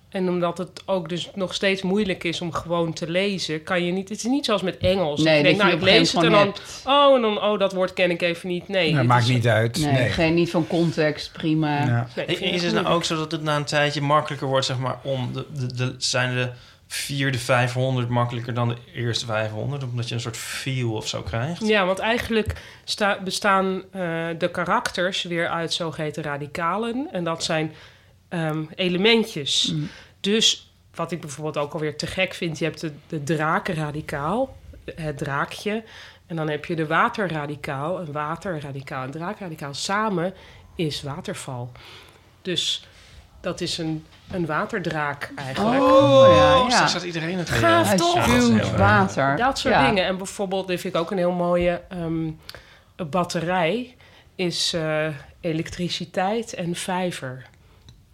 S6: en omdat het ook dus nog steeds moeilijk is om gewoon te lezen, kan je niet. Het is niet zoals met Engels.
S3: Nee,
S6: ik denk,
S3: dat je
S6: nou,
S3: op
S6: ik
S3: een
S6: lees
S3: gegeven
S6: het en dan.
S3: moment hebt.
S6: Oh, en dan, oh, dat woord ken ik even niet. Nee, eh,
S10: Dat
S6: dit
S10: maakt
S6: is-
S10: niet uit.
S3: Nee,
S10: Nee.
S3: geen, niet van context, prima.
S10: Ja.
S6: nee, ik vind
S4: Is
S6: het
S4: het nou
S6: moeilijk.
S4: ook zo dat het na een tijdje makkelijker wordt, zeg maar, om de, de, de, zijn de vierde 500 makkelijker dan de eerste 500, omdat je een soort feel of zo krijgt?
S6: Ja, want eigenlijk sta- bestaan eh, de karakters weer uit zogeheten radicalen. En dat zijn ehm, elementjes. Dus wat ik bijvoorbeeld ook alweer te gek vind, je hebt de, de drakenradicaal, het draakje. En dan heb je de waterradicaal, een waterradicaal en draakradicaal. Samen is waterval. Dus Dat is een, een waterdraak eigenlijk.
S3: Oh, ja, ja.
S4: Straks staat iedereen het
S6: Gaaf
S4: heel-
S6: toch?
S4: Ja, dat is heel
S3: Duwt
S4: erg.
S3: water.
S6: Dat soort
S3: Ja.
S6: dingen. En bijvoorbeeld, dit vind ik ook een heel mooie ehm, een batterij, is eh, elektriciteit en vijver.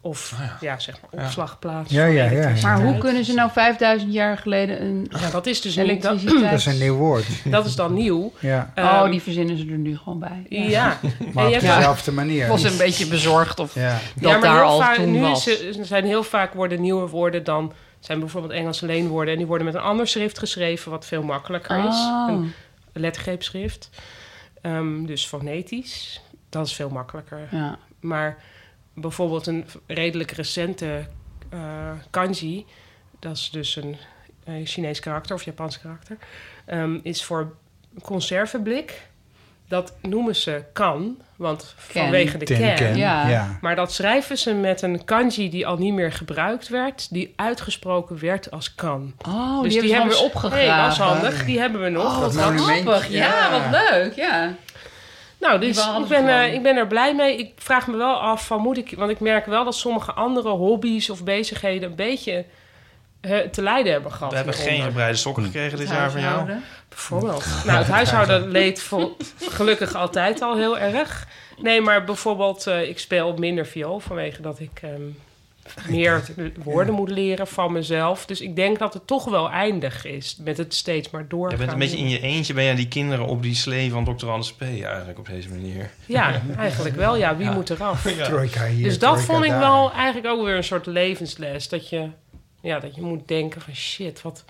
S6: Of ja. zeg maar
S4: Ja.
S6: opslagplaats.
S10: Ja,
S6: voor
S10: ja, ja, ja.
S6: elektriciteit.
S3: Maar hoe kunnen ze nou 5000 jaar geleden een
S6: Ja, dat is dus niet, dat,
S10: Dat
S3: elektriciteit...
S10: is een nieuw woord.
S6: *laughs* dat is dan nieuw.
S10: Ja,
S3: Oh,
S6: Ehm,
S3: die verzinnen ze er nu gewoon bij. Oh,
S6: Ja,
S3: *laughs*
S10: maar
S6: je
S10: op
S6: hebt-
S10: dezelfde manier.
S3: Ik was een beetje bezorgd of
S10: Ja.
S3: dat
S6: maar
S3: daar
S6: heel
S3: al
S6: vaak-
S3: toen
S6: nu
S3: was.
S6: is- er zijn heel vaak worden nieuwe woorden dan zijn bijvoorbeeld Engelse leenwoorden en die worden met een ander schrift geschreven wat veel makkelijker is. Een
S3: Oh,
S6: lettergreepschrift. Ehm, dus fonetisch. Dat is veel makkelijker.
S3: ja.
S6: Maar bijvoorbeeld een redelijk recente eh, kanji, dat is dus een eh, Chinees karakter of Japans karakter, ehm, is voor conserveblik. Dat noemen ze kan, want vanwege de
S10: Tinken,
S6: can.
S3: ja.
S10: ja.
S6: Maar dat schrijven ze met een kanji die al niet meer gebruikt werd, die uitgesproken werd als kan.
S3: oh
S6: dus
S3: die, hebben we
S6: ze-
S3: opgegraven.
S6: Hey, dat is handig. Die hebben we nog.
S3: Oh, wat
S10: monument,
S3: grappig. Ja,
S10: ja.
S3: wat leuk. Ja.
S6: Nou,
S3: Die
S6: dus
S3: waren
S6: ik ben,
S3: gewoon-
S6: eh, ik ben er blij mee. Ik vraag me wel af van moet ik... Want ik merk wel dat sommige andere hobby's of bezigheden... een beetje eh, te lijden hebben gehad.
S4: We hebben geen
S6: hieronder.
S4: gebreide sokken gekregen dit jaar van jou.
S3: Huishouden.
S6: Bijvoorbeeld. Nou, het
S4: *laughs*
S6: huishouden leed vol- gelukkig altijd al heel erg. Nee, maar bijvoorbeeld... eh, ik speel minder viool vanwege dat ik... ehm, meer woorden moet leren van mezelf. Dus ik denk dat het toch wel eindig is met het steeds maar doorgaan.
S4: Je bent een beetje in je eentje, ben jij die kinderen op die slee van Dr. Anders P. eigenlijk op deze manier.
S6: Ja, eigenlijk wel. Ja, wie moet eraf?
S10: Trojka hier,
S6: Dus dat
S10: trojka
S6: vond ik
S10: daar.
S6: wel eigenlijk ook weer een soort levensles. Dat je, ja, dat je moet denken van shit, wat...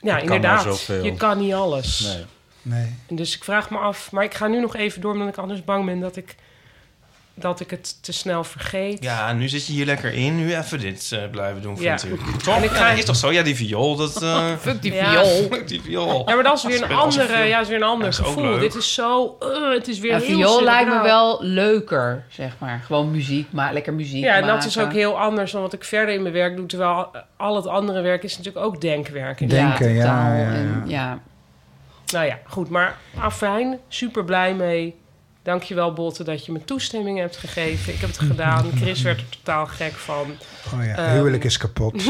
S6: Ja,
S7: maar
S6: inderdaad.
S7: zoveel.
S6: je kan niet alles.
S7: Nee.
S10: Nee.
S6: En Dus ik vraag me af... Maar ik ga nu nog even door, omdat ik anders bang ben dat ik, dat ik het te snel vergeet.
S4: Ja, nu zit je hier lekker in. Nu even dit eh, blijven doen,
S6: Ja.
S4: vind ik. Toch?
S6: En ik
S4: Ja,
S6: ga-
S4: dat is toch zo? Ja, die viool,
S6: *laughs*
S4: dat... eh,
S3: Fuck die
S6: Ja.
S3: viool.
S4: die viool.
S6: Ja, maar dat is weer een,
S4: Speel als een
S6: andere,
S4: film.
S6: ja, dat is weer een ander
S4: is ook
S6: gevoel.
S4: leuk.
S6: Dit is zo... eh, het is weer
S3: Ja,
S6: heel
S3: viool lijkt me
S6: cerebraal.
S3: wel leuker, zeg maar. Gewoon muziek, maar lekker muziek
S6: Ja, en dat
S3: maken.
S6: is ook heel anders dan wat ik verder in mijn werk doe. Terwijl al het andere werk is natuurlijk ook denkwerk. in
S10: Denken, ja,
S3: totaal.
S10: ja, ja.
S3: En, ja.
S6: Nou ja, goed. Maar afijn, super blij mee. Dankjewel, Botte, dat je me toestemming hebt gegeven. Ik heb het gedaan. Chris werd er totaal gek van.
S10: Oh ja,
S6: Ehm,
S10: huwelijk is
S6: *laughs*
S10: kapot.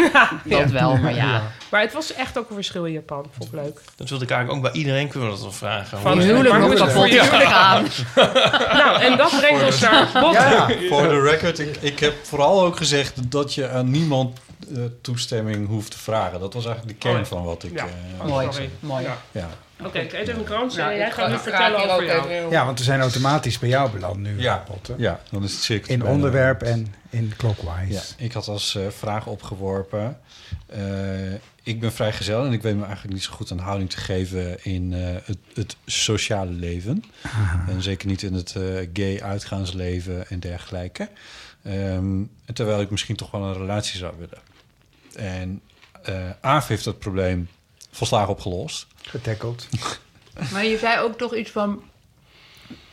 S3: dat wel, maar ja.
S6: Maar het was echt ook een verschil in Japan. Vond ik leuk.
S4: Dat wilde ik eigenlijk ook bij iedereen kunnen we dat wel vragen.
S6: Van
S4: Hoe-
S3: Die huwelijk
S6: Maar
S3: moet
S6: hoe is het
S3: kapot
S6: voor jou?
S3: gaan.
S6: Nou, en dat brengt ons naar Botte.
S10: Ja,
S7: Voor de record, ik, ik heb vooral ook gezegd dat je aan niemand eh, toestemming hoeft te vragen. Dat was eigenlijk de kern
S6: Oh, ja.
S7: van wat ik...
S6: Ja.
S7: eh,
S6: Oh,
S3: Mooi,
S6: sorry.
S3: mooi.
S6: Ja.
S7: ja.
S6: Oké, ik eet even een krantje
S3: Nou,
S6: en jij
S3: ik
S6: gaat
S3: ga-
S6: nu
S3: ik
S6: vertellen
S3: ga hier
S6: over
S3: ook
S6: jou.
S3: even heel-
S10: ja, want we zijn automatisch bij jou beland nu.
S7: Ja.
S10: Potten.
S7: ja, dan is het cirkel.
S10: In onderwerp en in clockwise.
S7: Ja, ik had als eh, vraag opgeworpen. eh, ik ben vrijgezel en ik weet me eigenlijk niet zo goed een houding te geven in eh, het, het sociale leven. En zeker niet in het eh, gay uitgaansleven en dergelijke. Ehm, en terwijl ik misschien toch wel een relatie zou willen. En eh Aaf heeft dat probleem volslagen opgelost.
S10: Getackeld.
S3: Maar je zei ook toch iets van...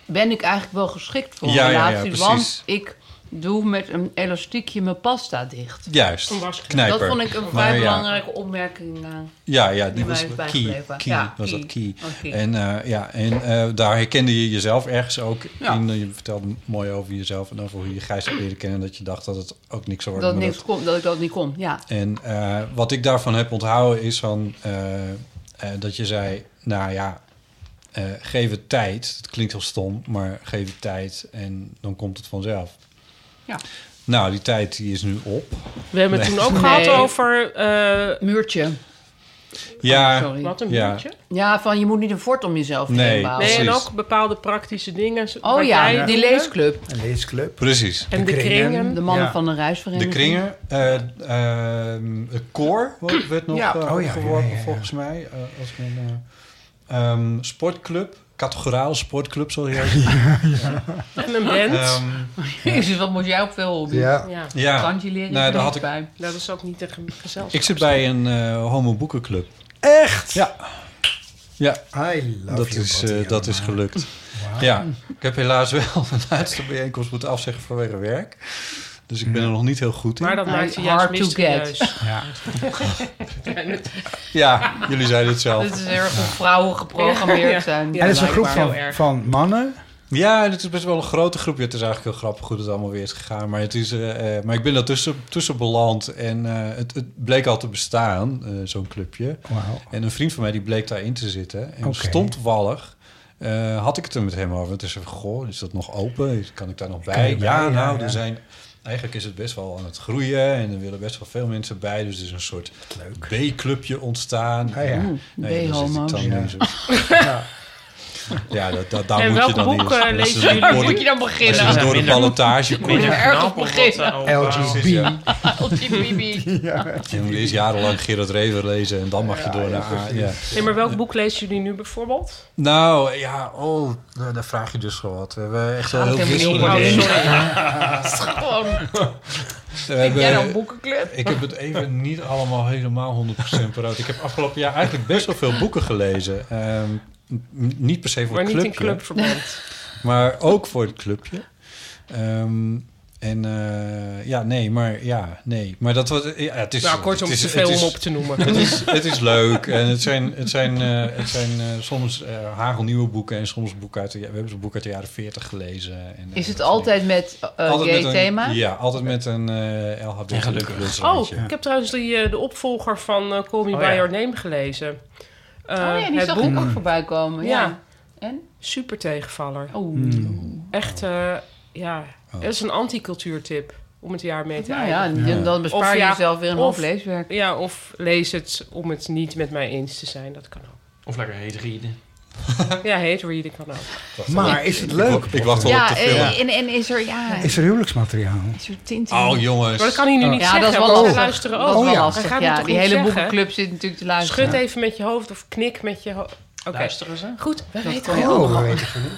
S3: Ben ik eigenlijk wel geschikt voor een
S7: Ja, ja, ja,
S3: relatie?
S7: precies.
S3: want ik doe met een elastiekje mijn pasta dicht.
S7: Juist,
S6: Een waskrant.
S7: knijper.
S3: Dat vond ik een
S7: Maar
S3: vrij
S7: ja.
S3: belangrijke opmerking. eh,
S7: Ja, ja, die
S3: Die mij
S7: was
S3: is
S7: key.
S3: bijgebleven.
S7: key
S3: Ja,
S7: was
S3: key.
S7: dat key.
S3: Oh, key.
S7: En, eh, ja, en eh, daar herkende je jezelf ergens ook
S3: Ja.
S7: in. Je vertelde mooi over jezelf en over hoe je Gijs had leren kennen. Dat je dacht dat het ook niks zou worden.
S3: dat,
S7: maar
S3: niks kon, dat ik dat niet kon, ja.
S7: en eh, wat ik daarvan heb onthouden is van, eh, eh, dat je zei, nou ja, eh, geef het tijd. Het klinkt heel stom, maar geef het tijd en dan komt het vanzelf.
S3: Ja. Oh,
S7: Nou, die tijd die is nu op.
S6: We hebben het
S7: Nee.
S6: toen ook
S3: Nee.
S6: gehad over... eh,
S3: Muurtje.
S7: Ja,
S3: Sorry.
S6: wat een
S7: Ja.
S6: muurtje.
S3: Ja, van je moet niet een fort om jezelf
S7: Nee.
S3: heen bouwen.
S6: Nee, en
S7: Precies.
S6: ook bepaalde praktische dingen.
S3: Oh
S6: wat jij
S3: ja, die
S6: doet.
S3: leesclub.
S10: Een leesclub.
S7: precies.
S6: En de kringen.
S3: De mannen
S10: Ja.
S3: van een
S7: De
S3: reisvereniging.
S7: kringen, eh ehm, het koor wo- werd nog
S10: Ja.
S7: eh,
S10: Oh, ja, ja,
S7: opgeworpen,
S10: ja, ja.
S7: volgens mij. eh, als een eh, ehm, sportclub, categoraal sportclub, sorry.
S10: *laughs*
S6: En een band.
S7: Ehm,
S3: Jezus, wat moest jij op veel hobby?
S10: Ja.
S6: ja,
S7: ja,
S3: Tandje leren,
S7: Nou,
S3: nou,
S7: daar had
S3: had
S7: ik-
S3: ik... bij.
S6: dat is ook niet een ge- gezelschap.
S7: ik zit bij een eh homo boekenclub.
S10: Echt?
S7: Ja, ja
S10: I love
S7: dat,
S10: you,
S7: is,
S10: Botte,
S7: eh, dat is
S10: jongen.
S7: gelukt.
S10: Wauw.
S7: Ja, ik heb helaas wel *laughs* een laatste bijeenkomst moeten afzeggen vanwege werk. Dus ik ben
S10: Hm.
S7: er nog niet heel goed in.
S6: Maar dat
S3: Nou,
S6: maakt je
S3: hard
S6: juist
S3: to get.
S6: mysterieus.
S10: Ja.
S7: Ja,
S3: *laughs*
S7: jullie zeiden het zelf.
S3: Dat is erg hoe vrouwen geprogrammeerd
S6: Ja.
S3: zijn.
S6: Ja.
S10: En het is een groep
S6: blijkbaar.
S10: van,
S6: Heel erg.
S10: van mannen
S7: Ja, en het is best wel een grote groep. Ja, het is eigenlijk heel grappig hoe het allemaal weer is gegaan. Maar, het is, eh, eh, maar ik ben daartussen tussen beland en eh, het, het bleek al te bestaan, eh, zo'n clubje.
S10: Wauw.
S7: En een vriend van mij die bleek daarin te zitten. En
S10: Oké.
S7: stom toevallig eh, had ik het er met hem over. Toen zei ik, goh, is dat nog open? Kan ik daar nog
S10: Kan
S7: bij?
S10: je
S7: Ja,
S10: bij, ja,
S7: nou,
S10: ja.
S7: er zijn... Eigenlijk is het best wel aan het groeien en er willen best wel veel mensen bij. Dus er is een soort B-clubje ontstaan. Nou
S10: Ah, ja.
S3: Oeh,
S7: Nee, daar zit ik
S3: B-homo's.
S7: dan
S10: Ja.
S7: in zo-
S10: Ja.
S7: ja, dat, dat, daar
S6: En
S7: moet je
S6: welke
S7: dan in.
S6: boeken
S7: Dat is dus een
S6: lezen jullie?
S7: behoorlijk-
S3: Waar moet je dan
S7: als je
S3: beginnen?
S7: dus door de
S4: Minder-
S7: ballotage komt.
S4: Minder
S3: erg
S4: knap
S3: op
S4: op wat,
S3: beginnen.
S4: eh, op bouwen.
S10: LGB.
S7: Oh, Ja.
S3: LGBB.
S7: Je moet eerst jarenlang Gerard Rever lezen en dan mag je door naar A. Ja.
S6: Nee, maar welk boek lezen jullie nu bijvoorbeeld?
S7: Nou, ja, oh, nou, daar vraag je dus gewoon wat. We hebben echt
S6: Ah,
S7: wel heel
S3: helemaal niet
S7: veel...
S3: om,
S7: boeken.
S3: oh, sorry. *laughs* Het is gewoon...
S7: We
S3: Vind jij nou een
S7: hebben-
S3: boekenclub?
S7: Ik heb het even niet allemaal helemaal 100% vooruit. Ik heb afgelopen jaar eigenlijk best wel veel boeken gelezen. Ehm, n- niet per se voor *laughs*
S6: Maar
S7: het
S6: niet
S7: clubje.
S6: in clubverband.
S7: Maar ook voor het clubje. Ehm, en eh, ja, nee, maar ja, nee. Maar dat was. Ja, het is,
S6: Nou, kortom,
S7: het is,
S6: te veel
S7: het
S6: om
S7: is-
S6: op te
S7: *laughs*
S6: noemen.
S7: Het is, het is leuk en het zijn, het zijn, eh, het zijn eh, soms eh, hagelnieuwe boeken en soms boeken uit de, ja- we hebben zo'n boek uit de jaren 40 gelezen. En, eh,
S3: Is het
S7: dat soort
S3: altijd met
S7: dingen.
S3: eh
S7: Altijd met een-
S3: gay-thema?
S7: Ja, altijd met een eh LHB.
S4: gelukkig.
S6: Oh, ik heb trouwens die, eh, de opvolger van eh, Call Me
S4: Oh,
S6: By
S4: ja.
S6: Your Name gelezen. Eh,
S3: Oh ja, die
S6: het
S3: zag
S6: boek.
S3: ik ook voorbij komen. Ja.
S6: Ja.
S3: En?
S6: Super tegenvaller.
S3: Oh.
S7: Hmm.
S6: Echt, eh, ja.
S7: Oh.
S6: Dat is een anticultuurtip om het jaar mee te
S3: Nou
S6: eindigen.
S3: ja, dan- dan bespaar
S6: Of
S3: je
S6: ja,
S3: jezelf weer een hoop
S6: of-
S3: leeswerk.
S6: ja. of lees het om het niet met mij eens te zijn. Dat kan
S7: *laughs*
S6: ook.
S4: Of lekker heet rieden.
S6: Ja, hate reading kan
S7: Dus-
S6: ook.
S10: Maar is het leuk?
S7: Ik wacht wel op
S3: Ja,
S7: de film.
S3: eh, en, en is er, ja,
S10: Is er huwelijksmateriaal?
S3: is er tinten?
S7: Oh jongens.
S6: Maar dat kan hij nu niet
S3: ja,
S6: zeggen.
S3: dat is wel
S6: want ze
S3: lastig.
S6: luisteren ook.
S3: Dat is wel
S10: ja.
S6: Hij
S3: lastig,
S6: gaat het
S3: ja.
S6: toch
S3: Die
S6: niet
S3: hele
S6: zeggen?
S3: boekenclub zit natuurlijk te luisteren.
S6: Schud even met je hoofd of knik met je hoofd. Oké.
S4: Luisteren ze?
S6: Goed, we
S3: Dat
S6: weten
S3: kan je
S6: het.
S3: ook.
S10: Oh, we weten genoeg.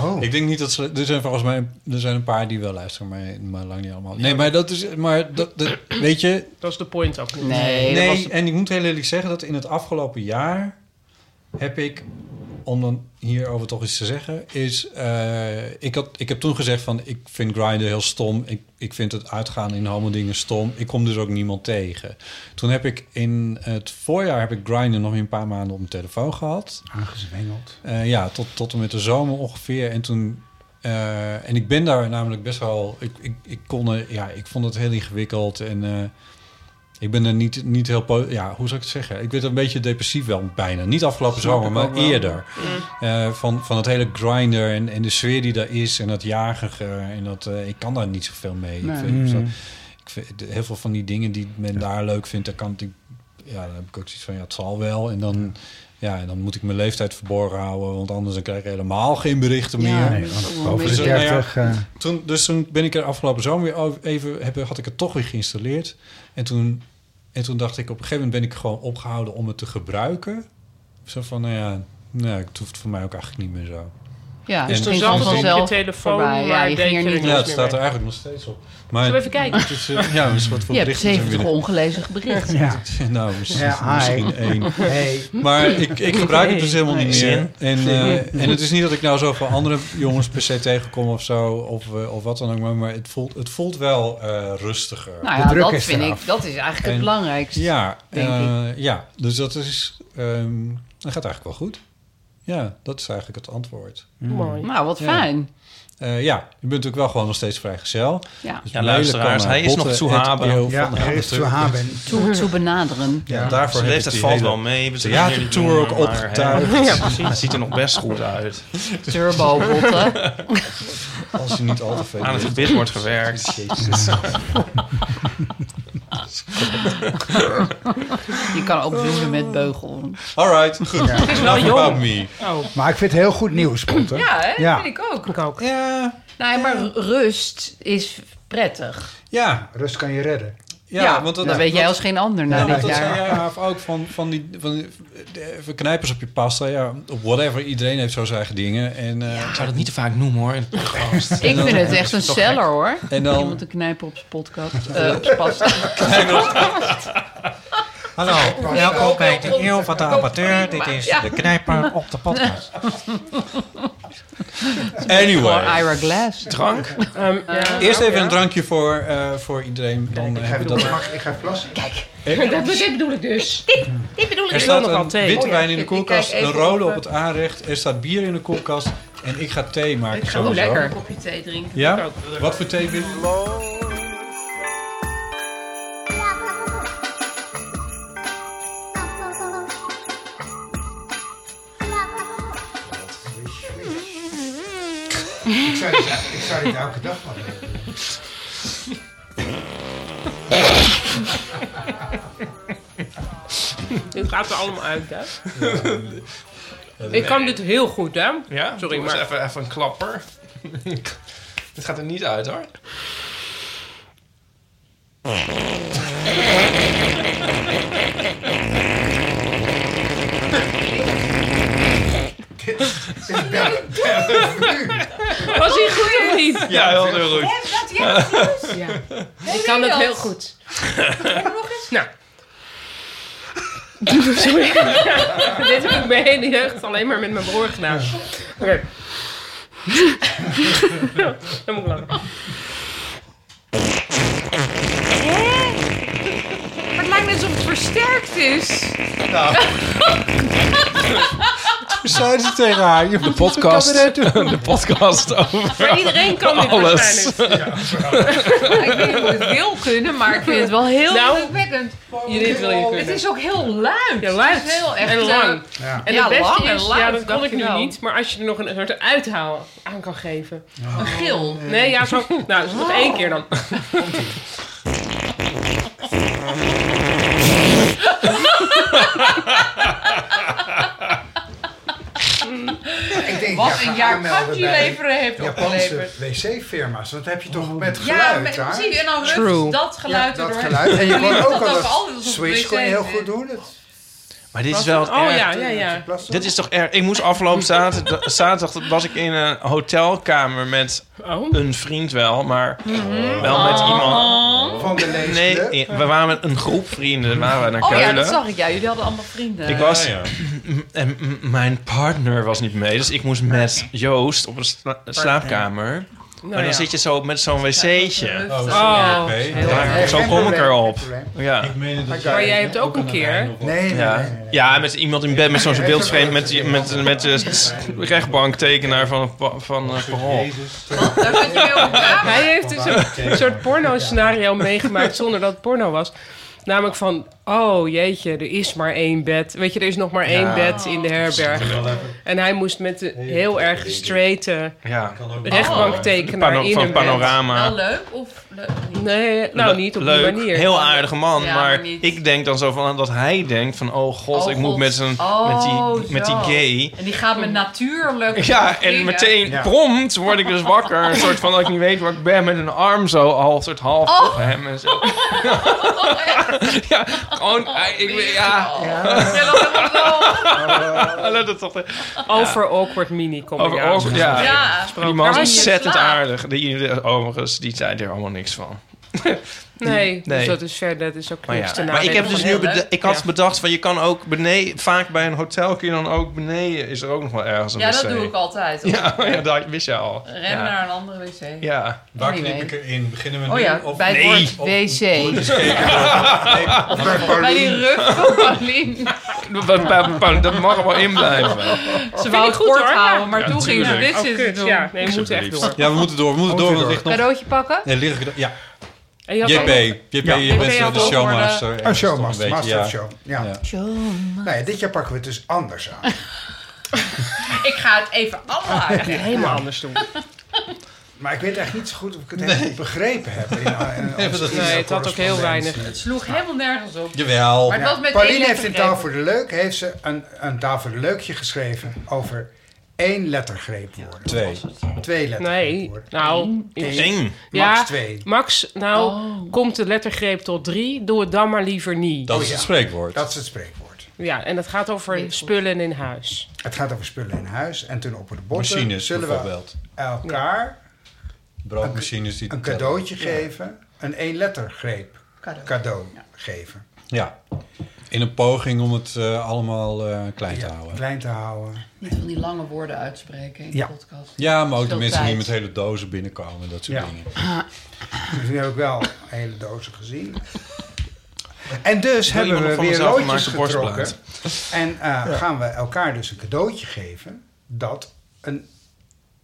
S10: Oh,
S7: Ik denk niet dat ze. Er zijn volgens mij. Er zijn een paar die wel luisteren, maar, maar lang niet allemaal. Nee, maar dat is. Maar dat, dat- weet je.
S6: Dat is de point ook niet.
S3: Nee, dat
S7: Nee,
S3: was-
S7: en ik moet heel eerlijk zeggen dat in het afgelopen jaar heb ik. Om dan hierover toch iets te zeggen, is. eh, ik, had, ik heb toen gezegd van. Ik vind grinden heel stom. Ik, ik vind het uitgaan in homo-dingen stom. Ik kom dus ook niemand tegen. Toen heb ik in het voorjaar. heb ik grinden nog een paar maanden op mijn telefoon gehad.
S10: aangezwengeld.
S7: Eh, ja, tot, tot en met de zomer ongeveer. En toen. eh, en ik ben daar namelijk best wel. Ik, ik, ik, kon er, ja, ik vond het heel ingewikkeld. En eh, ik ben er niet, niet heel. po- Ja, hoe zou ik het zeggen? Ik werd een beetje depressief wel bijna. Niet afgelopen zomer, maar eerder. Eh, van, van het hele grinder en, en de sfeer die daar is. En dat jagige. En dat, eh, ik kan daar niet zoveel mee. Ik vind- ik vind- ik vind- heel veel van die dingen die men daar leuk vindt, daar kan ik. Ja, dan heb ik ook zoiets van ja, het zal wel. En dan. Ja, en dan moet ik mijn leeftijd verborgen houden, want anders dan krijg ik helemaal geen berichten meer.
S3: Ja.
S10: Nee, want
S3: Oeh,
S10: Oh, boven de
S7: mensen- Nou ja.
S10: 30. eh,
S7: Toen, dus toen ben ik er afgelopen zomer weer over- even, heb, had ik het toch weer geïnstalleerd. En toen, en toen dacht ik, op een gegeven moment ben ik gewoon opgehouden om het te gebruiken. Zo van, nou ja, nou, het hoeft voor mij ook eigenlijk niet meer zo.
S3: ja,
S7: Dus
S3: het
S7: toen
S3: ging
S7: zat
S3: gewoon
S7: het op je
S3: vanzelf
S6: telefoon,
S3: voorbij. Ja,
S6: maar
S3: je
S6: deed
S3: ging er
S6: je
S3: niet
S7: Ja,
S6: er niet
S3: op.
S7: het
S6: meer
S7: staat er
S6: mee.
S7: eigenlijk nog steeds op.
S6: Zullen
S7: Maar,
S6: we even kijken?
S7: het is, eh, ja, een soort van
S3: Je hebt
S7: berichten zijn
S3: 70
S7: binnen.
S3: ongelezen berichten.
S10: Ja.
S7: *laughs* Nou, misschien,
S10: Ja,
S7: misschien
S10: hi.
S7: één.
S10: Hey.
S7: Maar ik, ik gebruik het dus helemaal niet
S4: Nee.
S7: meer. En, eh, en het is niet dat ik nou zoveel andere jongens per se tegenkom of zo, of, eh, of wat dan ook, maar- maar het voelt, het voelt wel eh, rustiger.
S3: Nou
S10: De
S3: ja,
S10: druk
S3: dat
S10: is
S3: vind
S10: eraf.
S3: ik, dat is eigenlijk het
S7: En-
S3: belangrijkste.
S7: Ja,
S3: denk
S7: eh, ja, dus dat is. ehm, dat gaat eigenlijk wel goed. Ja, dat is eigenlijk het antwoord.
S6: Mooi.
S3: Nou, wat
S7: Ja.
S3: fijn.
S7: Eh, ja, je bent natuurlijk wel gewoon nog steeds vrijgezel.
S3: Ja.
S7: Dus
S4: Ja,
S7: mailen
S4: luisteraars,
S7: kan naar
S4: hij is nog
S7: botten
S4: te
S7: at
S4: haben.
S7: eeuw van
S10: Ja,
S7: Haven
S10: er is
S7: terug.
S10: te haben.
S3: Toe, toe benaderen.
S7: Ja, daarvoor
S4: Zijn
S7: heb
S4: leeftijd
S7: ik
S4: valt
S7: die
S4: wel
S7: hele
S4: mee. We
S7: theatertour ook opgetuigd.
S4: Ja, precies. Het ziet er nog best goed uit.
S3: Turbo botten.
S7: Als je niet al te veel
S4: Aan het
S7: weet.
S4: gebit wordt gewerkt.
S3: Je kan ook zoenen met beugel.
S7: All right, goed.
S10: Het
S7: is wel about me.
S10: *laughs* Maar ik vind het heel goed nieuws, Potter.
S3: Ja, hè?
S10: Ja.
S3: vind ik ook.
S6: Ik ook.
S7: Ja,
S3: Nee, maar rust is prettig.
S7: ja,
S10: Rust kan je redden.
S7: ja, want dat,
S3: dat weet jij
S7: dat-
S3: als geen ander na
S7: Ja, want
S3: dit
S7: dat zei
S3: jaar.
S7: jij Haaf, ook van, van die van die- de- van knijpers op je pasta. Ja, whatever. Iedereen heeft zo zijn eigen dingen. En, eh,
S4: Ik zou dat niet te vaak noemen hoor. in het podcast. *laughs*
S3: Ik vind het echt een seller, hoor.
S7: en dan
S3: Iemand te knijpen op zijn podcast. eh, op zijn pasta.
S11: Hallo, welkom bij de Eeuw van de Amateur. Dit is
S3: Ja.
S11: de knijper op de
S7: *laughs*
S11: podcast.
S3: Voor
S7: Anyway.
S3: Ira Glass.
S4: Drank?
S6: Ehm, ja.
S7: Eerst even een drankje voor, eh, voor iedereen. Dan
S10: Ik
S7: eh,
S10: ga
S7: hebben we
S10: even,
S7: dat.
S10: mag, ik ga even plassen.
S3: Dit bedoel ik dus. Dit bedoel ik
S7: Er
S3: dus.
S6: wil
S7: staat
S6: nog wel
S7: een
S6: thee.
S7: witte
S3: Oh ja,
S7: wijn in de
S3: ik- ik
S7: koelkast,
S3: kijk
S7: een
S3: even
S7: rode
S3: of,
S7: op het aanrecht. Er staat bier in de koelkast En ik ga thee maken.
S3: Ik ga
S7: sowieso.
S3: lekker een kopje thee drinken. Ik
S7: Ja?
S3: ook.
S7: Wat voor thee wil je?
S10: Ik zou dit, ik zou dit elke dag van hebben.
S6: Dit gaat er allemaal uit, hè?
S4: Nee.
S6: Ik kan dit heel goed, hè?
S4: Ja?
S6: Sorry,
S4: Doe eens
S6: maar...
S4: even, even een klapper. *laughs* Dit gaat er niet uit, hoor.
S6: Was hij goed of niet?
S4: Ja, heel, heel goed.
S12: Dat ja, goed.
S6: Ja. Ik kan het heel goed. Nou. *laughs* Sorry. *laughs* Dit heb ik mijn hele jeugd alleen maar met mijn broer gedaan. Oké. Dan moet ik lachen.
S3: Maar het lijkt net alsof het versterkt is.
S7: Nou. Zeiden ze tegen haar, je moet
S4: De podcast.
S7: een cabaret doen.
S4: De podcast over
S6: Maar iedereen kan dit
S4: alles.
S6: waarschijnlijk.
S3: ik weet niet of ik het wil kunnen, maar ik vind het wel heel
S6: Nou,
S3: indrukwekkend.
S6: je- dit wil je kunnen.
S3: Oh, Het is ook heel luid.
S6: Ja, luid.
S3: Het is heel echt
S6: En
S3: eh,
S6: lang.
S10: Ja.
S6: En
S3: Ja,
S6: het beste
S3: lang en
S6: is,
S3: laat,
S6: ja, dat kon
S3: dacht
S6: ik
S3: je nou.
S6: nu
S3: wel.
S6: niet, maar als je er nog een soort uithalen aan kan geven.
S3: een gil.
S6: Nee, ja, zo. Nou, dus nog één keer dan.
S10: Ik denk,
S3: Wat
S10: ja,
S3: een
S10: ga
S3: jaar
S10: aanmelden
S3: kanji
S10: bij
S3: leveren heeft
S10: Japanse
S3: opgeleverd.
S10: wc-firma's. Dat heb je toch met
S3: Ja,
S10: geluid
S3: met-
S10: daar?
S3: precies. En dan
S6: True.
S3: ruft dat geluid
S10: dat
S3: erdoor.
S10: geluid.
S3: *laughs*
S10: En je kon
S3: Jullie
S10: ook
S3: doen dat
S10: al
S3: altijd
S10: dat
S3: alsof het
S10: switch
S3: wc
S10: kon je heel
S3: is.
S10: goed doen. Het.
S4: Maar dit is wel
S6: Oh
S4: erg.
S6: ja, ja, ja.
S4: Dit is toch erg. Ik moest afgelopen zaterdag, zaterdag was ik in een hotelkamer met
S6: Oh.
S4: een vriend wel, maar wel met iemand.
S10: Van de lezer.
S4: Nee, i- we waren met een groep vrienden waren we naar
S3: Oh ja,
S4: Keulen.
S3: dat zag ik. Ja, jullie hadden allemaal vrienden.
S4: Ik was
S7: Ja, ja.
S4: *clears throat* en m- mijn partner was niet mee, dus ik moest met Joost op een sla- slaapkamer.
S6: Nou
S4: Maar dan
S6: ja.
S4: zit je zo met zo'n wc'tje.
S7: Oh,
S6: Oh.
S7: oké.
S6: Heel
S7: Ja.
S4: Daar- Zo
S10: Geen
S4: kom ik
S10: probleem,
S4: erop.
S10: geen probleem.
S4: Ja.
S7: Ik meen dat
S6: Maar jij hebt ook een keer...
S10: Nee, nee,
S4: Ja.
S10: nee, nee, nee.
S4: ja, met iemand in bed met zo'n beeldvreemd met, met, met de rechtbanktekenaar van, van eh, Parool.
S3: Daar zat je mee op elkaar.
S6: Hij heeft dus een, soort
S4: *laughs*
S6: porno-scenario meegemaakt zonder dat het porno was. Namelijk van, oh jeetje, er is maar één bed. Weet je, er is nog maar één
S4: Ja. Oh,
S6: bed in de herberg. En hij moest met de heel erg straighte
S4: Ja.
S6: rechtbanktekenaar
S4: Pano-
S6: in
S4: van
S6: een bed.
S4: panorama.
S3: Wel leuk of leuk niet?
S6: Nee, nou niet op
S4: Leuk,
S6: die manier.
S4: Heel aardige man,
S3: Ja,
S4: maar
S3: maar niet.
S4: ik denk dan zo van ah, dat hij denkt van oh god,
S3: Oh,
S4: ik moet
S3: God.
S4: met, zijn, met, die,
S3: Oh,
S4: met die
S3: zo. *laughs*
S4: gay.
S3: En die gaat met natuurlijk.
S4: Ja, en
S3: dingen.
S4: meteen
S10: Ja.
S4: prompt word ik dus wakker. Een soort van dat ik niet weet waar ik ben met een arm zo half, soort half
S3: Oh.
S4: op hem en zo. *laughs* ja, gewoon, hij- ik weet, ja,
S3: Oh. Ja, dat is wel leuk.
S4: dat is toch...
S6: Over awkward mini kom
S4: Over, over, ja.
S3: Ja.
S4: Die
S3: Waar
S4: man is
S3: was je
S4: ontzettend
S3: slaap?
S4: aardig. Die, overigens, die zei er allemaal niks van.
S6: Nee,
S4: Nee.
S6: dus dat is verder, dat is ook
S4: Maar,
S6: niks te
S4: ja. maar ik heb
S6: nadenken.
S4: dus
S3: Heel
S4: nu beda-
S3: leuk.
S4: ik had
S6: Ja.
S4: bedacht van je kan ook beneden, vaak bij een hotel kun je dan ook beneden, is er ook nog wel ergens een
S3: Ja, dat
S4: wc.
S3: doe ik altijd.
S4: Ja, *laughs* ja, dat wist je al.
S3: Ren
S4: ja.
S3: naar een andere wc.
S4: Ja.
S7: Waar
S3: Nee,
S7: knip
S3: nee.
S7: ik erin? Beginnen we nu?
S3: Oh ja,
S7: of oh,
S3: bij
S4: Nee.
S3: het woord wc.
S10: Bij
S3: Bij
S10: Paulien.
S3: die rug van
S4: *laughs*
S3: Paulien.
S4: Dat- dat- dat- dat- Dat mag er wel in blijven.
S3: Ze wou het
S6: goed,
S3: kort
S6: hoor.
S3: houden, maar
S4: Ja,
S3: toen ging ze
S4: tuurlijk.
S3: dit
S6: Oh,
S3: zitten
S6: kut,
S3: doen.
S6: ja. Nee, we moeten echt door.
S7: Ja, we moeten door. We moeten door, want Oh, het ligt nog...
S3: Cadeautje pakken?
S7: Nee, ligt ik... Ja,
S6: En je had
S7: JP.
S6: ook-
S7: JP,
S6: Ja.
S7: je bent
S6: Ik
S7: eh,
S6: had
S7: de
S6: ook
S7: showmaster.
S10: Een
S7: ergens toch
S10: showmaster,
S7: beetje,
S10: master
S7: ja.
S10: of show. Ja.
S7: Ja.
S10: Nou ja, dit jaar pakken we het dus anders aan.
S3: Ik ga het even allemaal uit.
S6: helemaal anders doen.
S10: Maar ik weet echt niet zo goed of ik het helemaal begrepen heb. In, in onze
S7: dat-
S6: Nee, het had ook heel weinig.
S3: Het sloeg helemaal nergens op.
S7: Jawel.
S3: Maar het was met één
S10: Pauline heeft
S3: letter
S10: in
S3: gegeven.
S10: Taal voor de Leuk heeft ze een, een Taal voor de Leukje geschreven over één lettergreepwoorden.
S7: Twee.
S10: Twee
S6: Nee,
S10: lettergreepwoorden.
S6: nou... ik-
S4: Eén. Oh.
S10: Max twee.
S6: Max, nou komt de lettergreep tot drie, doe het dan maar liever niet.
S7: Dat
S10: Oh,
S7: is het
S10: ja.
S7: spreekwoord.
S10: Dat is het spreekwoord.
S6: Ja, en dat gaat over
S3: Nee, goed.
S6: spullen in
S4: *laughs*
S6: huis.
S10: Het gaat over spullen in huis en toen op de botten
S7: Machines
S10: zullen we
S7: bijvoorbeeld.
S10: elkaar
S7: Broodmachines die...
S10: een cadeautje geven, een één lettergreep
S3: Cadeau.
S10: cadeau geven.
S7: Ja. In een poging om het eh, allemaal eh, klein te houden.
S10: Klein te houden.
S3: Niet van die lange woorden uitspreken in de
S10: Ja.
S3: podcast.
S7: Ja, maar ook de
S3: Veel
S7: mensen die met
S3: tijd.
S7: hele dozen binnenkomen. Dat soort
S10: Ja. *laughs*
S7: dingen.
S10: Dus nu heb ik wel een hele dozen gezien. En dus
S4: Wil
S10: hebben
S4: iemand nog
S10: we
S4: van mezelf
S10: weer loodjes
S4: gemaakte
S10: getrokken.
S4: borstplaat?
S10: En eh, gaan we elkaar dus een cadeautje geven dat een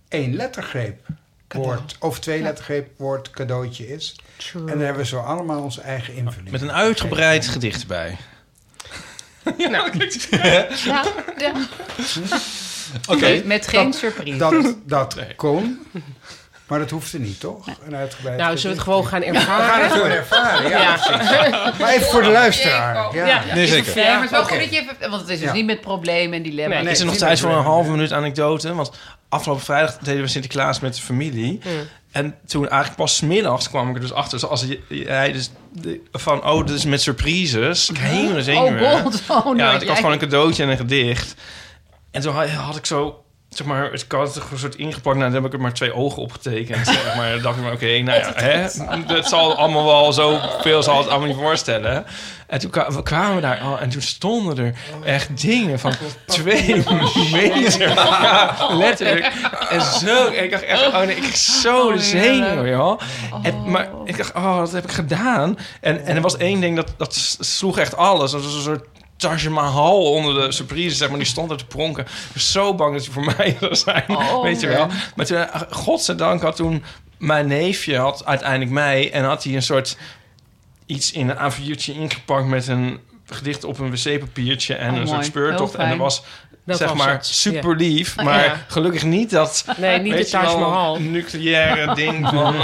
S10: één lettergreep woord, of twee lettergreep woord cadeautje is. En daar hebben we zo allemaal onze eigen invulling.
S4: Oh, Met een uitgebreid gedicht bij.
S6: Nou,
S3: Ja, ja.
S4: *laughs* Oké.
S3: Met- Met geen surprise.
S10: Dat, dat kon, maar dat hoefde niet, toch? Een uitgebreid
S6: nou, zullen we het gewoon
S10: gedicht.
S6: gaan ervaren?
S10: We gaan het gewoon ervaren, ja,
S6: Ah. Ja.
S10: precies. Maar even voor de luisteraar. Ja.
S6: Ja.
S7: Nee, zeker.
S3: Nee, maar het is wel
S10: Oké.
S3: goed dat je even... Want het is dus
S10: Ja.
S3: niet met problemen en dilemma's.
S6: Nee.
S4: is er nog tijd voor een halve minuut anekdote? Want afgelopen vrijdag deden we Sinterklaas met de familie.
S6: Hm.
S4: En toen eigenlijk pas 's middags kwam ik er dus achter. Zoals je- hij dus de- van, oh, dit is met surprises. Ik helemaal
S3: Oh,
S4: zenuwen.
S3: bold. Oh, nooit
S4: ja, want ik
S3: jij.
S4: had gewoon een cadeautje en een gedicht. En toen had, had ik zo, zeg maar, het had een soort ingepakt. Nou, dan heb ik er maar twee ogen *laughs* opgetekend. zeg maar dan dacht ik, maar, oké, nou ja, hè, dat zal allemaal wel zo veel zal het allemaal niet voorstellen. En toen kwa- we kwamen we daar al en toen stonden er echt dingen van twee *laughs* meter. Ja, letterlijk. En zo, en ik dacht echt, oh nee, ik kreeg zo de zenuwen, joh. En, maar ik dacht, oh, dat heb ik gedaan. En, en er was één ding, dat, dat s- sloeg echt alles. Dat was een soort Taj Mahal onder de surprise, zeg maar. Die stond er te pronken. Ik was zo bang dat hij voor mij *laughs* zou zijn,
S3: Oh,
S4: weet je
S3: man.
S4: wel. Maar toen, eh, godzijdank had toen mijn neefje had uiteindelijk mij... en had hij een soort iets in een A4'tje ingepakt met een gedicht op een wc-papiertje... en
S3: Oh,
S4: een soort
S3: mooi. Heel
S4: speurtocht. En
S3: fijn.
S4: er was...
S6: Dat
S4: zeg
S6: was
S4: maar
S6: het, ja.
S4: super lief, maar
S6: Ja.
S4: gelukkig niet dat
S6: Nee, niet de
S4: weet je
S6: Taj
S4: wel,
S6: Mahal. *laughs*
S4: nucleaire ding van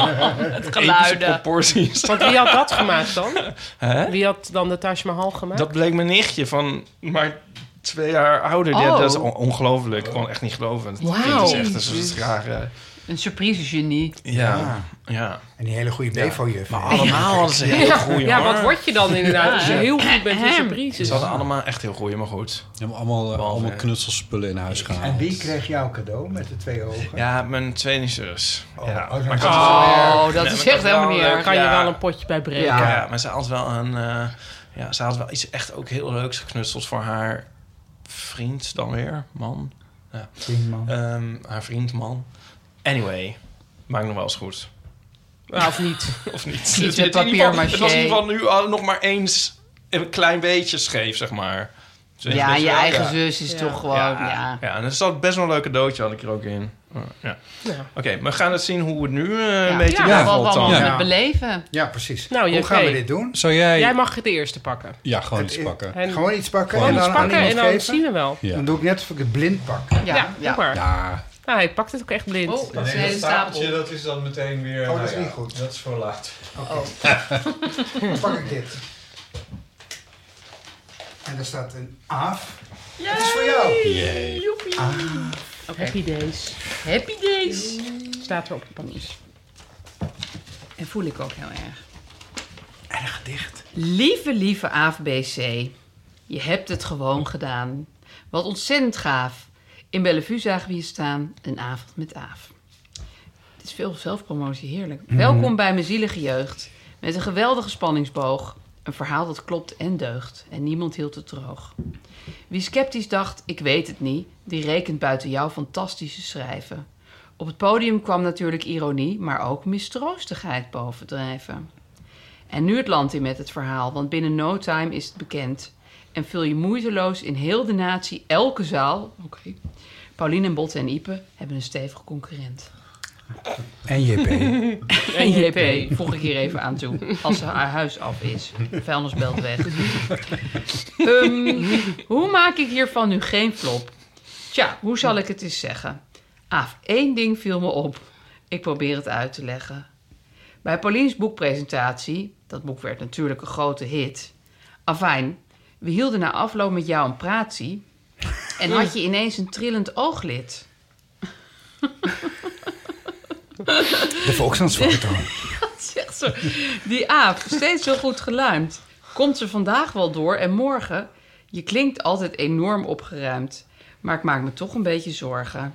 S3: geluiden.
S4: epische proporties.
S6: Want wie had dat gemaakt dan?
S4: Hè?
S6: Wie had dan de Taj Mahal gemaakt?
S4: Dat bleek mijn nichtje van maar twee jaar ouder. Ja,
S3: Oh.
S4: dat is on- ongelooflijk. Ik kon echt niet geloven. Dat
S6: Wauw.
S4: kind is echt een soort rare...
S3: Een surprise genie.
S4: Ja, ja.
S10: Ah, En die hele goede Bevo-juf.
S4: Maar allemaal hadden ze heel goeie,
S6: ja,
S4: hoor.
S6: wat dus? word je dan inderdaad als je
S4: Ja.
S6: heel goed bent in
S4: Ze
S6: surprises?
S4: hadden allemaal echt heel goeie, maar goed.
S7: We hebben allemaal, eh,
S4: Behalve-
S7: allemaal knutselspullen in huis gehaald.
S10: En wie kreeg jouw cadeau met de twee ogen?
S4: Ja, mijn tweede zus. ja.
S10: oh,
S4: Maar ik
S10: dat
S4: had-
S3: Oh, dat
S4: Nee,
S3: is
S4: maar
S3: echt
S4: dat
S3: helemaal
S4: wel,
S3: niet
S4: eh,
S3: erg.
S6: Kan je
S4: Ja.
S6: wel een potje bij breken?
S3: Ja.
S4: Ja, maar ze had wel een... eh, ja, ze had wel iets echt ook heel leuks geknutseld voor haar vriend dan weer. Man.
S10: Tienman.
S4: Ehm, haar vriend, man. Anyway, maakt nog wel eens goed. *laughs*
S6: Ja, Of niet?
S4: Of niet?
S3: met
S4: Het- het- in ieder geval-
S3: papier-mâché.
S4: Het was in ieder geval nu al nog maar eens een klein beetje scheef, zeg maar. Dus
S3: Ja,
S4: weet
S3: je
S4: wel,
S3: eigen
S4: ja.
S3: zus is
S6: Ja.
S3: toch gewoon...
S4: Ja,
S3: Ja.
S4: ja. en er zat best wel een leuke doodje had ik er ook in. Ja.
S6: Ja.
S4: Oké, we gaan het zien hoe het nu eh,
S3: Ja.
S4: een beetje
S6: Ja,
S4: ja,
S3: Wat we allemaal
S7: Ja.
S3: met beleven.
S10: Ja, precies.
S6: Nou,
S10: Hoe
S6: JP.
S10: gaan we dit doen?
S7: Zou jij...
S6: Jij mag het eerste pakken.
S7: Ja, gewoon
S10: Het
S7: iets
S10: is-
S7: pakken.
S6: En
S10: Gewoon iets pakken
S7: Gewoon
S10: en dan
S7: iets
S10: aan
S6: pakken
S10: iemand
S6: en dan
S10: geven?
S6: zien we wel.
S7: Ja.
S10: Dan doe ik net alsof ik het blind pak. *laughs*
S6: Ja,
S3: Ja,
S6: doe
S3: ja.
S6: maar.
S10: Ah.
S7: Ja.
S6: Nou, hij pakt het ook echt blind.
S3: Oh, dat is een hele stapel.
S11: dat is dan meteen weer...
S10: Oh, dat
S7: nou
S10: is niet goed.
S11: Dat is voor laat.
S10: Dan pak ik dit. En daar staat een aaf. Dat is voor jou.
S7: Jee.
S6: Happy days.
S3: Happy days.
S6: Staat er op de pakjes.
S3: En voel ik ook heel erg.
S10: Erg gedicht.
S3: Lieve, lieve AFBC, je hebt het gewoon gedaan. Wat ontzettend gaaf. In Bellevue zagen we je staan, een avond met Aaf. Het is veel zelfpromotie, heerlijk.
S10: Mhm.
S3: Welkom bij mijn zielige jeugd. Met een geweldige spanningsboog. Een verhaal dat klopt en deugt. En niemand hield het droog. Wie sceptisch dacht, ik weet het niet, die rekent buiten jouw fantastische schrijven. Op het podium kwam natuurlijk ironie, maar ook mistroostigheid bovendrijven. En nu het land in met het verhaal, want binnen no time is het bekend. En vul je moeiteloos in heel de natie elke zaal. Oké. Pauline en Botte en Ipe hebben een stevige concurrent.
S10: En JP.
S3: En JP voeg ik hier even aan toe. Als ze haar huis af is. Vuilnisbelt weg. Ehm, hoe maak ik hiervan nu geen flop? Tja, hoe zal ik het eens zeggen? Aaf, één ding viel me op. Ik probeer het uit te leggen. Bij Paulien's boekpresentatie, dat boek werd natuurlijk een grote hit. Afijn, we hielden na afloop met jou een pratie. En had je ineens een trillend ooglid.
S6: *laughs*
S10: De Volksdansfoto.
S3: *laughs* Zegt ze. Die aap, steeds zo goed geluimd. Komt ze vandaag wel door en morgen? Je klinkt altijd enorm opgeruimd. Maar ik maak me toch een beetje zorgen.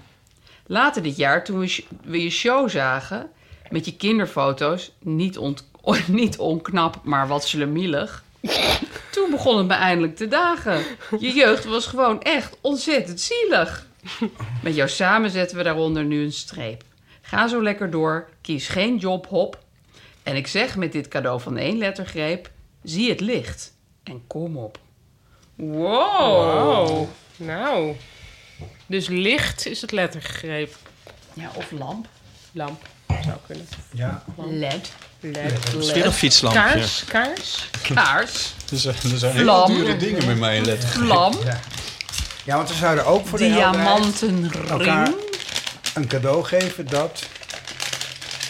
S3: Later dit jaar, toen we, sh- we je show zagen... met je kinderfoto's, niet, ont, *laughs* oh, niet onknap, maar wat slemielig... toen begon het me eindelijk te dagen. Je jeugd was gewoon echt ontzettend zielig. Met jou samen zetten we daaronder nu een streep. Ga zo lekker door, kies geen job, hop. En ik zeg met dit cadeau van één lettergreep: zie het licht en kom op.
S6: Wow. Nou. Dus licht is het lettergreep.
S3: Ja, of lamp.
S6: Lamp zou kunnen.
S10: Ja.
S3: LED.
S6: LED.
S4: Het is weer een fietslampje.
S6: Kaars, kaars.
S3: Kaars.
S7: *laughs* Er zijn, er zijn
S3: Vlam.
S7: heel dure dingen met mij in letter.
S10: *laughs*
S3: Vlam.
S10: Ja, want we zouden ook voor de helderheid elkaar
S3: Diamantenring.
S10: een cadeau geven dat...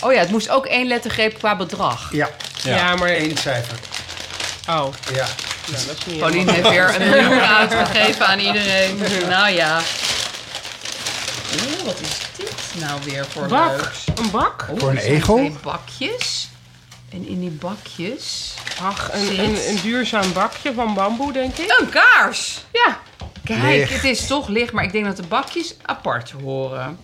S3: Oh ja, het moest ook één lettergreep qua bedrag.
S10: Ja,
S6: Ja, maar...
S10: één cijfer.
S6: Oh,
S10: Ja.
S6: nou, dat is niet
S3: Pauline heeft weer *laughs* een miljoen uitgegeven aan iedereen. Nou ja. Oeh, wat is dit nou weer voor
S6: helemaal- Bak.
S3: leuks?
S6: Een bak?
S3: Oeh,
S10: Voor een
S3: er zijn
S10: egel?
S3: Twee bakjes. En in die bakjes...
S6: Ach, een, een, een duurzaam bakje van bamboe, denk ik.
S3: Een kaars!
S6: Ja.
S3: Kijk,
S10: Licht.
S3: het is toch licht, maar ik denk dat de bakjes apart horen.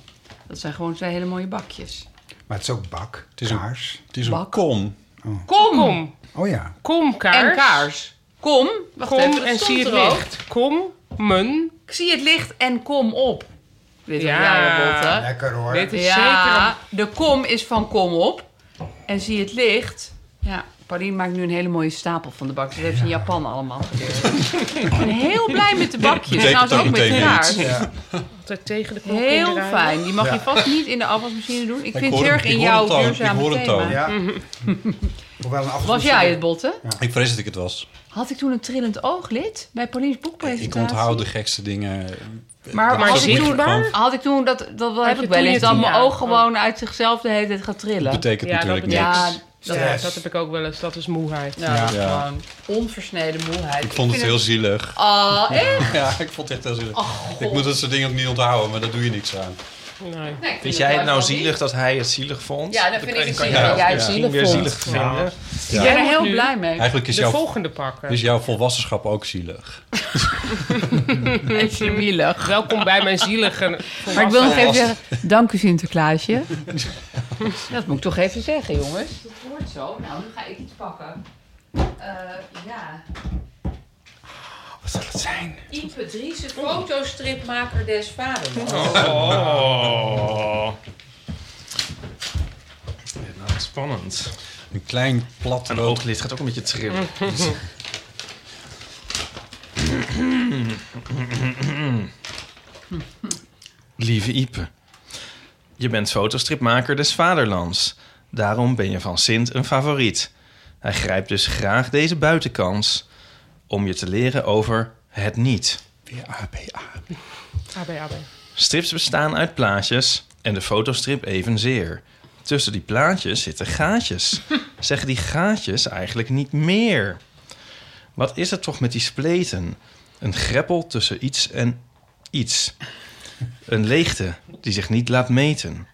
S3: Dat zijn gewoon twee hele mooie bakjes.
S10: Maar het is ook bak,
S7: is een-
S10: kaars.
S7: Het is een
S3: Bak.
S7: kom.
S3: Kom!
S6: Kom.
S10: Oh ja.
S6: Kom, kaars.
S3: En kaars. Kom, wacht
S6: Kom
S3: even, dat
S6: en
S3: stond
S6: zie het
S3: er ook.
S6: licht. Kom, men.
S3: Ik zie het licht en kom op. Dit ja.
S6: Ja.
S3: jij Botte.
S10: Lekker hoor.
S6: Dit is
S3: Ja, de kom is van kom op. En zie het licht. Ja, Pauline maakt nu een hele mooie stapel van de bakjes. Dat heeft ze in Japan allemaal geleerd. Ik ben heel blij met de bakjes.
S7: Betekent
S3: Trouwens
S7: ook
S3: ook met
S7: meteen
S3: kaars.
S7: iets.
S10: Ja.
S6: zeker altijd tegen de knop
S3: Heel
S6: indraaien.
S3: fijn. Die mag je vast niet in de afwasmachine doen. Ik
S7: Ik
S3: vind
S7: hoor
S3: het heel erg
S7: hem-
S3: in
S7: ik hoor
S3: jouw
S7: het al, ik
S3: duurzame
S7: hoor het al.
S3: thema.
S6: *laughs*
S10: Ja. Hoewel een
S3: Was
S10: afgelopen-
S3: jij het, Botte?
S7: Ik vrees dat ik het was.
S3: Had ik toen een trillend ooglid bij Pauline's
S7: Ik
S3: boekpresentatie?
S7: onthoud de gekste dingen.
S3: Maar,
S6: Maar
S3: als ik toen,
S6: zichtbaar?
S7: Dat
S3: had ik toen, dat, dat
S6: Had
S3: heb
S6: je
S3: ik wel
S6: toen je
S3: eens, dat
S6: tien
S3: mijn
S6: jaar?
S3: oog gewoon uit zichzelf de hele tijd gaat trillen.
S7: betekent
S6: Ja, dat
S7: natuurlijk niks.
S6: betekent-
S3: ja,
S6: niks.
S3: dat,
S6: Ja,
S10: Yes.
S6: dat heb ik ook wel eens. Dat is moeheid.
S3: ja, dat is
S7: Ja.
S3: gewoon onversneden moeheid.
S7: Ik vond het heel zielig.
S3: Ah,
S7: *laughs*
S3: echt?
S7: Ja, ik vond het echt heel zielig. ik moet dat soort dingen ook niet onthouden, maar daar doe je niks aan.
S6: Nee.
S3: Nee, ik
S4: Vind
S3: het
S4: jij het
S3: juist
S4: nou
S3: wel
S4: zielig
S3: niet.
S4: dat hij het zielig vond?
S3: Ja, dat vind ik
S4: kan-
S3: het
S4: kan
S3: zielig
S4: jij
S3: dat jij het
S4: misschien
S3: zielig
S4: weer
S3: vond.
S4: zielig vinden.
S3: Ik ben er heel blij mee.
S7: Eigenlijk is,
S6: De
S7: jouw,
S6: volgende pakken.
S7: is jouw volwassenschap ook zielig.
S3: En zielig.
S6: Welkom bij mijn zielige.
S3: Maar ik wil nog even zeggen, dank u Sinterklaasje. dat moet ik toch even zeggen, jongens. Dat hoort zo. Nou, nu ga ik iets pakken. Eh, ja.
S10: Wat zal het zijn?
S3: Ipe Driessen, fotostripmaker des vaders.
S4: Oh. Ja, nou, spannend.
S7: Een klein plat
S4: Een
S7: rood
S4: ooglid gaat ook een beetje trillen. Lieve Ipe, je bent fotostripmaker des vaderlands. Daarom ben je van Sint een favoriet. Hij grijpt dus graag deze buitenkans om je te leren over het niet.
S6: AB, AB.
S4: Strips bestaan uit plaatjes en de fotostrip evenzeer. Tussen die plaatjes zitten gaatjes. Zeggen die gaatjes eigenlijk niet meer? Wat is het toch met die spleten? Een greppel tussen iets en iets. Een leegte die zich niet laat meten.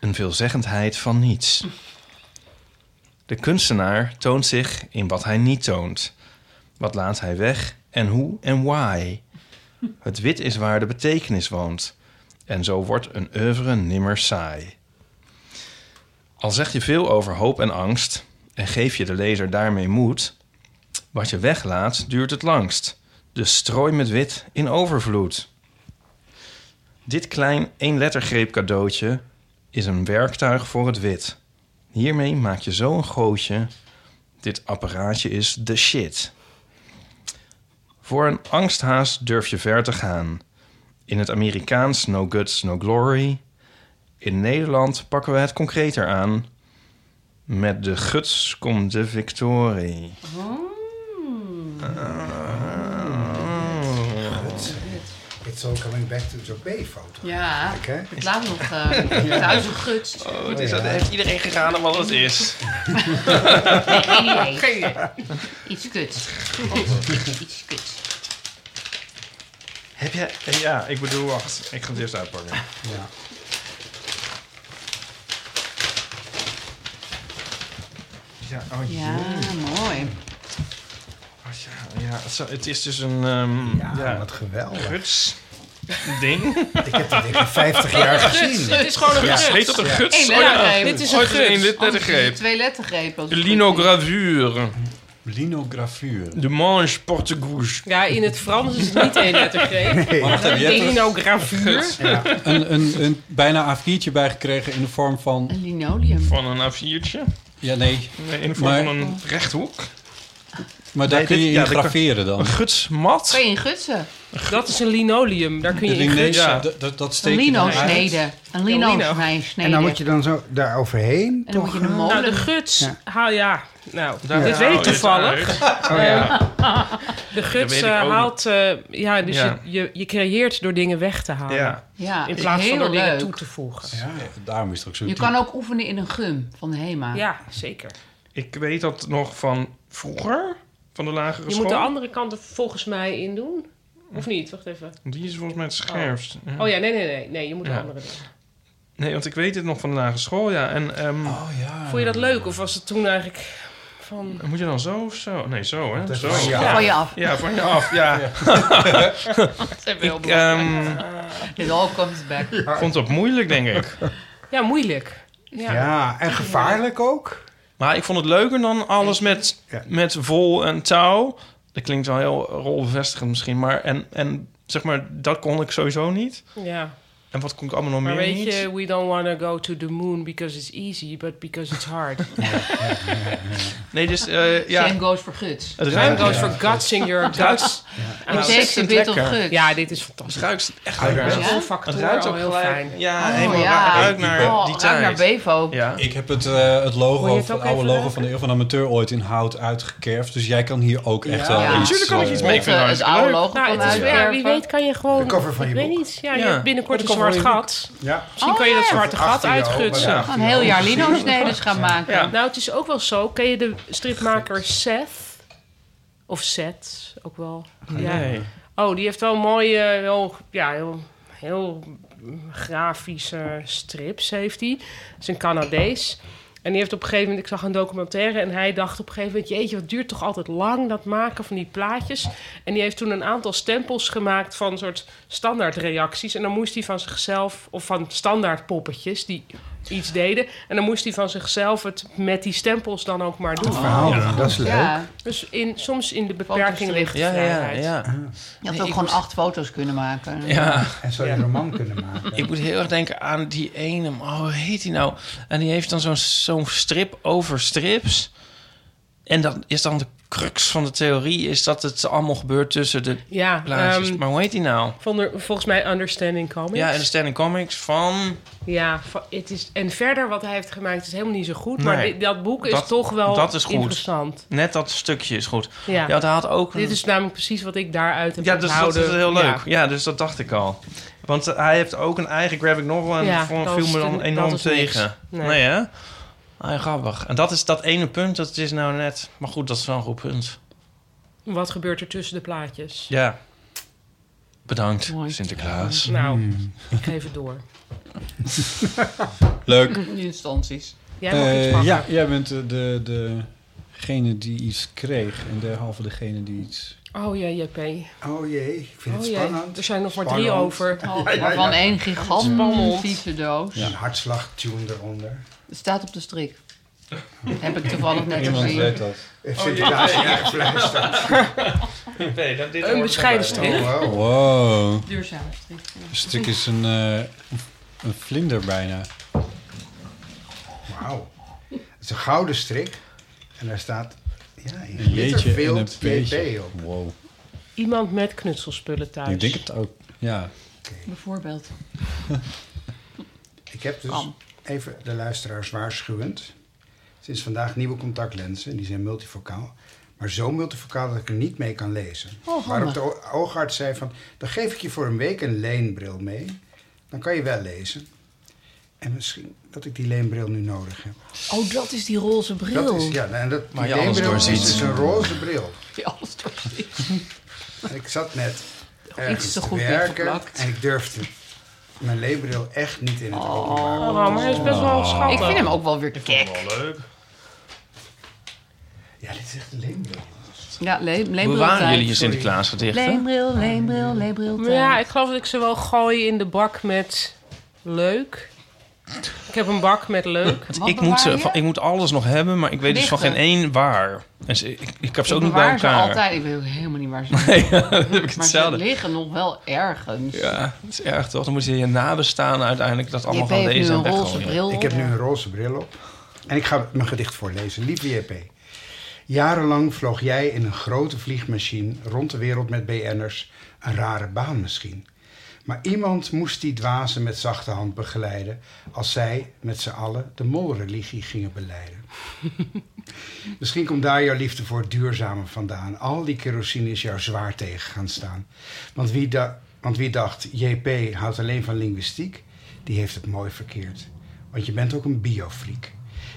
S4: Een veelzeggendheid van niets. De kunstenaar toont zich in wat hij niet toont. Wat laat hij weg en hoe en why? Het wit is waar de betekenis woont. En zo wordt een oeuvre nimmer saai. Al zeg je veel over hoop en angst en geef je de lezer daarmee moed, wat je weglaat duurt het langst. Dus strooi met wit in overvloed. Dit klein éénlettergreep cadeautje is een werktuig voor het wit. Hiermee maak je zo een gootje. Dit apparaatje is de shit. Voor een angsthaas durf je ver te gaan. In het Amerikaans no guts, no glory. In Nederland pakken we het concreter aan. Met de guts komt de victorie.
S3: Oh.
S10: It's all coming back to zo'n B-foto.
S3: Ja,
S10: Kijk, hè?
S3: het laat nog eh thuis gegutst.
S4: Oh,
S10: het is- dat
S4: heeft iedereen geraden wat het is.
S3: Nee, geen idee. Iets kuts. Iets kuts.
S4: Heb jij... Ja, ik bedoel, wacht. Ik ga het eerst uitpakken.
S10: Ja.
S4: Ja, oh jee.
S3: Ja, mooi.
S4: Oh, ja, ja, het zo- het is dus een... ehm ja,
S10: Ja, wat geweldig.
S4: guts... *laughs* ding.
S10: Ik heb dat in 50 jaar gezien.
S6: Dit is gewoon een
S4: Ja,
S6: guts.
S4: heet dat een guts?
S3: Eén lettergreep.
S6: Dit is een
S4: Ooit een
S6: guts.
S4: lettergreep.
S3: Twee lettergrepen. als
S4: De
S3: het goed
S4: linogravure.
S7: linografuur.
S4: De mange portugous.
S6: Ja, in het Frans is het
S4: *laughs*
S6: niet één lettergreep.
S7: Maar wacht even, je hebt er
S6: Linografuur.
S7: een, een, een bijna A4'tje bij gekregen in de vorm
S3: is.
S7: van...
S3: Een linoleum.
S4: Van een A4'tje.
S7: Ja, nee.
S4: Nee, in de vorm
S7: Maar-
S4: van een rechthoek.
S7: Maar daar
S4: Nee,
S7: kun
S4: dit-
S7: je
S4: ja,
S7: in
S4: dat kan-
S7: graveren dan.
S4: Een gutsmat?
S3: Kan je in gutsen?
S6: Dat is een linoleum, daar kun je in
S7: Linees,
S6: gutsen.
S7: ja, dat- dat- dat
S3: Een
S7: steek je dan uit.
S3: lino-snede. Een
S6: lino.
S3: lino-snede.
S10: En dan moet je dan zo daar overheen.
S3: En dan moet je de
S6: Nou, de
S3: molen...
S6: guts,
S10: Ja.
S6: haal ja. Nou,
S4: Daar
S6: dit
S4: haal
S6: weet
S4: je
S6: ik
S4: het
S6: toevallig.
S4: uit.
S6: *laughs* De guts
S4: weet ik
S6: eh,
S4: ook
S6: haalt, eh, ja, dus
S4: Ja.
S6: Je, je, je creëert door dingen weg te halen.
S4: Ja.
S3: Ja,
S6: In plaats van
S3: heel
S6: door dingen
S3: leuk.
S6: toe te voegen. Ja,
S7: Daarom is het ook zo
S3: Je
S7: diep.
S3: kan ook oefenen in een gum van de HEMA.
S6: zeker.
S4: Ik weet dat nog van vroeger, van de lagere
S6: Je
S4: school.
S6: moet de andere kant er volgens mij in doen. Of niet? Wacht even.
S4: Die is volgens mij het scherpst. Ja.
S6: Oh ja, nee, nee, nee. nee je moet de
S4: Ja.
S6: andere doen.
S4: Nee, want ik weet het nog van de lagere school, ja. En ehm,
S6: Oh Vond je dat leuk? Of was het toen eigenlijk van...
S4: moet je dan zo of zo? Nee, zo, hè?
S10: Dat
S4: zo.
S10: is- ja.
S3: Van je af.
S4: Ja, van je af, ja. Ik ehm,
S3: It all comes back.
S4: vond dat moeilijk, denk ik.
S6: Ja, moeilijk. Ja.
S10: Ja, en gevaarlijk ook.
S4: Maar ik vond het leuker dan alles met,
S10: Ja.
S4: met vol en touw. Dat klinkt wel heel rolbevestigend misschien, maar... En, en zeg maar, dat kon ik sowieso niet.
S6: Ja.
S4: En wat kon ik allemaal nog
S6: Maar
S4: meer
S6: weet
S4: niet?
S6: je, we don't want to go to the moon because it's easy, but because it's
S10: *laughs*
S6: hard.
S4: Nee, dus eh, ja...
S3: Same goes for guts.
S4: Het
S6: Time
S4: ruikt,
S6: goes for guts in your guts.
S3: It takes a
S4: ontzettend
S3: bit of
S4: lekker.
S3: guts.
S6: Ja, dit is fantastisch.
S4: het ruikt echt lekker.
S3: Ja?
S6: Zo'n
S4: Het
S6: factor
S4: ruikt
S6: al
S4: ook
S6: heel
S4: gelijk-
S6: fijn.
S4: Ja,
S3: Oh,
S4: helemaal
S3: ja.
S4: ruikt naar
S3: Oh,
S4: die
S3: ruikt
S4: tijd.
S3: naar Bevo.
S4: Ja.
S7: Ik heb het, eh, het logo,
S6: Wil je het
S7: het,
S6: ook
S7: oude
S6: even
S7: logo
S6: ruiken?
S7: van de Eeuw van de Amateur ooit in hout uitgekerfd. Dus jij kan hier ook echt wel
S3: Ja.
S7: iets...
S4: Natuurlijk kan ik
S7: eh,
S4: iets mee. Ik
S3: Het,
S4: vind het
S3: eh, het
S4: hartstikke
S3: oude
S4: leuk.
S3: logo
S6: Nou,
S3: kan
S6: het is, ja, wie
S3: uitwerven.
S6: weet kan je gewoon...
S10: De cover van je
S6: ik weet
S10: boek.
S6: niet. Ja, je
S4: Ja.
S6: hebt binnenkort een
S4: De
S6: zwart
S4: cover van je boek. Oh,
S6: gat.
S10: Ja.
S6: Misschien kan je dat zwarte gat
S10: 18 euro,
S6: uitgutsen.
S10: maar
S4: Ja.
S10: ja.
S3: Een heel jaar lino-snedes gaan maken.
S4: Ja.
S6: Nou, het is ook wel zo. Ken je de stripmaker Seth? Of Seth, ook wel.
S4: Nee.
S6: Oh, die heeft wel mooie, heel, ja, heel, heel grafische strips heeft hij. Dat is een Canadees. En die heeft op een gegeven moment, ik zag een documentaire... en hij dacht op een gegeven moment... jeetje, wat duurt toch altijd lang, dat maken van die plaatjes. En die heeft toen een aantal stempels gemaakt... van een soort standaardreacties. En dan moest hij van zichzelf... of van standaard poppetjes die iets deden. En dan moest hij van zichzelf het met die stempels dan ook maar doen.
S10: Verhaal, dat is leuk.
S3: Ja,
S6: Dus in, soms in de beperking
S3: Fotostrip.
S6: ligt de
S4: Ja, ja,
S6: vrijheid.
S4: ja.
S3: je had ook gewoon acht foto's kunnen maken.
S4: Ja,
S10: En zou je een roman kunnen maken.
S4: ik moet heel erg denken aan die ene. Oh, hoe heet die nou? En die heeft dan zo'n zo'n strip over strips. En dan is dan de crux van de theorie... is dat het allemaal gebeurt tussen de
S6: Ja,
S4: plaatjes.
S6: ehm,
S4: maar hoe heet die nou?
S6: van de- volgens mij Understanding Comics.
S4: Ja, in de Standing Comics van...
S6: Ja, va- het is, en verder wat hij heeft gemaakt is helemaal niet zo goed. Maar
S4: Nee.
S6: dit- dat boek is
S4: Dat-
S6: toch wel
S4: dat is goed.
S6: interessant.
S4: Net dat stukje is goed.
S6: Ja.
S4: Ja, daar had ook... een-
S6: Dit is namelijk precies wat ik daaruit heb
S4: ja, dus dat
S6: onthouden.
S4: is heel
S6: Ja.
S4: leuk. Ja. dus dat dacht ik al. Want eh, hij heeft ook een eigen graphic novel... en
S6: Ja,
S4: dat vond-
S6: dat
S4: viel
S6: is
S4: me dan
S6: een-
S4: enorm
S6: dat is niks.
S4: tegen.
S6: Nee.
S4: Nee, hè? Ah, grappig. En dat is dat ene punt, dat is nou net... Maar goed, dat is wel een goed punt.
S6: Wat gebeurt er tussen de plaatjes?
S4: Ja. Bedankt,
S3: Mooi.
S4: Sinterklaas.
S6: Nou, ik geef het door.
S7: Leuk.
S3: Die instanties.
S6: Jij mag
S7: Eh,
S6: iets pakken.
S7: ja, jij bent eh, de, de, degene die iets kreeg en derhalve degene die iets...
S6: Oh ja, JP. Oh,
S10: Oh jee, ik vind het
S6: jee.
S10: spannend.
S6: Er zijn nog maar
S10: Spannend.
S6: drie over.
S3: Oh, Waarvan één gigantische doos.
S10: Een hartslagtune eronder.
S6: Oh
S3: Het staat op de strik. Heb ik toevallig net
S7: Iemand
S10: eh,
S3: gezien.
S7: weet dat.
S10: Heeft ze inderdaad zijn eigen fles staan.
S6: Een bescheiden strip.
S10: Oh, wow.
S7: Wow.
S3: Duurzame strik.
S7: Stuk is een, eh, een vlinder bijna.
S10: Wauw. Het is een gouden strik. En daar staat... Ja, in
S7: Een jeetje en een
S10: glitterbeeld
S7: beetje.
S10: JP op.
S7: Wow.
S6: Iemand met knutselspullen thuis.
S7: Ik denk het ook. Ja.
S3: Bijvoorbeeld.
S10: Ik heb dus
S3: Kan.
S10: even de luisteraars waarschuwend. Sinds vandaag nieuwe contactlenzen. en Die zijn multifocaal. Maar zo multifocaal dat ik er niet mee kan lezen.
S3: handig.
S10: Waarop de o- oogarts zei van... dan geef ik je voor een week een leenbril mee. Dan kan je wel lezen. En misschien dat ik die leenbril nu nodig heb.
S3: Oh, dat is die roze bril.
S10: Dat is, ja, en dat,
S4: Maar
S10: die
S4: je alles
S10: leenbril is
S4: doorziet.
S10: dus een roze bril.
S3: Die alles doorziet.
S10: En ik zat net ergens
S3: iets te
S10: te
S3: goed
S10: werken.
S3: dichtgeplakt.
S10: En ik durfde mijn leenbril echt niet in het openbaar.
S6: Oh, maar hij is best wel
S3: Ik
S6: schattig.
S3: vind hem ook wel weer kek.
S4: leuk.
S10: Ja, dit is echt een leenbril.
S3: Ja, le
S4: Hoe
S3: leembril
S4: waren jullie je
S3: tijd.
S4: Sinterklaas gedichten?
S3: Leembril, leembril, leembril.
S6: Maar
S3: tijd.
S6: ja, ik geloof dat ik ze wel gooi in de bak met leuk. Ik heb een bak met leuk.
S3: Wat
S4: Ik moet,
S3: bewaar
S4: ze,
S3: je?
S4: van- ik moet alles nog hebben, maar ik weet dus van geen
S3: Gedichten.
S4: één waar. En ze- ik, ik heb ze
S3: Ik
S4: ook niet bij
S3: bewaar ze
S4: elkaar.
S3: altijd. Ik weet ook helemaal niet waar ze zijn.
S4: *laughs* ja, dat heb ik
S3: Maar ze
S4: hetzelfde.
S3: liggen nog wel ergens.
S4: Ja, dat is erg toch? Dan moet je je nabestaan uiteindelijk dat
S3: Je
S4: allemaal gaan
S3: heeft nu
S4: lezen en
S3: een roze
S4: weggooien.
S3: bril.
S10: Ik heb nu een roze bril op. En ik ga mijn gedicht voorlezen. Lieve JP. Jarenlang vloog jij in een grote vliegmachine rond de wereld met BN'ers. Een rare baan misschien. Maar iemand moest die dwazen met zachte hand begeleiden... als zij met z'n allen de molreligie gingen beleiden. Misschien komt daar jouw liefde voor het duurzame vandaan. Al die kerosine is jou zwaar tegen gaan staan. Want wie, da- want wie dacht, JP houdt alleen van linguïstiek... die heeft het mooi verkeerd. Want je bent ook een biofreak.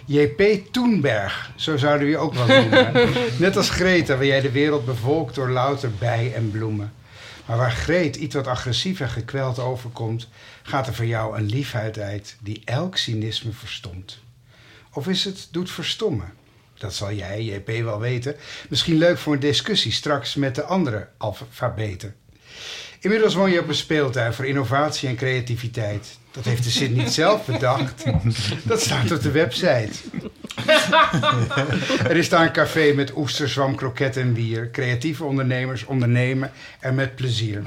S10: JP Toenberg, zo zouden we je ook wel noemen. Net als Greta, waar jij de wereld bevolkt door louter bij en bloemen. Maar waar Greet iets wat agressief en gekweld overkomt, gaat er voor jou een liefheid uit die elk cynisme verstomt. Of is het doet verstommen? Dat zal jij, JP, wel weten. Misschien leuk voor een discussie straks met de andere alfabeten. Inmiddels woon je op een speeltuin voor innovatie en creativiteit. Dat heeft de zin niet zelf bedacht. Dat staat op de website. Er is daar een café met oesterzwam, kroketten en bier. Creatieve ondernemers ondernemen en met plezier.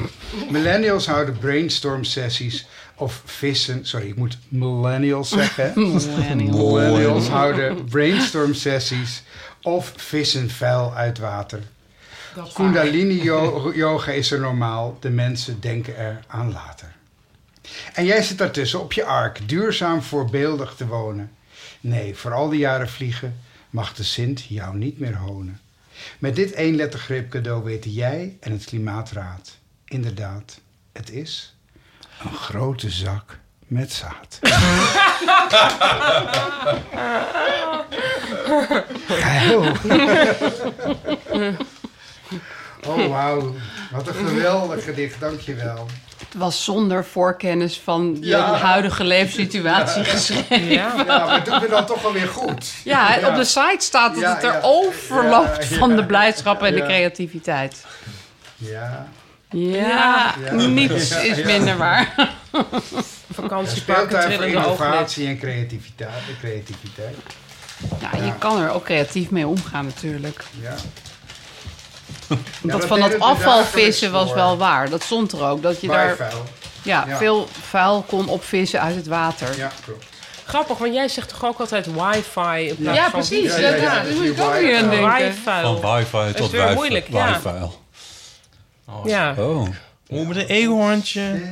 S10: Millennials houden brainstorm sessies of vissen. Sorry, ik moet millennials zeggen.
S12: Millennials.
S10: millennials houden brainstorm sessies of vissen vuil uit water. Kundalini yo- yoga is er normaal. De mensen denken er aan later. En jij zit daartussen op je ark, duurzaam voorbeeldig te wonen. Nee, voor al die jaren vliegen mag de Sint jou niet meer honen. Met dit eenlettergrip cadeau weten jij en het Klimaatraad. Inderdaad, het is een grote zak met zaad. Geil. *laughs* Oh, wauw. Wat een geweldig gedicht. Dankjewel.
S3: Het was zonder voorkennis van de
S10: Ja.
S3: huidige leefsituatie geschreven.
S10: Ja,
S3: Ja.
S10: maar doen we dan toch wel weer goed.
S3: en op de site staat dat
S10: Ja,
S3: het
S10: ja.
S3: er overloopt
S10: Ja,
S3: van
S10: ja.
S3: de blijdschap en
S10: Ja.
S3: de creativiteit.
S10: Ja.
S3: Ja, niets is minder waar.
S6: Vakantieparken
S10: Speeltuin voor
S6: trillen de
S10: innovatie en creativiteit. creativiteit.
S3: Ja, je kan er ook creatief mee omgaan natuurlijk. *laughs*
S10: Ja.
S3: Dat,
S10: dat
S3: van
S10: deden
S3: dat
S10: we
S3: afvalvissen
S10: dagelijks
S3: was
S10: voor. eh,
S3: wel waar. Dat stond er ook. Dat je daar
S10: Bijvuil.
S3: Ja,
S6: Ja.
S3: veel vuil kon opvissen uit het water.
S10: Ja, klopt.
S6: Grappig, want jij zegt toch ook altijd wifi in plaats
S3: Ja,
S6: van...
S3: precies. Ja, ja, ja, Ja, daar dus moet je ik ook weer aan
S6: wifi.
S3: denken.
S6: Wifi.
S7: Van wifi
S6: Dat
S7: tot
S6: is weer
S7: wifi.
S6: moeilijk, ja.
S7: wifi.
S6: Ja.
S7: Oh.
S4: Hoe met een eekhoorntje?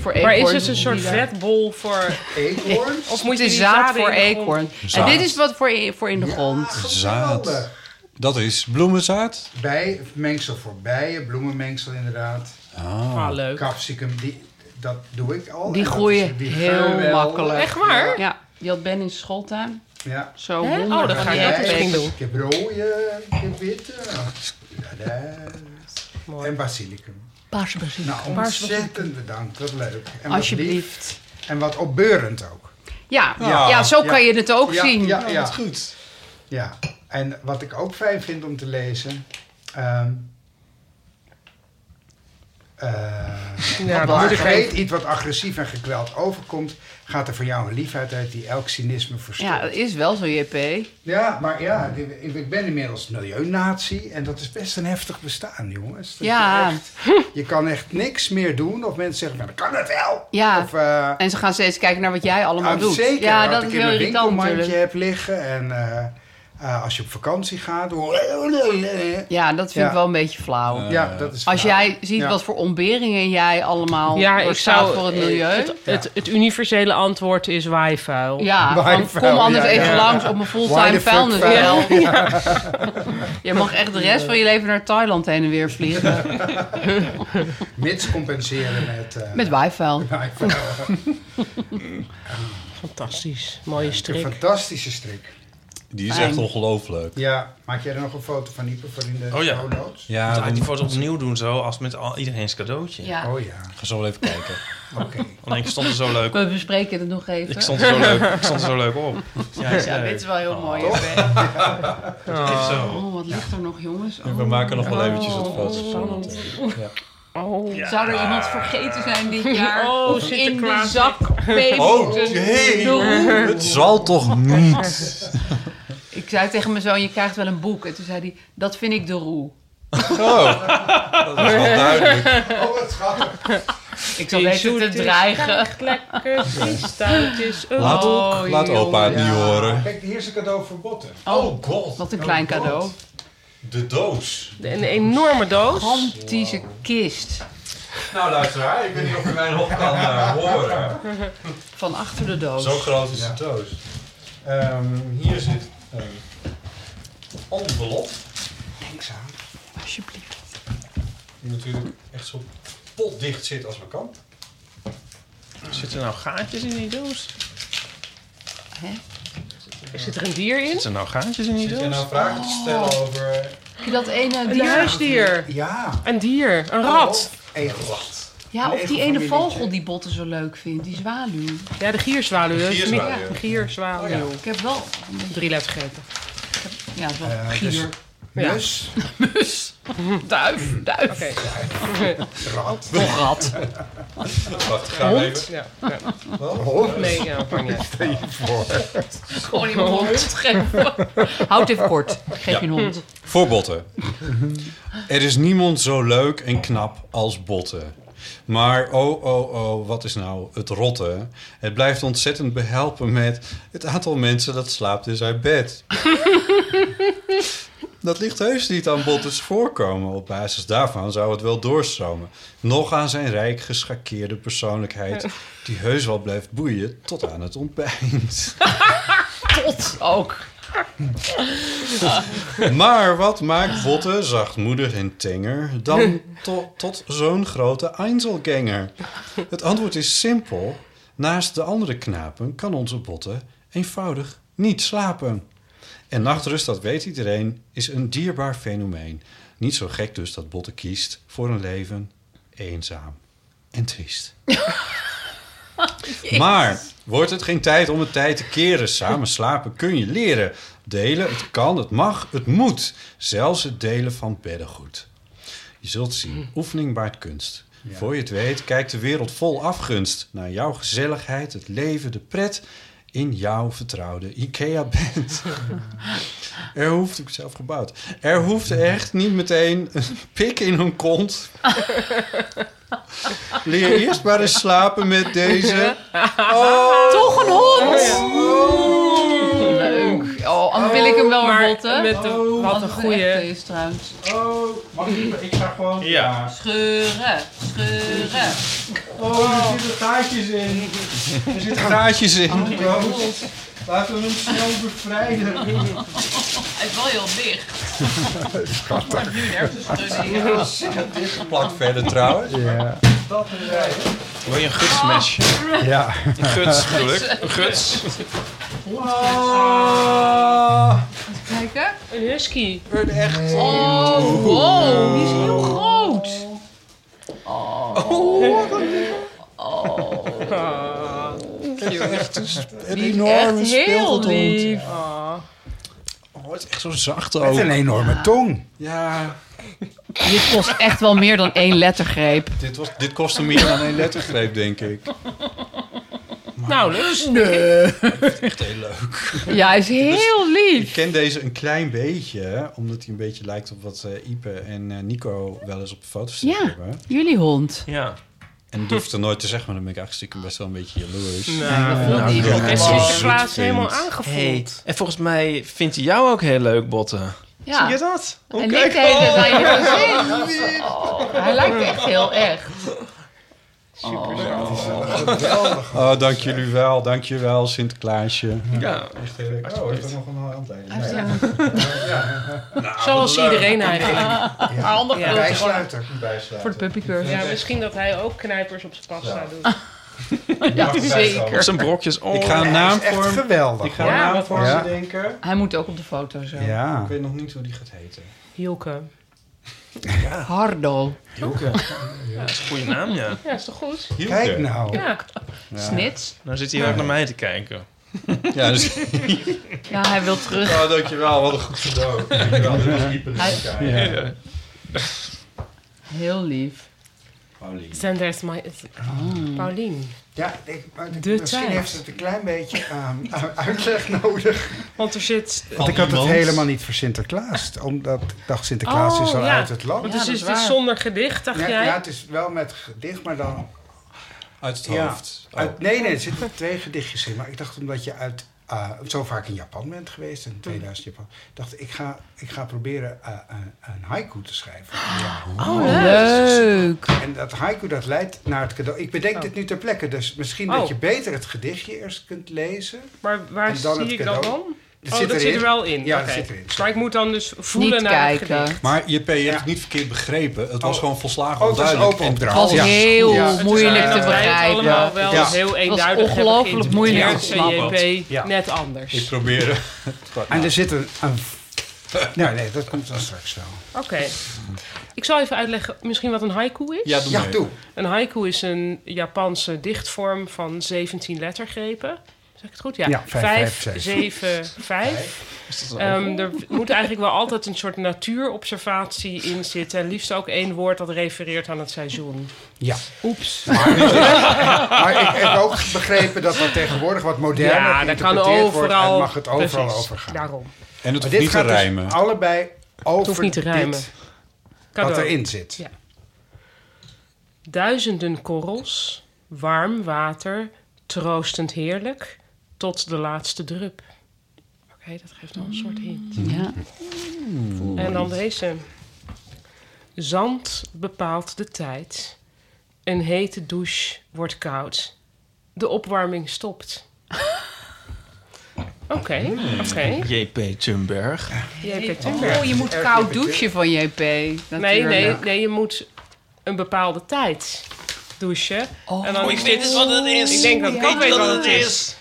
S3: voor
S6: maar is
S3: eekhoorns
S6: het een soort
S3: die daar-
S6: vetbol voor...
S10: Eekhoorns?
S6: Of
S3: Het
S6: moet je
S3: is
S6: die
S3: zaad
S6: zaden
S3: voor
S6: in de grond-
S3: eekhoorn. En
S7: Zaad.
S3: dit is wat voor, in- voor in de grond.
S7: Zaad. Dat is bloemenzaad.
S10: Bij, mengsel voor bijen, bloemenmengsel inderdaad.
S7: Ah.
S6: leuk.
S10: Capsicum, die, dat doe ik al.
S3: Die
S10: En dat
S3: groeien
S10: is- die
S3: heel
S10: geur wel.
S3: makkelijk.
S6: waar?
S3: Ja. Die had Ben in zijn schooltuin.
S10: Ja.
S3: Zo
S6: Hè?
S3: honderd
S6: Oh, dat
S3: van
S6: ga ik
S3: die
S6: ook
S3: eekhoorns.
S6: misschien doen.
S10: Ik heb rode, ik heb witte. Ja, daar. En basilicum.
S3: Paarse basilicum.
S10: Nou, ontzettend bedankt. Wat leuk. En wat lief.
S3: Alsjeblieft.
S10: En wat opbeurend ook.
S3: Ja, ja. zo kan je het ook
S10: Ja,
S3: zien.
S10: Ja, ja, goed. Ja, en wat ik ook fijn vind om te lezen. ehm
S6: Ja,
S10: ja,
S6: dat moet ik
S10: weet
S6: even-
S10: iets wat agressief en gekweld overkomt, gaat er voor jou een liefheid uit die elk cynisme verstoort.
S3: Ja,
S10: Ja,
S3: dat is wel zo, JP.
S10: maar ja, ik- ik ben inmiddels milieunatie en dat is best een heftig bestaan, jongens. Dat je
S3: Ja.
S10: echt- je kan echt niks meer doen of mensen zeggen, nou, dat kan het wel.
S3: Ja.
S10: Of, eh,
S3: En ze gaan steeds kijken naar wat jij allemaal
S10: Ah,
S3: doet.
S10: Zeker,
S3: ja,
S10: dat
S3: dat
S10: ik
S3: is
S10: in
S3: heel
S10: een
S3: irritant
S10: winkelmandje
S3: natuurlijk.
S10: heb liggen. En eh, eh, als je op vakantie gaat...
S3: Ja, dat vind
S10: Ja.
S3: ik wel een beetje flauw.
S10: ja, dat is
S3: Als
S10: flauw.
S3: jij ziet
S10: Ja. Eh,
S3: wat voor ontberingen jij allemaal
S6: Ja, ik
S3: doorstaat
S6: zou...
S3: Oh. voor het milieu.
S6: Het, het, het universele antwoord is Oh, waaivuil.
S10: *laughs*
S3: ja,
S10: Waar
S3: van,
S10: je
S3: kom
S10: vuil-
S3: anders
S10: ja,
S3: even
S10: ja.
S3: langs op mijn
S10: Why
S3: fulltime
S10: the fuck
S3: vuilnisbel.
S10: vuil? *laughs*
S3: Je mag echt de rest van je leven naar Thailand heen en weer vliegen.
S10: *laughs* Mits compenseren met... eh, *laughs*
S3: Met waaifvuil.
S10: nou, ik vind het wel
S6: Fantastisch. Mooie
S10: een
S6: strik.
S10: fantastische strik.
S7: Die is
S3: Fijn.
S7: echt ongelooflijk.
S10: Ja, maak jij er nog een foto van Ipe voor in de
S4: Oh ja.
S10: show notes?
S7: Ja,
S4: Zou ik die
S7: dan
S4: foto opnieuw doen zo, als met al, iedereen zijn cadeautje?
S3: Ja.
S10: Oh ja,
S7: ga zo wel even kijken.
S10: oké.
S4: Want ik stond er
S3: *laughs*
S4: zo leuk op.
S3: We bespreken het nog even.
S4: Ik stond er zo leuk, ik stond er zo leuk op. Ja, is
S3: ja,
S4: leuk.
S3: dit is wel heel mooi.
S4: Is zo.
S3: Oh, wat ligt er nog, jongens? Oh.
S7: We maken nog wel eventjes wat
S3: Oh,
S7: foto's van. eh, Ja.
S6: Oh.
S3: Zou er iemand vergeten zijn dit jaar?
S6: Oh,
S3: Of in de
S6: Sinterklaas.
S3: zak peper moeten doen?
S7: Oh, Het zal toch niet?
S3: Ik zei tegen mijn zoon, je krijgt wel een boek. En toen zei hij, dat vind ik de roe.
S4: *laughs*
S7: Oh, dat is wel duidelijk.
S10: Oh, wat schattig.
S3: Ik zal even te dreigen.
S6: Lekker driestaartjes. een
S7: Laat,
S4: Oh,
S6: mooi,
S7: laat opa het
S6: jongen.
S7: niet horen.
S10: Kijk, hier is een cadeau voor botten.
S7: Oh god.
S3: Wat een klein cadeau.
S7: De doos.
S6: Een enorme doos.
S3: Gigantische kist.
S7: Nou luisteraar, ik weet niet of u mij nog kan eh, horen.
S3: Van achter de
S7: Zo
S3: doos.
S7: groot is de doos. Ehm, hier zit een envelop.
S3: Alsjeblieft.
S7: Die natuurlijk echt zo potdicht zit als maar kan.
S4: Zitten er nou gaatjes in die doos?
S6: Zit er een dier in?
S4: Zitten er nou gaatjes in die
S7: Zit jij
S4: doos?
S7: nou vragen te stellen over...
S3: Heb je dat ene
S6: Een
S3: dier?
S6: huisdier.
S10: Ja.
S6: Een dier. Een rat.
S10: Egel.
S3: Ja, of die
S10: Een egel
S3: ene
S10: van
S3: vogel die Botten zo leuk vindt. Die zwaluw.
S6: Ja, de gierzwaluw.
S7: De
S6: hè?
S7: gierzwaluw.
S6: Ja, De gierzwaluw.
S3: Ik heb wel...
S6: Drie lettergrepen.
S3: Ja, dat is wel
S10: Eh,
S3: gier.
S10: dus-
S6: Ja.
S10: Dus,
S3: Mus. Duif. Duif.
S6: Oké.
S10: rat,
S3: Toch rat.
S7: Wacht, ga even.
S6: Ja.
S10: hond.
S6: Nee, ja, maar niet.
S3: Gewoon iemand een hond geven. Houd even kort. Ik Geef je een hond.
S7: Voor Botten. er is niemand zo leuk en knap als Botten. Maar oh, oh, oh, wat is nou het rotten? Het blijft ontzettend behelpen met het aantal mensen dat slaapt in zijn bed. *laughs* dat ligt heus niet aan Bottes voorkomen. Op basis daarvan zou het wel doorstromen. Nog aan zijn rijk geschakeerde persoonlijkheid, die heus wel blijft boeien tot aan het ontbijt.
S3: Tot ook.
S7: Maar wat maakt Botte zachtmoedig en tenger dan to- tot zo'n grote Einzelganger? Het antwoord is simpel. Naast de andere knapen kan onze Botte eenvoudig niet slapen. En nachtrust, dat weet iedereen, is een dierbaar fenomeen. Niet zo gek dus dat Botte kiest voor een leven eenzaam en triest. Maar wordt het geen tijd om het tijd te keren? Samen slapen kun je leren. Delen, het kan, het mag, het moet. Zelfs het delen van beddengoed. Je zult zien, oefening baart kunst. Voor je het weet, kijkt de wereld vol afgunst naar jouw gezelligheid, het leven, de pret in jouw vertrouwde IKEA-bed. Er hoeft, ik heb het zelf gebouwd, er hoeft echt niet meteen een pik in hun kont. Leer eerst maar eens slapen met deze. Oh.
S3: Toch een hond. Leuk. Oh, anders wil ik hem wel Oh,
S6: Maar
S3: een botten.
S6: met de- wat een goeie.
S3: is trouwens.
S10: Oh, mag ik? Ik ga gewoon...
S4: Ja.
S3: Scheuren. Scheuren.
S10: Oh, er zitten gaatjes in.
S7: Er zitten gaatjes in.
S10: Laten we hem snel bevrijden.
S3: Hij is wel heel dicht. Maar nu nergens schudden.
S7: Plak verder trouwens.
S10: Ja.
S4: Wil je een gutsmesje?
S3: Oh.
S10: ja.
S4: Een guts, bedoel ik. Een guts.
S3: Kijken.
S6: Een husky.
S3: Oh, wow. Die is heel groot.
S7: Een
S3: Echt heel lief.
S7: Oh, het is echt zo zacht
S10: Met een
S7: ook.
S10: enorme tong.
S7: Ja,
S3: Dit kost echt wel meer dan één lettergreep.
S7: dit, was, dit kostte meer dan één lettergreep, denk ik.
S6: Nauwelijks.
S7: Echt heel leuk.
S3: Ja, hij is heel
S7: Ik
S3: lief.
S7: ken deze een klein beetje, omdat hij een beetje lijkt op wat eh, Ipe en eh, Nico wel eens op de foto's te
S3: Ja.
S7: hebben.
S3: Jullie hond.
S4: Ja.
S7: En durft er nooit te zeggen, maar dan ben ik eigenlijk stiekem best wel een beetje jaloers.
S3: Nou, die
S7: ja.
S6: Het
S3: hond.
S7: Wow.
S6: is plaats helemaal
S7: Hey.
S6: aangevoeld.
S4: Hey, en volgens mij vindt hij jou ook heel leuk, Botten.
S3: Ja.
S4: Zie je Oh, dat? Hoe
S3: En
S4: kijk-
S3: ik deed het aan je gezicht. Oh, hij lijkt echt heel erg.
S7: Oh, dank jullie wel. Dank je wel, Sinterklaasje.
S4: Ja.
S10: Echt heel leuk. Oh, heeft er nog een hand
S3: Hij is eh,
S10: aan?
S3: helemaal
S6: Zoals iedereen eigenlijk.
S3: handig
S6: Ja.
S3: groot.
S10: Bijsluiter.
S3: voor de puppycurve.
S6: Ja, Ah. misschien dat hij ook knijpers op zijn pasta doet.
S3: Ja,
S4: Op
S3: zeker.
S4: zijn brokjes. Oh.
S7: Ik ga een naam
S10: Echt
S7: voor
S10: geweldig.
S7: Ik ga
S6: Ja,
S7: een naam
S6: wat
S7: voor
S10: Ja.
S7: ze denken.
S3: Hij moet ook op de foto zo.
S7: Ik
S10: Ja.
S7: weet nog niet hoe die gaat heten.
S6: Hielke.
S3: Hardo.
S4: Joke. Ja, dat is een goede naam, ja.
S6: Ja, is toch goed?
S7: Hielke.
S10: Kijk nou.
S6: Ja.
S3: Snits.
S4: Nou zit hij ook naar mij te kijken.
S7: Ja, dus,
S3: Ja, hij wil terug.
S7: oh, dankjewel. Wat een goed cadeau. Dankjewel. Dit was dieper
S3: Hij-
S7: dan kijken.
S4: Ja.
S3: Heel lief.
S7: Paulien.
S6: Then there's my... Oh. Paulien.
S10: Ja, ik, maar ik-
S6: De
S10: misschien
S6: tijd.
S10: heeft het een klein beetje *laughs* aan aan uitleg nodig.
S6: Want er zit...
S7: Van
S10: Want ik had het
S7: iemand.
S10: helemaal niet voor Sinterklaas. Omdat ik dacht, Sinterklaas is
S6: Oh,
S10: al
S6: ja.
S10: uit het land.
S6: Want
S3: Ja,
S6: dus
S3: dat
S6: is
S3: is
S6: het
S3: waar.
S6: zonder gedicht, dacht
S10: Ja,
S6: jij?
S10: ja, het is wel met gedicht, maar dan
S7: Uit het
S10: Ja.
S7: hoofd. Oh.
S10: Uit, nee, nee, er zitten twee gedichtjes in. Maar ik dacht omdat je uit, eh, zo vaak in Japan bent geweest, in 2000 Japan, dacht ik ga, ik ga proberen eh, een, een haiku te schrijven. Ja.
S3: Oh, leuk.
S10: En dat haiku dat leidt naar het cadeau. Ik bedenk dit nu ter plekke, dus misschien
S6: Oh.
S10: dat je beter het gedichtje eerst kunt lezen.
S6: Maar waar
S10: En dan het
S6: zie ik dat
S10: cadeau.
S6: dan?
S10: Dat
S6: oh,
S10: zit
S6: dat
S10: erin.
S6: zit er wel in.
S10: Ja, dat
S6: Oké.
S10: zit erin.
S6: Maar ik moet dan dus voelen naar het gedicht.
S7: Maar JP, je hebt het niet verkeerd begrepen. Het was gewoon volslagen
S10: Oh, het was
S7: onduidelijk.
S10: open opdracht.
S7: en-
S3: was heel
S10: Ja, het
S6: is
S3: moeilijk te
S6: eigenlijk dat wij het
S3: begrijpen.
S6: allemaal wel
S10: Ja.
S6: heel
S3: Het was
S6: eenduidig hebben
S3: ongelooflijk moeilijk te snappen.
S6: geïnterpreteerd, CJP
S10: Ja.
S6: net anders.
S7: Ik probeer.
S10: En er zit een... een nou, nee, dat komt dan straks wel.
S6: Oké. Ik zal even uitleggen misschien wat een haiku is.
S7: Ja, doe
S10: Ja,
S7: mee.
S10: doe.
S6: Een haiku is een Japanse dichtvorm van 17 lettergrepen. Zeg ik het goed?
S10: Ja, vijf, vijf, zeven.
S6: 7, 5. Ehm, er moet eigenlijk wel altijd een soort natuurobservatie in zitten. En liefst ook één woord dat refereert aan het seizoen.
S10: Ja.
S6: Oeps.
S10: Maar ik heb ook begrepen dat dat tegenwoordig wat moderner
S6: Ja, daar kan
S10: geïnterpreteerd wordt
S6: overal.
S10: en mag het overal
S6: Precies,
S10: over gaan.
S6: Daarom.
S7: En het
S10: Maar
S7: hoeft
S10: dit
S7: niet te
S10: gaat
S7: rijmen.
S10: dus allebei over
S6: hoeft niet te
S10: dit
S6: rijmen.
S10: wat
S6: Cadeau.
S10: erin zit.
S6: Ja. Duizenden korrels, warm water, troostend heerlijk, tot de laatste drup. Oké, dat geeft al een soort hint.
S3: Ja.
S6: En dan deze. Zand bepaalt de tijd. Een hete douche wordt koud. De opwarming
S3: *laughs*
S6: stopt. Oké, oké.
S4: JP Tumberg.
S6: JP Timber.
S3: Oh, je moet koud douchen van JP.
S6: Nee,
S3: natuurlijk.
S6: nee, nee, je moet een bepaalde tijd douchen. en dan
S4: ik weet het wat het is.
S6: Ik denk dat ik
S4: ik
S6: ook
S4: weet
S6: weet
S4: wat
S6: wat
S4: het
S6: het
S4: is.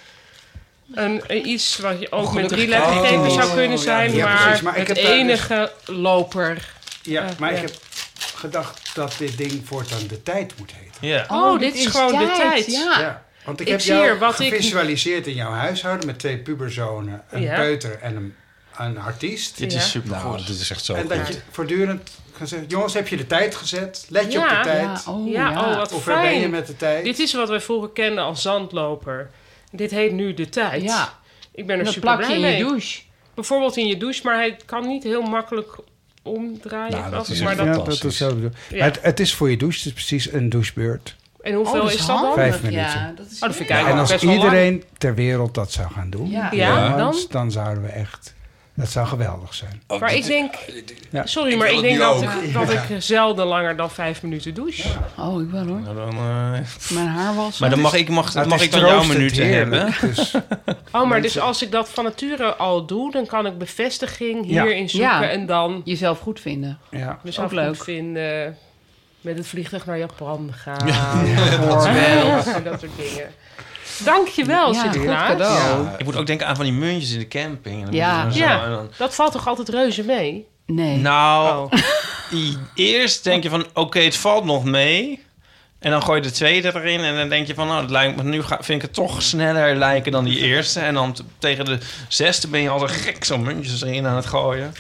S6: Een, een iets wat je ook met
S4: gelukkig
S6: drie
S4: kan het
S6: lettergrepen
S4: niet.
S6: zou kunnen zijn,
S10: ja,
S6: maar,
S10: precies, maar ik
S6: het
S10: heb daar dus-
S6: enige loper.
S10: Ja,
S6: Eh,
S10: maar
S6: ja.
S10: ik heb gedacht dat dit ding voortaan de tijd moet heten.
S4: Ja.
S6: Oh, dit is gewoon de tijd.
S3: Ja.
S10: Ja, want ik,
S6: Ik
S10: heb
S6: zie
S10: jou
S6: er wat ik-
S10: gevisualiseerd in jouw huishouden met twee puberzonen, een
S6: Ja.
S10: peuter en een, een artiest.
S4: Dit
S6: Ja.
S4: is super
S7: Nou,
S4: goed.
S7: dit is echt zo
S10: en dat
S7: goed.
S10: je voortdurend kan zeggen, jongens, heb je de tijd gezet? Let je
S6: Ja.
S10: op de
S3: Ja,
S10: tijd?
S3: oh,
S6: ja,
S3: ja.
S6: oh, wat
S10: Of waar ben je
S6: fijn.
S10: met de tijd?
S6: Dit is wat wij vroeger kenden als zandloper. Dit heet nu de tijd.
S3: Ja.
S6: Ik ben er
S3: En dat
S6: super
S3: plak je
S6: blij
S3: in je
S6: mee.
S3: douche.
S6: Bijvoorbeeld in je douche, maar hij kan niet heel makkelijk omdraaien.
S7: Nou, dat
S6: geloof ik,
S7: is
S6: maar
S7: echt
S6: dat-
S7: Ja, dat is zo
S6: Ja. Maar het-
S10: is voor je douche, het is precies een douchebeurt.
S6: En hoeveel
S3: oh,
S6: is, dat dan?
S10: handig.
S3: handig.
S10: Vijf
S3: Ja,
S10: minuten.
S3: dat is
S6: Oh, dat vind ik
S3: heel
S6: eigenlijk
S10: en
S6: nog
S10: als
S6: best wel lang.
S10: iedereen ter wereld dat zou gaan doen,
S3: Ja.
S6: Ja, dan?
S10: dan zouden we echt... Dat zou geweldig zijn.
S7: Oh,
S6: Maar
S7: dit-
S6: ik denk...
S10: Ja.
S6: Sorry,
S7: Ik
S6: maar
S7: wil
S6: ik
S7: het
S6: denk
S7: nu
S6: dat
S7: ook.
S6: ik, dat ik zelden langer dan vijf minuten douche.
S3: Oh, ik wel hoor.
S4: Nou, dan, eh,
S3: Mijn haar was.
S4: maar dan mag ik, mag,
S10: Nou, het
S4: mag
S10: is
S4: ik dan jouw
S10: troostend
S4: minuten
S10: heerlijk,
S4: hebben.
S10: Dus,
S6: Oh, maar dus als ik dat van nature al doe... dan kan ik bevestiging
S10: Ja.
S6: hierin zoeken
S3: Ja.
S6: en dan...
S3: Jezelf goed vinden.
S6: *laughs*
S10: ja.
S6: mezelf
S3: Ook leuk.
S6: goed vinden... met het vliegtuig naar Japan gaan. *laughs* en dat soort dingen. Dankjewel,
S3: Ja,
S6: ja,
S3: goed cadeau.
S4: Ik moet ook denken aan van die muntjes in de camping. En dan
S3: Ja.
S4: moet je dan zo-
S6: Ja,
S4: en dan-
S6: dat valt toch altijd reuze mee?
S3: Nee.
S4: Nou, *laughs* i- eerst denk je van, oké, het valt nog mee. En dan gooi je de tweede erin en dan denk je van, nou, dat lijkt me, nu ga, vind ik het toch sneller lijken dan die eerste. En dan t- tegen de zesde ben je als een gek zo'n muntjes erin aan het gooien.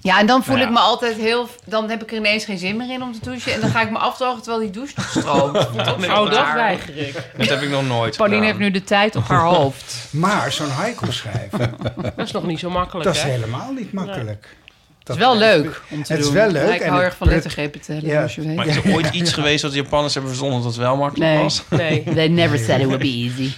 S3: Ja, en dan voel
S4: Nou
S3: ik
S4: ja.
S3: me altijd heel... Dan heb ik er ineens geen zin meer in om te douchen. En dan ga ik me afdrogen terwijl die douche nog stroomt.
S6: Oh, dat
S3: raar.
S6: weiger ik.
S4: Dat heb ik nog
S3: *laughs*
S4: nooit
S3: Pauline
S4: gedaan.
S3: heeft nu de tijd op haar
S10: *laughs*
S3: hoofd.
S10: Maar zo'n haiku schrijven,
S6: Dat is nog niet zo makkelijk,
S10: dat is
S6: hè?
S10: helemaal niet makkelijk.
S3: Het
S10: Dat
S3: is wel leuk om te
S10: het is
S3: doen.
S10: wel leuk
S3: Maar ik
S10: en
S3: hou
S10: het
S3: erg van
S10: prut-
S3: lettergrepen te
S10: Ja.
S3: tellen, als je weet.
S4: Maar is er ooit iets geweest dat de Japanners hebben verzonnen dat het wel makkelijk
S3: Nee.
S4: was?
S6: Nee.
S3: They never said it would be easy.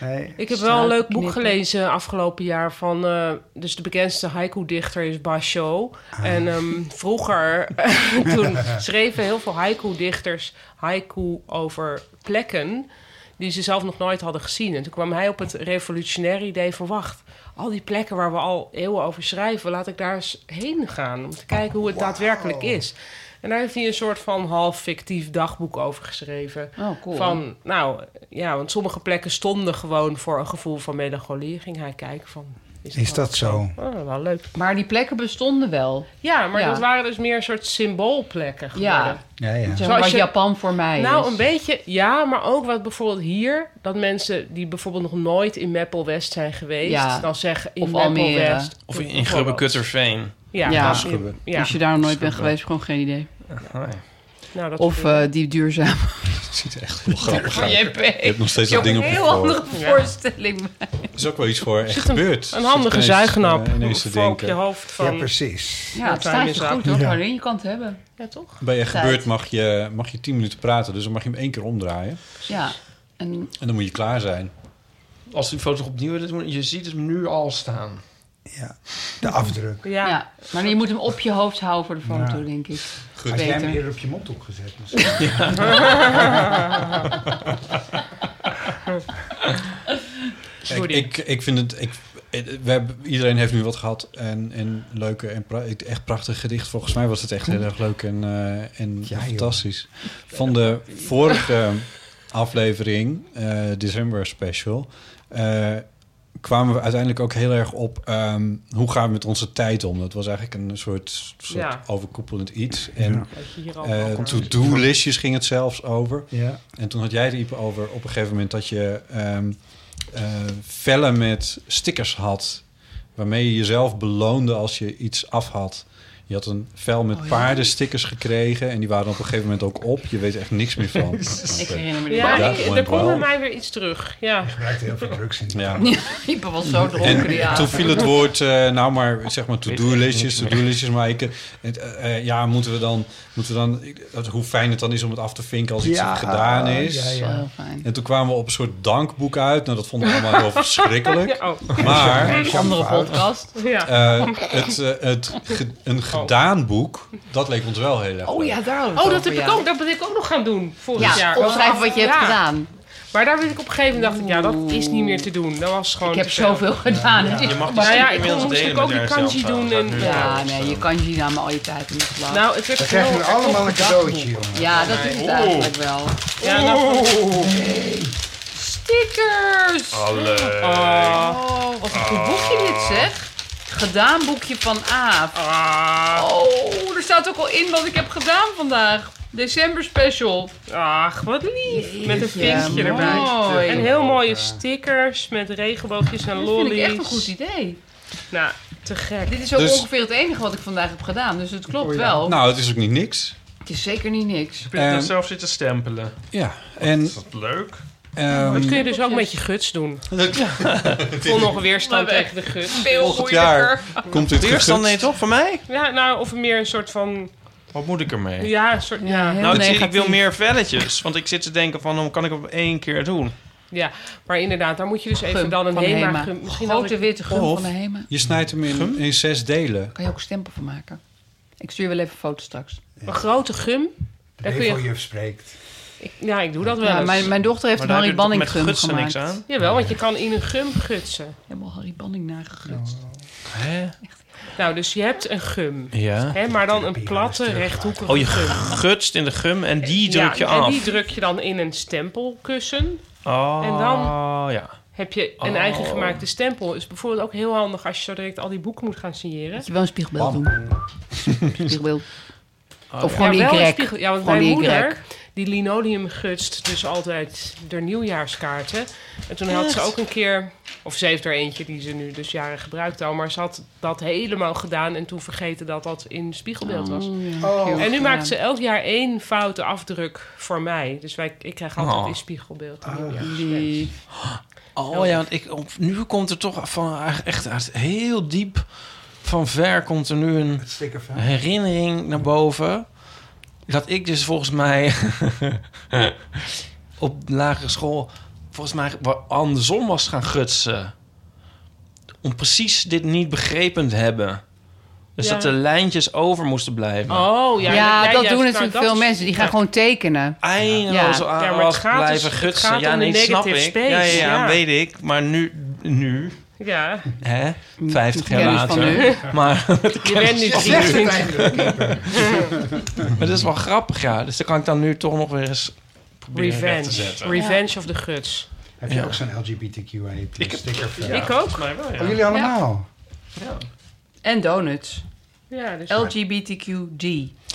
S10: Nee.
S6: Ik heb wel een leuk boek
S3: Knippen.
S6: gelezen afgelopen jaar van... eh, dus de bekendste haiku-dichter is Basho.
S10: Ah,
S6: En ehm, vroeger, *laughs* toen schreven heel veel haiku-dichters haiku over plekken... die ze zelf nog nooit hadden gezien. En toen kwam hij op het revolutionaire idee van... wacht, al die plekken waar we al eeuwen over schrijven... laat ik daar eens heen gaan om te kijken hoe het daadwerkelijk is. En daar heeft hij een soort van half fictief dagboek over geschreven...
S3: Oh, cool.
S6: Van, nou ja, want sommige plekken stonden gewoon voor een gevoel van melancholie. Ging hij kijken van. het
S10: Is dat zo?
S6: Oh, wel leuk.
S3: Maar die plekken bestonden wel.
S6: Ja, maar
S3: Ja.
S6: dat waren dus meer een soort symboolplekken geworden.
S3: Ja,
S10: Ja, ja.
S3: zoals
S6: Zoals
S3: wat
S6: je-
S3: Japan voor mij
S6: Nou,
S3: is.
S6: een beetje, ja, maar ook wat bijvoorbeeld hier... dat mensen die bijvoorbeeld nog nooit in Meppel West zijn geweest...
S3: Ja.
S6: dan zeggen in
S3: Of
S6: Meppel
S3: Almere.
S6: West...
S4: Of in, in
S6: bijvoorbeeld.
S4: Grubbe-Kutterveen?
S3: Ja.
S6: Ja, ja.
S7: Schubben.
S6: ja.
S3: Als je daar nog nooit bent geweest, gewoon geen idee.
S4: Oh, ja.
S6: Nou, dat
S3: Of
S6: soort dingen.
S3: eh, die duurzame
S7: ziet er echt heel grappig
S3: Van
S7: uit.
S3: JP.
S7: Je hebt nog steeds dat ding op
S3: een
S7: je
S3: heel
S7: voor.
S3: andere voorstelling.
S7: Dat is ook wel iets voor echt
S6: Zit een-
S7: gebeurt.
S3: eh,
S6: een handige
S7: Zit ineens,
S6: zuignap
S7: eh, ineens te
S6: voor op je
S7: denken.
S6: hoofd van...
S10: Ja, precies.
S3: Ja, het staat je goed hoor.
S10: Ja.
S3: Paulien, je kan het hebben.
S6: Ja, toch?
S7: Bij echt
S3: Tijd.
S7: gebeurt mag je, eh, mag je 10 minuten praten, dus dan mag je hem één keer omdraaien.
S3: Ja. En
S7: En dan moet je klaar zijn.
S4: Als die foto opnieuw is, je ziet het nu al staan.
S10: Ja, de afdruk.
S6: Ja.
S3: Ja, maar je moet hem op je hoofd houden voor de foto,
S10: Ja.
S3: denk ik.
S7: Goed.
S10: Had jij hem
S3: Beter.
S10: eerder op je mondhoek gezet misschien?
S7: Ik,
S6: Sorry.
S7: ik, ik vind het... Ik, eh, we hebben, iedereen heeft nu wat gehad. En, en leuke en pra- echt prachtig gedicht. Volgens mij was het echt heel erg leuk en, eh, en
S10: Ja, joh.
S7: fantastisch. Van de vorige aflevering, eh, December Special... eh, kwamen we uiteindelijk ook heel erg op... ehm, hoe gaan we met onze tijd om? Dat was eigenlijk een soort, soort
S6: Ja.
S7: overkoepelend iets. En
S10: Ja.
S6: Dat je hier al
S7: eh,
S6: al-
S7: to-do-listjes ging het zelfs over.
S10: ja.
S7: En toen had jij er Ipe over op een gegeven moment dat je ehm eh, vellen met stickers had. Waarmee je jezelf beloonde als je iets af had. Je had een vel met paardenstickers gekregen. En die waren op een gegeven moment ook op. Je weet er echt niks meer van.
S3: Ik herinner me die
S6: Ja,
S7: Ja,
S3: ja. *laughs*
S6: ik-
S7: gewoon
S6: er komt bij
S7: wel.
S6: mij weer iets terug. Ja.
S10: Gebruikt heel veel drugs in.
S7: Ja.
S3: Ipe was zo dronken die
S7: En toen
S3: avond.
S7: viel het woord, eh, nou maar, zeg maar to-do-listjes, to-do-listjes. Maar ik, het, eh, eh, ja, moeten we dan, moeten we dan ik- dat- hoe fijn het dan is om het af te vinken als iets
S10: Ja,
S7: gedaan is.
S10: ja, ja.
S3: Zo heel fijn.
S7: En toen kwamen we op een soort dankboek uit. Nou, dat vonden we
S6: *laughs*
S7: allemaal heel verschrikkelijk.
S6: Ja, oh.
S7: Maar
S3: Andere podcast.
S6: ja.
S7: eh, het, eh, het ge- een gedaan boek, dat leek ons wel heel erg
S3: Oh
S7: leuk.
S3: ja, daar
S6: Oh, dat, heb ik ook, dat ben ik ook nog gaan doen vorig
S3: Ja,
S6: jaar.
S3: opschrijven wat je hebt
S6: Ja.
S3: gedaan.
S6: Maar daar ben ik op een gegeven moment dacht ik, ja, dat is niet meer te doen. Dat was gewoon
S3: Ik heb
S6: te veel.
S3: zoveel gedaan. Het is-
S4: Je mag die
S6: Nou ja,
S4: sticker
S6: ik
S4: inmiddels
S6: moest
S4: delen
S6: ik
S4: met
S6: ook die
S4: RSL
S6: kanji
S4: trouwens.
S6: doen
S4: Dat
S6: en-
S4: nu
S3: Ja,
S4: al.
S3: nee, je kan je namen al je tijd in de slag.
S6: Nou, het werd
S10: Dan krijgen
S6: heel-
S10: we allemaal een cadeautje, jongen.
S3: ja, dat is het eigenlijk wel.
S6: Ja, nou,
S3: Stickers! Oh, wat een goed boekje dit zeg. Gedaan boekje van Aaf. Oh, er staat ook al in wat ik heb gedaan vandaag. December special.
S6: ach, wat lief. Met een
S3: Jeetje,
S6: vinkje erbij.
S3: mooi.
S6: En heel mooie stickers met regenboogjes en
S3: Dat
S6: lollies.
S3: vind ik echt een goed idee.
S6: Nou, te gek.
S3: Dit is ook
S7: Dus-
S3: ongeveer het enige wat ik vandaag heb gedaan. Dus het klopt wel.
S7: Nou, het is ook niet niks.
S3: het is zeker niet niks.
S4: Je hebt
S7: Ehm,
S4: zelf zitten stempelen.
S7: Ja, en...
S4: Is dat leuk?
S7: ehm,
S6: Dat kun je
S4: Mm.
S6: dus ook met je guts
S4: *laughs*
S6: doen. Vol nog weerstand tegen de guts.
S3: Veel
S7: Volgend jaar komt dit
S4: Weerstand
S7: gegund.
S4: nee toch? Van mij?
S6: Ja, nou, of meer een soort van...
S4: Wat moet ik ermee?
S6: Ja, een soort...
S3: Ja,
S6: Ja,
S3: heel
S4: nou, ik, zie- ik
S3: negatief.
S4: wil meer velletjes. Want ik zit te denken van, hoe kan ik op één keer doen?
S6: ja. Maar inderdaad, daar moet je dus even
S3: Gum
S6: dan een
S3: van
S6: HEMA...
S3: Hema.
S6: gum- Misschien had
S3: Grote
S6: ik...
S3: witte gum
S7: Of-
S3: van de Hema.
S7: Je snijdt hem in, in zes delen.
S3: Kan je ook een stempel van maken. Ik stuur wel even een foto straks.
S6: Een grote gum.
S10: De
S6: Daar kun je...
S10: regeljuf spreekt.
S6: ik- ja, ik doe dat wel
S3: Ja,
S6: eens.
S3: mijn, mijn dochter heeft
S4: Maar
S3: een
S4: daar heb
S3: Harry
S4: je toch
S3: Banning
S4: met
S3: gum
S4: gutsen
S3: gemaakt.
S4: niks aan?
S6: Jawel, want je kan in een gum gutsen.
S3: Helemaal Harry Banning nagegutst.
S4: Hè?
S6: Nou, dus je hebt een gum.
S4: Ja.
S6: Hè, maar dan een platte, rechthoekige
S4: Oh, je
S6: gum.
S4: gutst in de gum en die
S6: Ja,
S4: druk je
S6: En
S4: af.
S6: die druk je dan in een stempelkussen.
S4: Oh,
S6: en dan-
S4: ja.
S6: Heb je een
S4: Oh.
S6: eigen gemaakte stempel. Is bijvoorbeeld ook heel handig als je zo direct al die boeken moet gaan signeren.
S3: Moet je wel een spiegelbeeld doen. Spiegelbeeld.
S4: Oh,
S3: Of
S4: ja.
S3: gewoon die
S6: wel een
S3: grek.
S6: spiegel. Ja, want
S3: Gewoon
S6: mijn
S3: die
S6: moeder,
S3: grek.
S6: die linoleum gutst dus altijd de nieuwjaarskaarten. En toen had ze ook een keer, of ze heeft er eentje die ze nu dus jaren gebruikt al. Maar ze had dat helemaal gedaan en toen vergeten dat dat in spiegelbeeld was.
S3: Oh.
S6: En nu maakt ze elk jaar één foute afdruk voor mij. Dus wij, ik krijg altijd
S4: Oh.
S6: in spiegelbeeld.
S3: Ah.
S6: de nieuwjaarswens.
S3: Die...
S4: Oh ja, want ik, op- nu komt er toch van echt uit heel diep van ver komt er nu een
S10: Het sticker van.
S4: herinnering naar boven. Dat ik dus volgens mij *laughs* op de lagere school volgens mij wa- andersom was gaan gutsen. Om precies dit niet begrepen te hebben. Dus
S6: Ja.
S4: dat de lijntjes over moesten blijven.
S6: Oh, ja,
S3: Ja,
S6: jij
S3: dat
S6: juist-
S3: doen
S6: nou,
S3: natuurlijk
S6: dat
S3: veel
S6: is-
S3: mensen. Die gaan
S6: ja.
S3: gewoon tekenen.
S4: eindeloos
S3: Ja.
S4: ja.
S6: Ja, maar het gaat dus-
S4: blijven
S6: het
S4: gutsen.
S6: gaat
S4: ja,
S6: om de
S4: nee, snap ik.
S6: negative space,
S4: ja,
S6: ja.
S4: ja, ja, weet ik. Maar nu, nu
S6: Ja,
S4: hè, 50 jaar
S3: Kennis dus van
S4: later. *laughs* Maar,
S6: je bent nu
S10: Slecht
S6: drie.
S10: het eindelijk.
S4: maar dat is wel grappig, ja. Dus dan kan ik dan nu toch nog weer eens proberen recht te
S6: Revenge.
S4: zetten.
S6: Revenge of the guts.
S10: Heb je
S4: Ja.
S10: ook zo'n LGBTQIA sticker van?
S6: Ik ook.
S10: Oh, jullie allemaal?
S3: En donuts.
S6: Ja, dus
S3: LGBTQD.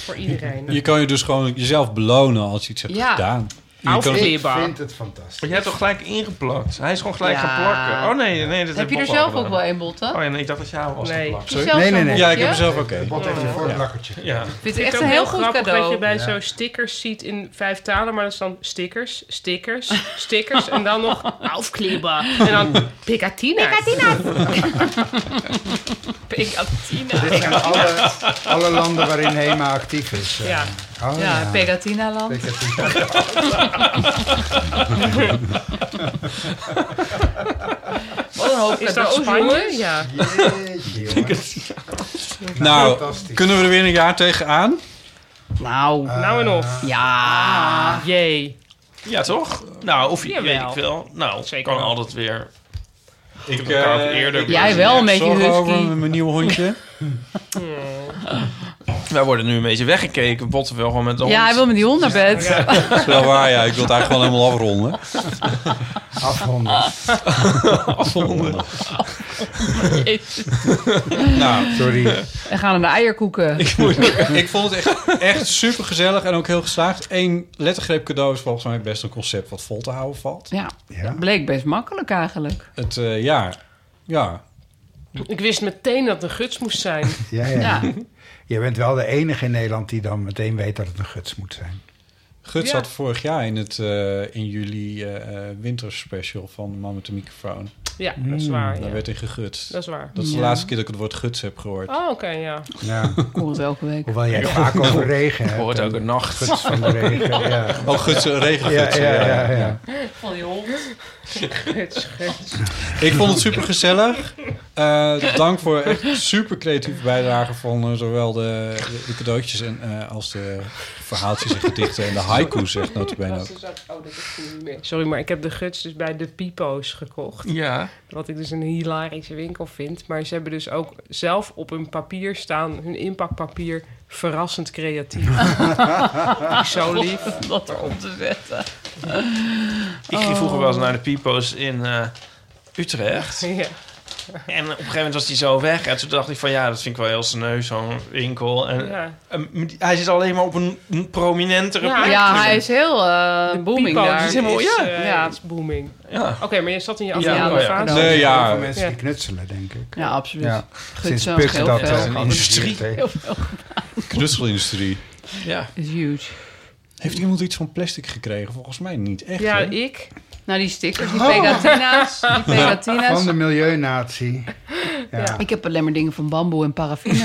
S6: voor iedereen.
S7: Je kan je dus gewoon jezelf belonen als je iets hebt
S3: Ja.
S7: gedaan.
S4: Ik
S6: Aufkleber.
S10: vind het fantastisch.
S4: Maar jij hebt toch gelijk ingeplakt? Hij is gewoon gelijk
S3: Ja.
S4: gaan plakken. Oh nee, nee. Dat
S3: Heb je er
S4: Bob al
S3: zelf
S4: gedaan.
S3: ook wel een, Botte?
S4: Oh ja, nee, ik dacht dat jij al was
S6: Nee.
S4: geplakt.
S3: Heb je zelf Nee, nee, zo'n nee.
S4: Ja, ik heb
S3: hem
S4: zelf
S3: zelf
S4: ook
S3: ook
S4: een.
S3: een.
S10: Bot heeft een voorplakkertje.
S4: Ja.
S3: Vind
S6: Ik
S3: het
S6: vind
S3: echt
S6: het
S3: een
S6: ook
S3: heel goed
S6: grappig
S3: cadeau.
S6: dat je bij zo'n stickers ziet in vijf talen, maar dat is dan stickers, stickers, stickers en dan
S3: *laughs*
S6: nog Aufkleber. En dan Picatina. Picatina. *laughs*
S10: Dit zijn
S6: Picatina.
S10: alle, alle landen waarin HEMA actief is. eh.
S6: Ja.
S10: Oh,
S3: ja,
S10: ja.
S3: Pegatina-land. Wat een hoop
S6: Is dat
S3: cadeaus,
S6: Spanje?
S3: jongens.
S6: Ja.
S10: Jeetje, jongens.
S7: Nou,
S10: fantastisch.
S7: kunnen we er weer een jaar tegenaan?
S3: Nou,
S6: Nou en of.
S3: ja.
S6: Jee.
S4: Ja, toch? Nou, of je, weet
S6: Jawel.
S4: ik veel. Nou,
S6: Zeker
S4: kan
S6: wel.
S4: altijd weer. Ik heb
S7: eh,
S4: elkaar ook eerder.
S3: Jij wel een beetje
S7: Zorg over
S3: husky.
S7: mijn nieuwe hondje.
S4: Wij worden nu een beetje weggekeken. Botten wel gewoon met de
S3: Ja, hij
S4: hond.
S3: wil met die hond naar bed.
S7: Dat is wel waar, ja. Ik wil het eigenlijk gewoon helemaal afronden.
S10: Afronden.
S4: *laughs*
S7: Nou,
S10: Sorry.
S3: En gaan we naar eierkoeken.
S7: *laughs* ik vond het echt, echt super gezellig en ook heel geslaagd. Eén lettergreep cadeau is volgens mij best een concept wat vol te houden valt.
S3: Ja,
S10: Ja.
S3: bleek best makkelijk eigenlijk.
S7: Het, eh, ja, ja.
S6: Ik wist meteen dat het een guts moest zijn.
S10: Ja, ja.
S3: Ja.
S10: Je bent wel de enige in Nederland die dan meteen weet dat het een guts moet zijn.
S7: Gut
S6: Ja.
S7: zat vorig jaar in, het, eh, in juli eh eh, winterspecial van Man met de microfoon.
S6: Ja, dat is waar.
S7: Daar
S6: Ah, ja.
S7: werd in gegutst.
S6: Dat is waar.
S7: Dat is de
S3: Ja.
S7: laatste keer dat ik het woord guts heb gehoord.
S6: Oh, oké, ja.
S10: Ja.
S3: Ik hoor het elke week.
S10: Hoewel jij het vaak over regen hebt.
S4: Hoort ook
S10: en
S4: een nacht.
S10: Guts van de regen, *laughs* ja.
S7: Oh, guts,
S10: Ja,
S7: regengutsen.
S10: ja, ja, ja.
S3: Van die hond.
S6: Guts, guts.
S7: Ik vond het super gezellig. dank voor echt super creatieve bijdrage van eh, zowel de, de, de cadeautjes en, eh, als de verhaaltjes en gedichten en de haikus, zegt notabene ook.
S3: oh,
S6: Sorry, maar ik heb de guts dus bij de Pipo's gekocht.
S4: Ja.
S6: Wat ik dus een hilarische winkel vind. Maar ze hebben dus ook zelf op hun papier staan, hun inpakpapier, verrassend
S4: *laughs*
S6: creatief. Zo lief.
S3: Wat er om te zetten.
S4: Ik ging vroeger wel eens naar de Pipo's in eh,
S3: Oh.
S4: Utrecht.
S6: Ja.
S4: En op een gegeven moment was die zo weg. En toen dacht ik van ja, dat vind ik wel heel sneu, zo'n winkel. En,
S6: Ja.
S4: en die- hij zit alleen maar op een, een prominentere
S6: Ja,
S4: plek.
S3: Ja, hij is heel eh,
S6: De
S3: booming
S6: Pipo's
S3: daar.
S6: is,
S4: helemaal- ja.
S6: eh,
S3: Ja.
S6: is booming.
S4: Ja.
S6: Oké, maar je zat in je
S3: Ja,
S6: afgelopen
S4: oh ja.
S6: fase.
S7: Nee,
S10: Heel
S7: ja.
S10: veel mensen
S6: Ja.
S10: die knutselen, denk ik.
S3: Ja, absoluut.
S10: Ja.
S3: Guts
S10: Sinds
S3: zelfs
S10: Puk
S3: heel
S10: dat
S3: veel.
S10: eh,
S4: Een
S10: georganiseerd
S4: industrie.
S10: heeft.
S7: Knutselindustrie.
S4: Ja.
S3: is huge.
S7: Heeft iemand iets van plastic gekregen? Volgens mij niet echt.
S6: Ja,
S7: hè?
S6: ik.
S3: Nou, die stickers, die pegatina's. Die pegatina's.
S10: Van de milieunatie. Ja.
S3: Ik heb alleen maar dingen van bamboe en paraffine.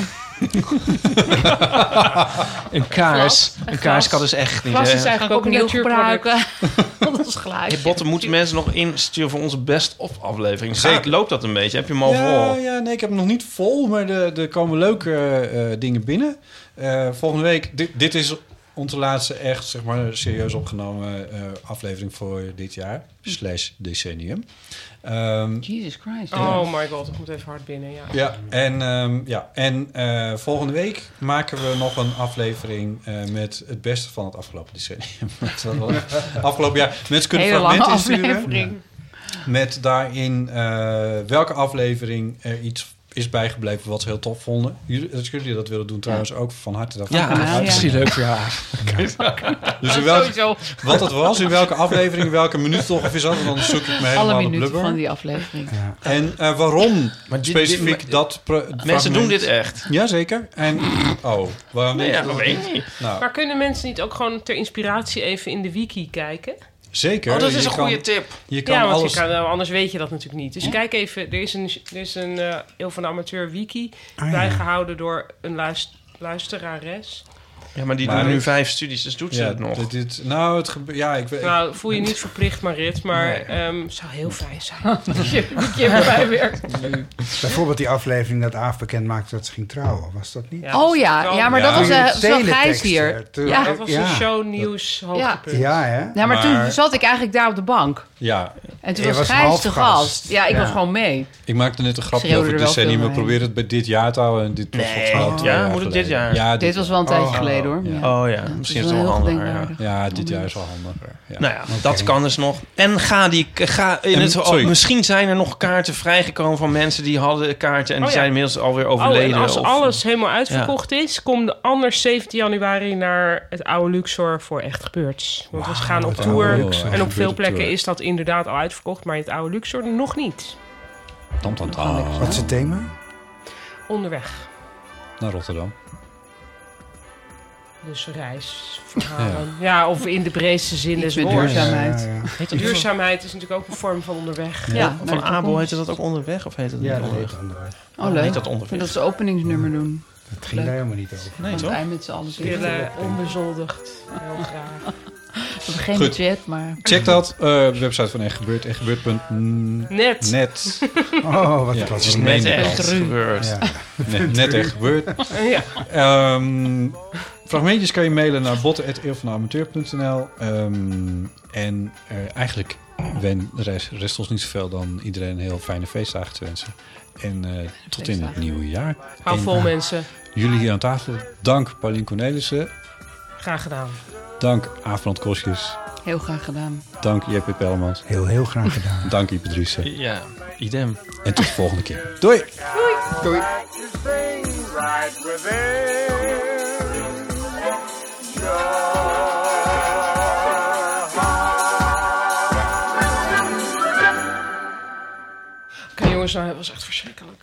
S3: *laughs*
S4: Een kaars.
S3: Glas.
S4: Een kaars kan dus echt niet.
S6: Klassen
S4: hè.
S6: zijn
S3: Ga ik
S6: eigenlijk
S3: ook
S6: ook
S3: nieuw
S6: natuurproduct.
S3: gebruiken. *laughs* Dat is glaasje.
S4: Hey, Botten, moeten mensen nog insturen voor onze best-of aflevering? Zeker. Loopt dat een beetje? Heb je hem al
S7: Ja,
S4: vol?
S7: ja, nee, ik heb hem nog niet vol, maar er er komen leuke eh, dingen binnen. Eh, volgende week, dit, dit is onze laatste echt, zeg maar, serieus opgenomen eh, aflevering voor dit jaar. Slash decennium. Ehm,
S3: Jesus Christ.
S6: Oh my god, ik moet even hard binnen, ja.
S7: ja, en, ehm, ja, en eh, volgende week maken we nog een aflevering eh, met het beste van het afgelopen decennium. *laughs* Dat is wel- afgelopen jaar. Mensen kunnen
S3: Hele lange
S7: fragmenten insturen.
S3: aflevering.
S7: Met daarin eh, welke aflevering er iets is bijgebleven wat ze heel tof vonden. Jullie, als jullie dat willen doen trouwens ook van harte. daarvan.
S3: Ja, Ja, dat is heel
S7: leuk. Ja. Dus in welke-
S3: Sowieso.
S7: wat het was, in welke aflevering, in welke minuut toch ongeveer zat. En dan zoek ik me
S3: Alle
S7: helemaal de
S3: minuten
S7: blubber.
S3: van die aflevering.
S7: En eh, waarom
S4: dit-
S7: specifiek
S4: dit-
S7: dat... pro-
S4: Mensen
S7: fragment?
S4: doen dit echt.
S7: Jazeker. En... Oh, waarom
S4: Nee,
S7: denk
S4: ja,
S7: je
S4: dat
S7: dat?
S4: weet ik niet.
S7: Nou,
S6: Maar kunnen mensen niet ook gewoon ter inspiratie even in de wiki kijken?
S7: zeker.
S4: Oh, dat is
S7: Je
S4: een goede
S7: kan-
S4: tip.
S7: Je kan
S6: ja, want je
S7: alles...
S6: kan, nou, anders weet je dat natuurlijk niet. Dus kijk even, er is een, er is een eh, Eeuw van de Amateur wiki
S10: Ah, ja.
S6: bijgehouden door een luis- luisterares.
S4: Ja, maar die
S7: Maar
S4: doen nu
S7: dit-
S4: vijf studies, dus doet ze
S7: Ja,
S4: het nog.
S7: dit, dit, nou, het gebeurt... Ja, ik weet...
S6: Nou, voel je niet verplicht, Marit, maar
S4: Nee.
S6: ehm, zou heel fijn zijn. *laughs*
S3: Die keer erbij werkt.
S10: Bijvoorbeeld die aflevering dat Aaf bekend maakte dat ze ging trouwen. Was dat niet?
S6: Ja, dus
S3: Oh ja, ja maar
S7: Ja.
S3: dat was,
S10: Toen je
S3: eh,
S10: het
S3: was wel Gijs
S10: teletext,
S3: hier.
S10: eh, toen-
S3: Ja.
S6: Dat was een shownieuws hoogtepunt.
S10: Ja, hè?
S3: Ja, maar
S7: Maar-
S3: toen zat ik eigenlijk daar op de bank.
S7: Ja,
S3: En toen
S7: Je
S3: was,
S7: was
S3: Gijs de
S7: halfgast.
S3: gast. Ja, ik
S7: Ja.
S3: was gewoon mee.
S7: Ik maakte net een grapje
S3: Schreeuwde
S7: over
S3: er
S7: het
S3: wel
S7: decennium.
S3: veel
S7: We
S3: doorheen.
S7: proberen het bij dit jaar te houden. En dit was volgens mij al
S4: Oh,
S7: twee
S4: ja,
S7: jaar
S4: moet het dit
S7: geleden.
S4: jaar?
S7: Ja,
S3: Dit was wel een tijdje geleden, hoor. Ja.
S4: Oh
S3: Ja,
S4: ja,
S3: dat is
S4: misschien is het
S3: wel
S4: wel
S3: heel
S4: handiger. Ja.
S3: gedenkwaardig.
S7: Ja, dit jaar is al handiger. Ja.
S4: Nou ja, dat kan dus nog. En ga die, ga in
S7: En,
S4: het, oh,
S7: sorry.
S4: misschien zijn er nog kaarten vrijgekomen van mensen die hadden kaarten en
S6: Oh
S4: die
S6: ja.
S4: zijn inmiddels alweer overleden.
S6: Oh, en als
S4: of-
S6: alles helemaal uitverkocht is, kom de anders 17 januari naar het oude Luxor voor Echt Gebeurd. Want we gaan op
S4: het oude
S6: tour
S4: Luxor.
S6: en op
S4: Gebeurt
S6: veel
S4: op
S6: plekken
S4: tour.
S6: is dat inderdaad al uitverkocht, maar in het oude Luxor nog niet.
S3: Nou,
S7: Tam, tam, tam.
S10: Wat is het thema?
S6: Onderweg.
S7: Naar Rotterdam.
S6: Dus reisverhalen. Ja, of in de breedste zin
S3: Iets
S6: des
S3: met
S6: woords.
S3: duurzaamheid. Ja, ja, ja.
S4: Heet dat
S6: Duurzaamheid is natuurlijk ook een vorm van onderweg.
S4: Ja, van Abel heette dat ook onderweg of heet het
S10: Ja,
S4: niet
S10: dat
S4: onderweg?
S10: heet onderweg.
S3: Oh, leuk.
S4: Heet dat
S3: Ik vind
S4: onderweg?
S3: dat ze openingsnummer doen.
S10: Het ging
S3: Leuk.
S10: daar helemaal niet over.
S4: Nee,
S3: Want
S4: toch?
S3: wij met z'n allen zitten.
S6: Pillen, onbezoldigd. Heel graag.
S3: We hebben geen
S7: Goed.
S3: budget, maar...
S7: Check dat. eh, website van Echt Gebeurd. Echtgebeurd.net.
S3: *laughs*
S6: Net.
S7: Net.
S10: Oh, wat
S7: Ja,
S10: was
S7: het is
S10: een
S7: net
S10: meme.
S7: echt
S4: gebeurd.
S10: Ja.
S7: Net, net echt gebeurd.
S6: Ja.
S7: Ehm, fragmentjes kan je mailen naar botten.eeuwvanamateur.nl Ehm, En eh, eigenlijk wen, rest, rest ons niet zoveel dan iedereen een heel fijne feestdagen te wensen. En eh, tot in het nieuwe jaar.
S6: Hou
S7: En
S6: vol, mensen.
S7: Jullie hier aan tafel. Dank Paulien Cornelissen.
S6: Graag gedaan.
S7: Dank Aafland Kosjes.
S3: Heel graag gedaan.
S7: Dank JP Pellemans.
S10: Heel, heel graag gedaan.
S7: Dank Ipe Driessen.
S4: Ja, idem.
S7: En tot de volgende keer. Doei!
S10: Doei.
S12: right within your heart.
S6: Oké, jongens, nou, dat was echt verschrikkelijk.